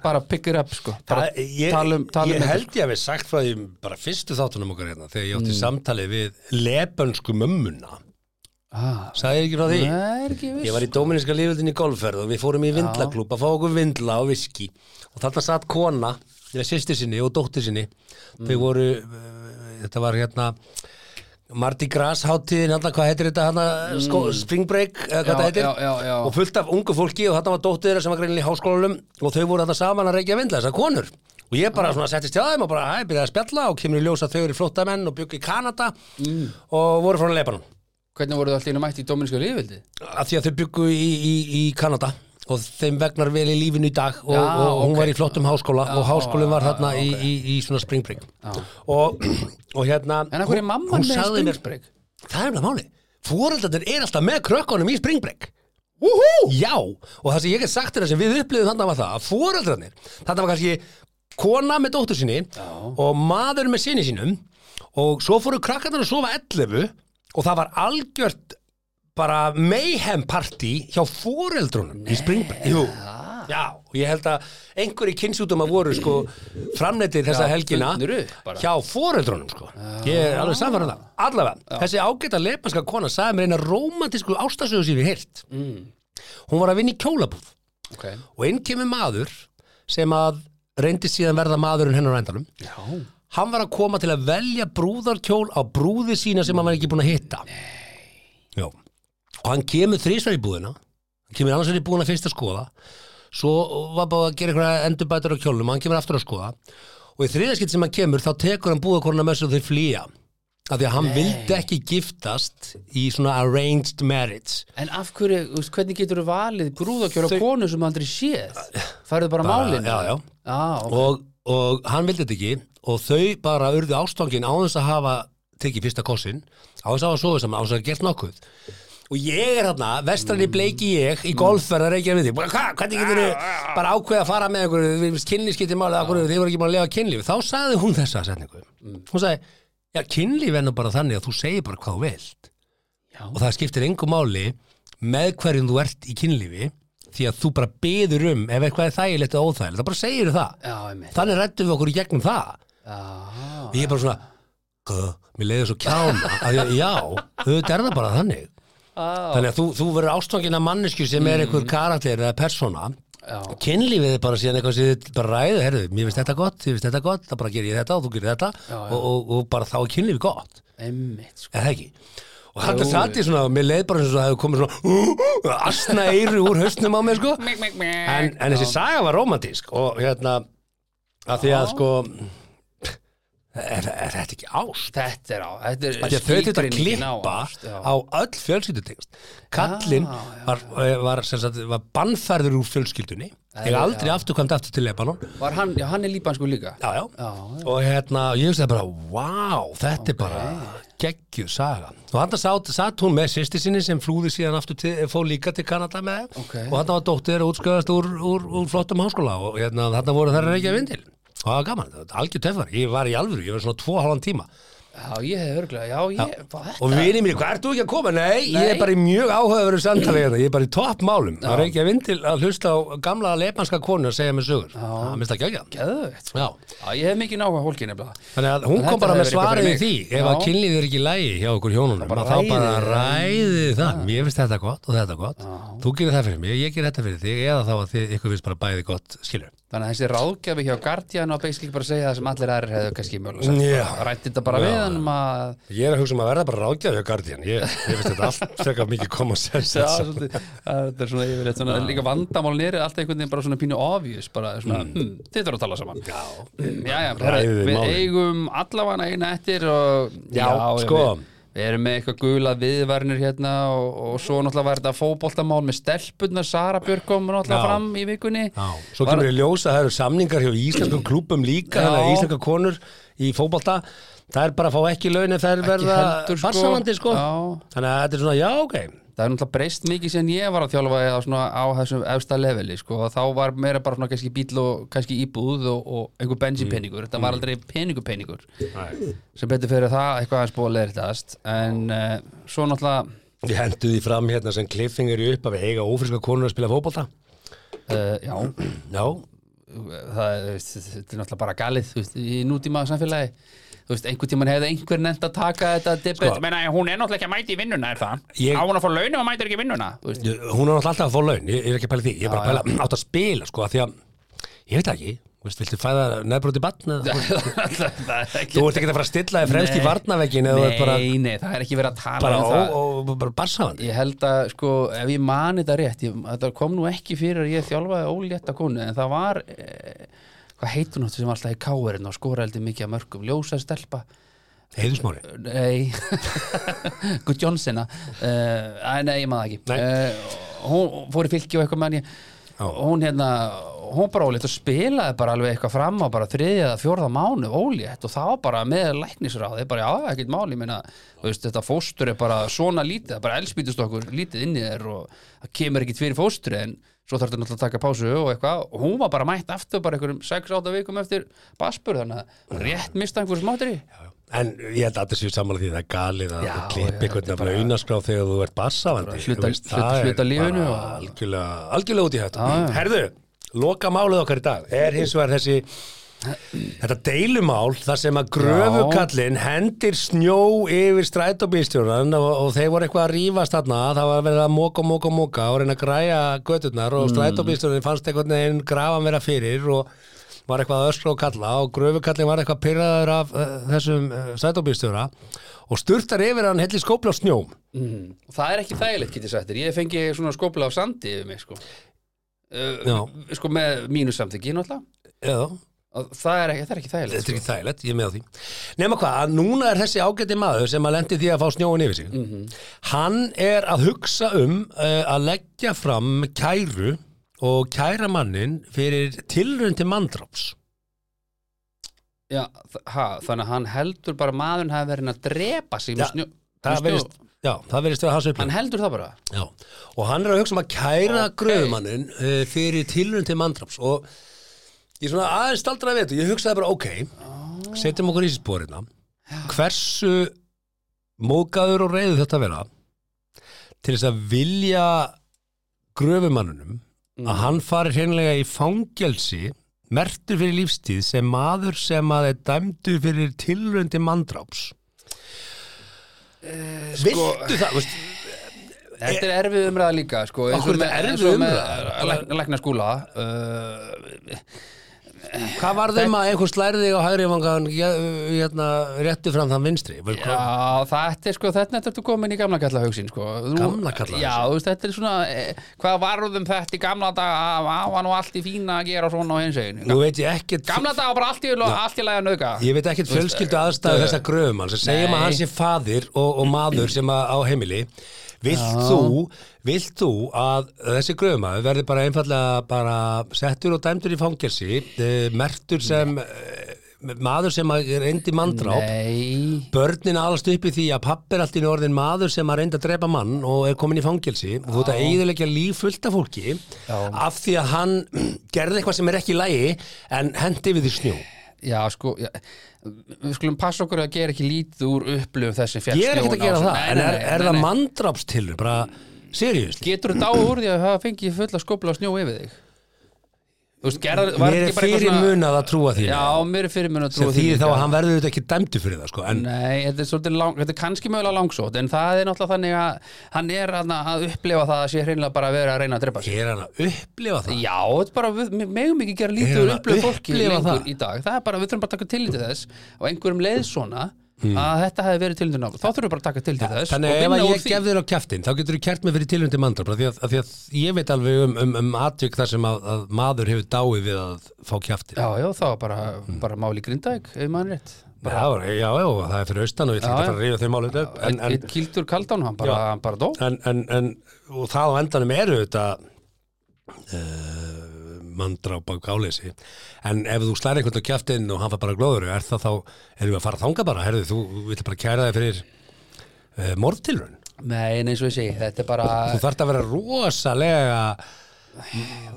Speaker 3: bara pick it up, sko. Bara
Speaker 1: það- ég,
Speaker 3: tala um, tala
Speaker 1: ég
Speaker 3: um þetta,
Speaker 1: held ég að við sagt frá því bara fyrstu þáttunum okkar hérna þegar ég átti
Speaker 3: Mm.
Speaker 1: samtalið við lebönsku mömmuna
Speaker 3: Ah.
Speaker 1: Sagði ég ekki frá því?
Speaker 3: sko. Það er ekki
Speaker 1: Ég
Speaker 3: viss.
Speaker 1: var í Dóminíska líföldin í golfferð og við fórum í vindlaklúb að fá okkur vindla og viski og þarna satt kona eða sýsti sinni og dótti sinni þau
Speaker 3: Mm.
Speaker 1: voru, eh, þetta var hérna Mardi Gras hátíðin hérna, hvað heitir þetta hérna, sko, Spring Break eða hvað
Speaker 3: Mm. Já,
Speaker 1: þetta heitir
Speaker 3: já, já, já.
Speaker 1: og fullt af ungu fólki og þarna var dóttið þeirra sem var greinilega í háskólanum og þau voru þarna saman að reykja vindla, þessar konur og ég
Speaker 3: Mm.
Speaker 1: bara svona settist hjá þeim og bara hæ, byrjaði að spjalla og kemur í ljós að þau eru flóttamenn og byggu í Kanada
Speaker 3: Mm.
Speaker 1: og voru frá Lebanon
Speaker 3: Hvernig voru þau alltaf einu mætt í dominíska lífvildi?
Speaker 1: að því að þau byggu í, í, í Kanada og þeim vegnar vel í lífinu í dag og,
Speaker 3: Já,
Speaker 1: og hún
Speaker 3: ok.
Speaker 1: var í flottum háskóla og háskólinn var þarna í, í, í svona Spring Break og, og hérna
Speaker 3: En af hverju er
Speaker 1: hún-
Speaker 3: mamman
Speaker 1: hún
Speaker 3: með
Speaker 1: sagði mér-
Speaker 3: springbrek?
Speaker 1: það er alveg máli fóreldarnir er alltaf með krökkunum í Spring Break Woohoo! Já, og það sem ég get sagt þér sem við upplifum þarna var það að foreldrarnir, þarna var kannski kona með dóttur sinni og maður með sinni sínum og svo fóru krakkarnir að sofa 11 og það var algjört bara mayhem party hjá foreldrunum í Springbank Jú, já, og ég held að einhverju kynnsjútum að voru sko framneittir þessa
Speaker 3: Já,
Speaker 1: helgina
Speaker 3: fundnir upp bara.
Speaker 1: hjá foreldrunum sko ég er alveg samfærum það, allavega þessi ágæta lefanska kona sagði mér eina rómantísku ástasöðu sér við heyrt
Speaker 3: Mm.
Speaker 1: hún var að vinna í kjólabúð
Speaker 3: Ok.
Speaker 1: og inn kemur maður sem að reyndi síðan verða maðurinn hennar á endanum
Speaker 3: Já.
Speaker 1: hann var að koma til að velja brúðarkjól á brúði sína sem hann var ekki búin að hitta Jó. og hann kemur þrísvar í búðina hann kemur annars verið búin að fyrst að skoða svo var bara að gera einhverja endurbætur á kjólnum, hann kemur aftur að skoða og í þriðaskitt sem hann kemur þá tekur hann búðakorna með sér og þeir flýja af því að hann vildi ekki giftast í svona arranged marriage
Speaker 3: En af hverju, þú veist, hvernig getur þú valið brúðakjör á
Speaker 1: Þau-
Speaker 3: konu sem aldrei séð? Færðu bara,
Speaker 1: Bara-
Speaker 3: málinu?
Speaker 1: já, já.
Speaker 3: Já, Ah, ok.
Speaker 1: og, og hann vildi þetta ekki og þau bara urðu ástangin á þess að hafa tekið fyrsta kossin á þess að hafa sofa saman, á þess að hafa gert nokkuð og ég er hérna, vestrann í bleiki ég í golfverðar ekki að við þig Hva, hvernig getur þau bara ákveða að fara með einhverju kynlíf skiptir máli, af hverju þið voru ekki búin að lega kynlíf þá sagði hún þessa setningu
Speaker 3: Mm.
Speaker 1: hún sagði, já kynlíf er nú bara þannig að þú segir bara hvað þú vilt
Speaker 3: Já.
Speaker 1: og það skiptir engu máli með hverjum þú ert í kynlífi því að þú bara byður um ef eitthvað er þægilegt eða óþægilegt, þá bara segir það
Speaker 3: Já, einmitt.
Speaker 1: þannig rættum við okkur í gegnum það
Speaker 3: Já.
Speaker 1: og ég er bara svona "Gah", mér leiði svo kjána af því að já, auðvitað er það bara þannig þannig að þú, þú verður ástofangin af mannesku sem er einhver karakter eða persóna
Speaker 3: Já.
Speaker 1: kynlífið er bara síðan eitthvað sem þið bara ræðu herðu, mér finnst þetta gott, þið finnst þetta gott þá bara ger ég þetta og þú gerir þetta Og, og, og bara þá er kynlífið gott
Speaker 3: Einmitt, sko.
Speaker 1: eða það ekki og hann satt í svona, mér leið bara eins og það hefur komið svona asna eiru úr hausnum á mig sko. en, en þessi saga var romantísk og hérna að því að sko er, er þetta ekki ást
Speaker 3: Þetta er á, þetta
Speaker 1: Af
Speaker 3: er
Speaker 1: því að þau þetta
Speaker 3: skilgreiningin á
Speaker 1: klippa
Speaker 3: ást, já.
Speaker 1: á öll fjölskyldutegst kallinn
Speaker 3: Já,
Speaker 1: var, var, sem sagt, var bannfærður úr fjölskyldunni ég
Speaker 3: Já.
Speaker 1: aldrei afturkvæmt aftur til Lebanon
Speaker 3: Var hann, já, hann er líbansku líka
Speaker 1: já, já.
Speaker 3: Já,
Speaker 1: og hérna, ég hugsaði bara wow, þetta er bara geggjuð saga og hann satt, satt hún með sýsti sinni sem flúði síðan aftur til, fó líka til Kanada með þeim.
Speaker 3: Ok.
Speaker 1: og hann var dóttir að útskjöðast úr, úr, úr flottum háskóla og hérna, þarna voru þær að reykja vindil og það var gaman, þetta var algjör töffar ég var í alvöru, ég var svona tvo og hálfan tíma
Speaker 3: já, ég hef örgulega, já, ég, hvað þetta?
Speaker 1: og vinið mér, hvað ert þú ekki að koma? Nei, ég
Speaker 3: Nei.
Speaker 1: er bara í mjög áhugaveru samtalið hérna, ég er bara í toppmálum að reykja vindil að hlusta á gamla lepanska konu að segja mér sögur, það minnst það geggjað
Speaker 3: Geðveikt, sko.
Speaker 1: Já.
Speaker 3: Já, ég hef mikið náhuga hólkið nefnilega
Speaker 1: Þannig að hún
Speaker 3: En
Speaker 1: kom
Speaker 3: þetta
Speaker 1: bara með
Speaker 3: hefur eitthvað
Speaker 1: svarið við
Speaker 3: fyrir
Speaker 1: því
Speaker 3: mig.
Speaker 1: ef að
Speaker 3: Já.
Speaker 1: kynlíð er ekki í lægi hjá okkur hjónunum
Speaker 3: bara
Speaker 1: að þá bara
Speaker 3: ræðið
Speaker 1: ræði það mér finnst þetta gott og þetta gott þú gerir það fyrir mig, ég gerir þetta fyrir þig eða þá að þið ykkur finnst bara bæði gott skilur
Speaker 3: Þannig að þessi ráðgjafi hjá Guardian og basically bara segja það sem allir aðrir hefðu kannski mjögulega sagt
Speaker 1: Já.
Speaker 3: Bara Ræddi þetta bara
Speaker 1: Já,
Speaker 3: við
Speaker 1: já.
Speaker 3: hann um að
Speaker 1: Ég er að hugsa um að verða bara ráðgjafið Guardian ég, ég finnst þetta allt frekar mikið koma sér
Speaker 3: Já, svolítið, að þetta er svona yfirleitt svona, líka vandamál nýri, alltaf einhvern veginn bara svona pínu obvious, bara svona,
Speaker 1: Mm.
Speaker 3: hm, þið þarf að tala saman Já, já, herra,
Speaker 1: Ræðið
Speaker 3: við
Speaker 1: málin.
Speaker 3: eigum allavega eina eftir og
Speaker 1: Já, sko.
Speaker 3: við, við erum með eitthvað gula viðvarnir hérna og, og svo náttúrulega var þetta fótboltamál með stelpunna, Sara Björk kom náttúrulega
Speaker 1: Já.
Speaker 3: fram í vikunni
Speaker 1: Já, svo kemur
Speaker 3: Var-
Speaker 1: ég ljósa að það eru samningar hjá íslenskum klúbum líka,
Speaker 3: Já.
Speaker 1: þannig að íslenska konur í fótbolta, það er bara að fá ekki laun ef þær verða
Speaker 3: heldur, sko.
Speaker 1: barsamandi sko.
Speaker 3: Já.
Speaker 1: þannig að þetta er svona, já, ok
Speaker 3: það er náttúrulega breyst mikið sem ég var að þjálfa á, svona, á þessum efsta leveli sko. og þá var meira bara svona kannski bíl og kannski íbúð og, og einhver bensinpenningur
Speaker 1: Mm.
Speaker 3: þetta var aldrei peningupenningur sem betur fyrir það eitthvað aðeins búið að leirtast en uh, svo náttúrulega
Speaker 1: Ég hendu því fram hérna sem kliffingir í upp að við eiga ófriska konur að spila fótbolta.
Speaker 3: uh, já,
Speaker 1: Já,
Speaker 3: það, er, þú veist, þetta er náttúrulega bara galið þú veist, í nútíma samfélagi þú veist, einhvern tímann hefði einhver nefnt að taka þetta debet,
Speaker 1: Sko.
Speaker 3: menna hún er náttúrulega ekki að mæti í vinnuna er það,
Speaker 1: Ég-
Speaker 3: á hún að fá launum og mætir ekki í vinnuna þú veist,
Speaker 1: ég- hún er náttúrulega alltaf að fá laun, ég ég er ekki að pæla í því, ég er bara að pæla átt að spila, sko, af því að, ég veit það ekki, þú veist, viltu fæða nefnbrot í batn?
Speaker 3: það er ekki
Speaker 1: Þú ert ekki að fara að stilla þig fremst í
Speaker 3: Nei.
Speaker 1: varnavegin eða þú ert bara,
Speaker 3: Nei, nei, það er ekki verið að tala
Speaker 1: bara,
Speaker 3: um það
Speaker 1: ó, ó, bara barsafandi.
Speaker 3: Ég held að, sko, ef ég mani þetta rétt ég, þetta kom nú ekki fyrir að ég þjálfaði ólétta konu, en það var eh, hvað heitur náttu sem var alltaf í káverinn og skoraði mikið að mörgum, ljósa stelpa
Speaker 1: Heiðusmári.
Speaker 3: Nei Guð Jónsina uh, Nei, ég maður
Speaker 1: Nei.
Speaker 3: það ekki uh, Hún fór í fylki og eitthvað manni Hún hérna, hún bara ólétt og spilaði bara alveg eitthvað fram á bara þriðja eða fjórða mánu ólétt og þá bara með læknisráði bara já, ekkert máli, minna veist, þetta fóstur er bara svona lítið það er bara elspítust okkur lítið inni þér og það kemur ekkert fyrir fóstri en svo þarf þetta náttúrulega að taka pásu og eitthvað og hún var bara mætt aftur bara einhverjum 6-8 vikum eftir basbur þannig að rétt mista einhverjum smátri
Speaker 1: En ég held að þetta séu sammála því að það er galið að
Speaker 3: Já,
Speaker 1: þú
Speaker 3: já,
Speaker 1: klippi
Speaker 3: þetta
Speaker 1: einhvern
Speaker 3: er
Speaker 1: að bara unnaskrá þegar þú ert barsafandi.
Speaker 3: Hluta-
Speaker 1: Þú veist,
Speaker 3: hluta-
Speaker 1: það er
Speaker 3: hluta lífinu
Speaker 1: bara
Speaker 3: og-
Speaker 1: Algjörlega, algjörlega út í hættu.
Speaker 3: Já, já.
Speaker 1: Herðu, loka málið okkar í dag er hins vegar þessi Þetta deilumál þar sem að gröfukallin hendir snjó yfir strætóbílstjóran og, og þeir voru eitthvað að rífast þarna það var verið að moka, moka, moka og reyna að græja göturnar og strætóbílstjóran fannst einhvern veginn grafa vera fyrir og var eitthvað að öskra og kalla og gröfukallin var eitthvað pyrraður af uh, þessum uh, strætóbílstjóra og sturtar yfir hann helli skópla á snjóm
Speaker 3: Mm. Og Það er ekki þægilegt, getið sagt þér. Ég fengi svona skópla á sandi yfir mig, sko. uh,
Speaker 1: Já.
Speaker 3: sko með mínu samþyggi náttúrulega
Speaker 1: Já,
Speaker 3: Og það er ekki, það er ekki þægilegt sko.
Speaker 1: þetta er ekki þægilegt, ég er með á því nema hvað, að núna er þessi ágæti maður sem að lendi því að fá snjóin yfir sig
Speaker 3: Mhm.
Speaker 1: hann er að hugsa um uh, að leggja fram kæru og kæra mannin fyrir tilrönd til manndráps
Speaker 3: Já, þ- ha, þannig að hann heldur bara að maðurinn hafi verið að drepa sig
Speaker 1: Já,
Speaker 3: með snjó,
Speaker 1: það
Speaker 3: með
Speaker 1: verðist Já, það verðist vera hans upplýn
Speaker 3: Hann heldur það bara
Speaker 1: Já, og hann er að hugsa um að kæra okay.
Speaker 3: Ok.
Speaker 1: gröfumannin uh, fyrir tilrönd til mandraps og ég svona aðeins staldraði við þetta, ég hugsaði bara ok, setjum okkur í spórina hversu mókaður og reyðu þetta vera til þess að vilja gröfumannunum að hann fari hreinlega í fangelsi mertur fyrir lífstíð sem maður sem að er dæmdur fyrir tilrönd til mandráps Viltu það, veist,
Speaker 3: Þetta er erfið umræða líka sko, eins og
Speaker 1: Akkur Eh, er þetta
Speaker 3: með-
Speaker 1: erfið
Speaker 3: eins og með
Speaker 1: umræða?
Speaker 3: læk- Lækna skúla uh,
Speaker 1: Hvað var þeim að einhver slæri þig á hægri vangan hérna, réttu fram þann vinstri? Vel,
Speaker 3: Já, þetta er sko, þetta er þetta komin í gamla kalla hugsin sko. Þú-
Speaker 1: Gamla kalla
Speaker 3: Já, þú veist, þetta er svona, eh, hvað varðum þetta í gamla daga, að hafa nú allt í fína að gera svona á hins
Speaker 1: Nú
Speaker 3: eginu
Speaker 1: veit ég ekkert
Speaker 3: Gamla daga bara allt í, allt í lagi að nauðga
Speaker 1: Ég veit ekkert fjölskyldu aðstæðu þessa gröfum hans segjum um að
Speaker 3: eh, Nei.
Speaker 1: hann sé faðir og, og maður sem að, á heimili Vilt þú, vilt þú að þessi gröfumaður verði bara einfallega bara settur og dæmdur í fangelsi eh, mertur sem eh, maður sem að reyndi mandráp
Speaker 3: Nei
Speaker 1: Börnin alast upp í því að papp er allt í einu orðinn maður sem að reynda að drepa mann og er komin í fangelsi og þú ert að eiginlega líf fullt af fólki af því að hann gerði eitthvað sem er ekki í lægi en hendi við því snjó.
Speaker 3: Já, sko, já, við skulum passa okkur að gera ekki lítið úr upplöfum þessi fjall
Speaker 1: Ég er ekkert að gera það, en er, er það
Speaker 3: nei.
Speaker 1: manndrápstilur, bara seriðusli?
Speaker 3: Getur þú dáið úr því að hafa fengið fulla skopla og snjó yfir þig? Þú veist, gerðar, var
Speaker 1: Mér er
Speaker 3: ekki bara eitthvað
Speaker 1: fyrir munað að trúa því
Speaker 3: Já, mér er fyrir mun að
Speaker 1: sem
Speaker 3: trúa
Speaker 1: því þá
Speaker 3: líka.
Speaker 1: að hann verður auðvitað ekki dæmdu fyrir það sko, en
Speaker 3: Nei, þetta er svolítið lang, þetta er kannski mögulega langsótt en það er náttúrulega þannig að hann er að, að upplefa það að sé hreinlega bara að vera að reyna að drepa sig
Speaker 1: er hann að upplifa það?
Speaker 3: Já, þetta er bara, við við megum ekki gera
Speaker 1: Er
Speaker 3: lítið úr
Speaker 1: hann að
Speaker 3: upplöfu fólki
Speaker 1: upplifa
Speaker 3: lengur
Speaker 1: það?
Speaker 3: í dag það er bara, við þurfum bara að taka til til þess og einhverjum leið svona að þetta hefði verið til til náttúrulega, þá þurfum við bara að taka til til þess
Speaker 1: Hmm. Þannig að
Speaker 3: og
Speaker 1: ef
Speaker 3: vinna
Speaker 1: að
Speaker 3: úr
Speaker 1: ég
Speaker 3: því.
Speaker 1: gef þér á kjaftin þá getur þú kert mig fyrir tilhundi mandrap af því, að- af því að ég veit alveg um, um, um atvik þar sem að, að maður hefur dáið við að fá kjaftin
Speaker 3: Já, já, þá var bara,
Speaker 1: Hmm.
Speaker 3: bara máli grindæk, ef maður rétt
Speaker 1: Já, já, já, það er fyrir austan og ég ætla ekki
Speaker 3: Já,
Speaker 1: að fara að rífa þau málið upp en, en,
Speaker 3: Eitt kildur kaldán, hann bara,
Speaker 1: Já.
Speaker 3: hann bara dó
Speaker 1: en, en, en og það á endanum eru þetta uh, mandráp á gáleysi en ef þú slæri einhvern á kjaftin og hann fær bara glóður er það þá, erum við að fara þanga bara herðu, þú vill bara kæra þig fyrir uh, morðtilrun
Speaker 3: Nei, en eins og ég segi, þetta er bara
Speaker 1: þú þarft að vera rosalega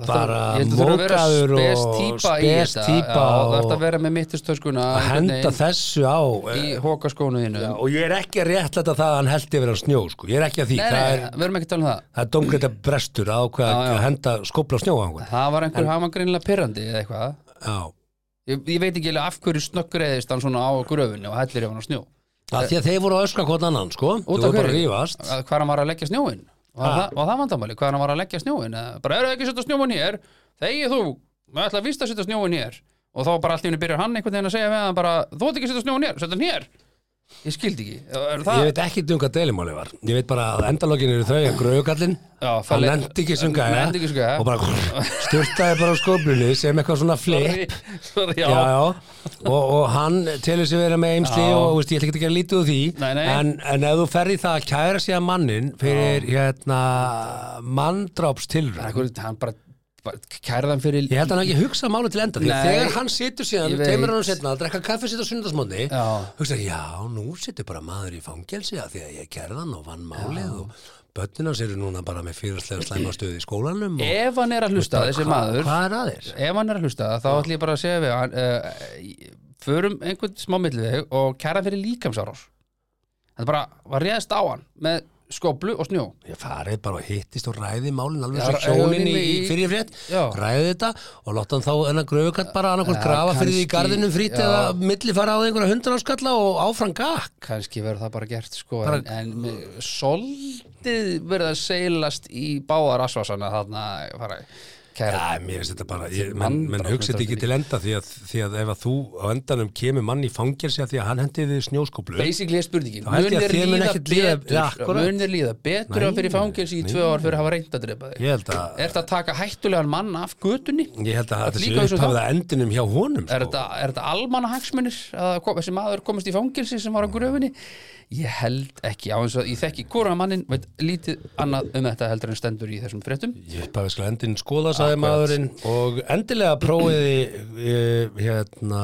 Speaker 1: bara
Speaker 3: Ég held að þurfa að vera
Speaker 1: mókaður
Speaker 3: spes
Speaker 1: og
Speaker 3: típa í
Speaker 1: spes
Speaker 3: þetta.
Speaker 1: típa
Speaker 3: Já, Það ert að
Speaker 1: og
Speaker 3: vera með mittistöskuna
Speaker 1: að henda
Speaker 3: einhvern
Speaker 1: þessu á eh,
Speaker 3: veginn Í hókaskónu þínu
Speaker 1: og ég er ekki að réttlæta það að hann held yfir á snjó sko. ég er ekki að því,
Speaker 3: Nei, nei,
Speaker 1: það er,
Speaker 3: við erum ekki að tala um það
Speaker 1: það er dómgreita brestur að ákveða
Speaker 3: Já, já.
Speaker 1: að henda skópla snjó á einhvern
Speaker 3: Það var einhver, hann var greinilega pyrrandi eða eitthvað
Speaker 1: Já.
Speaker 3: Ég, ég veit ekki alveg af hverju snöggreiðist hann svona á gröfunni og hellir yfir hann á snjó
Speaker 1: að því að þeir voru að öskra hvort annan sko. þú
Speaker 3: Út af
Speaker 1: voru bara að
Speaker 3: hverju?
Speaker 1: rífast
Speaker 3: Að Hvar hann var að leggja snjóin Var
Speaker 1: Ha?
Speaker 3: það, var það vandamáli? Hvar hann var að leggja snjóin Eða Bara eru ekki að setja snjóin hér Þegi þú, maður ætla að víst að setja snjóin hér Og þá bara allt í henni byrjar hann einhvern veginn að segja með hann bara Þú ætti ekki að setja snjóin hér, setja hann hér Ég skildi ekki Er það-
Speaker 1: ég veit ekki um hvað deilumáli var ég veit bara að endalókin eru þau að grögallin
Speaker 3: Já,
Speaker 1: hann
Speaker 3: fallið-
Speaker 1: lendi ekki sem gæja
Speaker 3: Nefndi ekki sem gæja.
Speaker 1: og bara styrtaði bara á skóplinu sem eitthvað svona flip
Speaker 3: Sorry, sorry, já.
Speaker 1: já, já. Og, og hann telur sig vera með eimsli
Speaker 3: Já.
Speaker 1: og veist, ég ætla ekki að gera lítið úr því
Speaker 3: Nei, nei.
Speaker 1: En, en ef þú ferði það að kæra sig að mannin fyrir hérna, manndrápstilröð
Speaker 3: Akkur, hann bara, bara kærðan fyrir
Speaker 1: ég held að hann hafi ekki hugsa máli til enda því að
Speaker 3: Nei.
Speaker 1: þegar hann situr síðan,
Speaker 3: Ég veit.
Speaker 1: teimur hann setna að drekka kaffi sitt á sunnudasmótni
Speaker 3: Já.
Speaker 1: hugsa, já, nú situr bara maður í fangelsi að því að ég kærði hann og vann málið og börnin hans eru núna bara með fyrirslega slæma stöðu í skólanum og
Speaker 3: Ef hann er að hlusta þessi maður
Speaker 1: hvað er aðeins?
Speaker 3: Ef hann er að hlusta þá ætlum ég bara að segja við hann uh, Förum einhvern smá milliveg og kærðan fyrir líkamsárás Þetta bara var réðst á hann með skóplu og snjó
Speaker 1: ég farið bara og hittist og ræði málin alveg
Speaker 3: Já,
Speaker 1: sem
Speaker 3: ræ-
Speaker 1: hjónin í, í
Speaker 3: í-
Speaker 1: fyrirfrétt
Speaker 3: Já.
Speaker 1: ræði þetta og láta hann þá hennar gröfukatt bara annarkvort
Speaker 3: Já,
Speaker 1: grafa fyrir því í
Speaker 3: kannski,
Speaker 1: garðinum frýtt
Speaker 3: já.
Speaker 1: eða milli fara á því einhverja hundra áskalla og áfram gakk
Speaker 3: Kannski verður það bara gert sko
Speaker 1: Bara-
Speaker 3: En, en með- svolítið verður það seilast í báðar asvasana þarna fara kæra
Speaker 1: Já, mér finnst þetta bara, ég, menn,
Speaker 3: Vandræðalegt
Speaker 1: menn hugsa þetta ekki til enda því að, því að ef að þú á endanum kemur mann í fangelsi að því að hann hendiði snjóskóplu
Speaker 3: basically er spurningin,
Speaker 1: Þá held ég
Speaker 3: mun
Speaker 1: að
Speaker 3: þér
Speaker 1: þér mun
Speaker 3: líða
Speaker 1: ekkert líða- Ja,
Speaker 3: betur
Speaker 1: akkurat.
Speaker 3: mun þér líða betur
Speaker 1: Nei,
Speaker 3: að fyrir fangelsi í
Speaker 1: nei.
Speaker 3: tvö ár fyrir að hafa reynd að drepa þig
Speaker 1: Ég held að-
Speaker 3: er þetta að taka hættulegan mann af götunni
Speaker 1: Ég held að
Speaker 3: Það
Speaker 1: þetta sé
Speaker 3: líka eins og
Speaker 1: upphafið
Speaker 3: það.
Speaker 1: að endinum hjá honum
Speaker 3: er
Speaker 1: sko.
Speaker 3: þetta, er þetta almanna hagsmunir að kom, þessi maður komist í fangelsi sem var á gröfinni ég held ekki á eins og ég þekki hvora mannin veit lítið annað um þetta heldur en stendur í þessum fréttum
Speaker 1: Ég hef bara skal endin skoða, sagði
Speaker 3: Akkurat.
Speaker 1: maðurinn og endilega prófiði eh, hérna,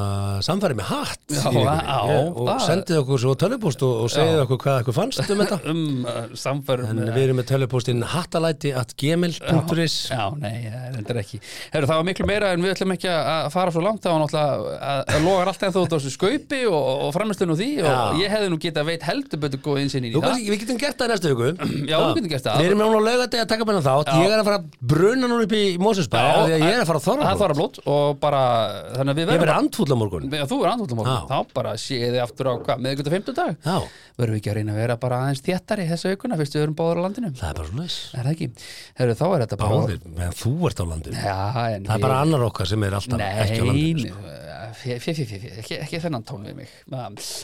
Speaker 1: samfæri með hatt
Speaker 3: Já,
Speaker 1: í vikunni.
Speaker 3: á,
Speaker 1: Ég- og
Speaker 3: það-
Speaker 1: sendið okkur svo tölvupóst og, og segið okkur hvað okkur fannst um þetta
Speaker 3: um uh,
Speaker 1: en
Speaker 3: samfærum
Speaker 1: við erum með tölvupóstinn hattalæti at gmail.is
Speaker 3: Já, nei, það er endur ekki Heru, Það var miklu meira en við ætlum ekki að að fara svo langt það var náttúrulega að- að logar allt en þú þessu skaupi og, og framistunum því og
Speaker 1: Já.
Speaker 3: ég hefði nú getað veit heldur betur góð innsýn í
Speaker 1: Nú,
Speaker 3: það
Speaker 1: kannski, við getum gert það næstu viku
Speaker 3: Já, við getum gert það.
Speaker 1: Við erum núna á laugardegi að taka með þátt
Speaker 3: Já.
Speaker 1: Ég er að fara að bruna núna upp í Mósinsbæ
Speaker 3: Já,
Speaker 1: Því að ég er að fara að þorra
Speaker 3: Það þorra blót og bara þannig að við
Speaker 1: Ég
Speaker 3: verðum
Speaker 1: verði andfúll á morgun
Speaker 3: Já, þú er andvöldum
Speaker 1: Já.
Speaker 3: okkur, þá bara séð þið aftur á hvað, með ykkur fimmtudag
Speaker 1: Já,
Speaker 3: verðum við ekki að reyna að vera bara aðeins þéttari þessa aukuna, fyrst við erum báður á landinu
Speaker 1: það er bara svona þess
Speaker 3: er það ekki, Heru, þá er þetta bara
Speaker 1: Báðir, meðan þú ert á landinu
Speaker 3: Já, en
Speaker 1: Það er bara annar okkar sem er alltaf ekki á landinu sko.
Speaker 3: Nei, fjö, fjö, fjö, fjö, ekki, ekki þennan tón við mig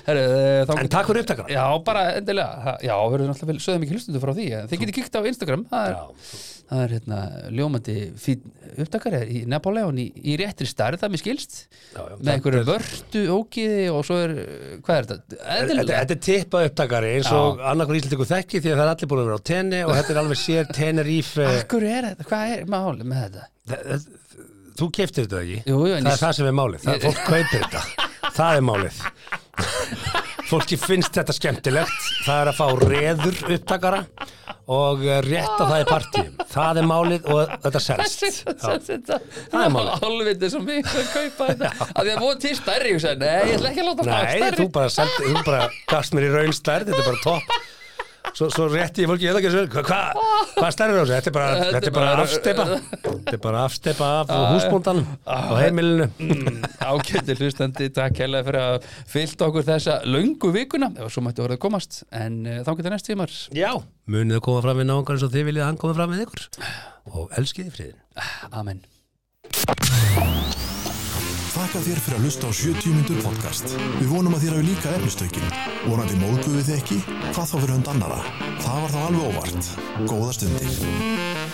Speaker 3: Heru, þá,
Speaker 1: En takk fyrir upptakana.
Speaker 3: Já, bara endilega, Það- já, við erum alltaf vel sögðum ekki hlustundu frá því, en þið getið kíkt á Instagram það er, það er hérna ljómandi fín upptakari í Napoleon í, í réttri starð, það mér skilst
Speaker 1: Já, já,
Speaker 3: með einhverju vörtu ógiði og svo er, hvað er þetta?
Speaker 1: Eh, Þetta
Speaker 3: Eðlilega
Speaker 1: þetta er tippa upptakari eins og annarkur íslendingu þekki því að það er allir búin að vera á tenni og þetta er alveg sér Tenerife
Speaker 3: Akkur er þetta, hvað er málið með þetta?
Speaker 1: Það- það- Þú keftir þetta ekki
Speaker 3: Jú, jú, en
Speaker 1: Það er
Speaker 3: ég-
Speaker 1: það sem er málið, það, fólk kaupir þetta Það er málið Fólki finnst þetta skemmtilegt Það er að fá reður upptakara og eh, rétta það í partíum Það er málið og þetta selst Já.
Speaker 3: Þetta
Speaker 1: Það er málið.
Speaker 3: Hálfviti sem mig að kaupa þetta Af því að voru til stærri ég sagði, Nei, ég ætla ekki að láta fá
Speaker 1: Nei,
Speaker 3: stærri
Speaker 1: þú bara, seld, þú bara gafst mér í raun stærð, þetta er bara topp Svo, svo rétti ég fólki, ég ætla ekki að segja Hvað hva, hva stærður á þessu? Þetta er bara,
Speaker 3: Þetta er
Speaker 1: þetta er bara
Speaker 3: bara-
Speaker 1: afstepa Þetta er bara afstepa af húsbóndanum og heimilinu
Speaker 3: Ágæti hlustandi, takk hella fyrir að fylta okkur þessa löngu vikuna og svo mættu orðið að komast en uh, þá getur næst tímar
Speaker 1: Já Munið að koma fram við náungar eins og þið viljið að hann koma fram við ykkur og elskið þið friðin
Speaker 3: Amen
Speaker 2: Þakka þér fyrir að hlusta á 70 myndur podcast. Við vonum að þér hafi líka efnistökin. Vonandi móðguðu þið ekki, hvað þá fyrir hund annara. Það var þá alveg óvart. Góða stundir.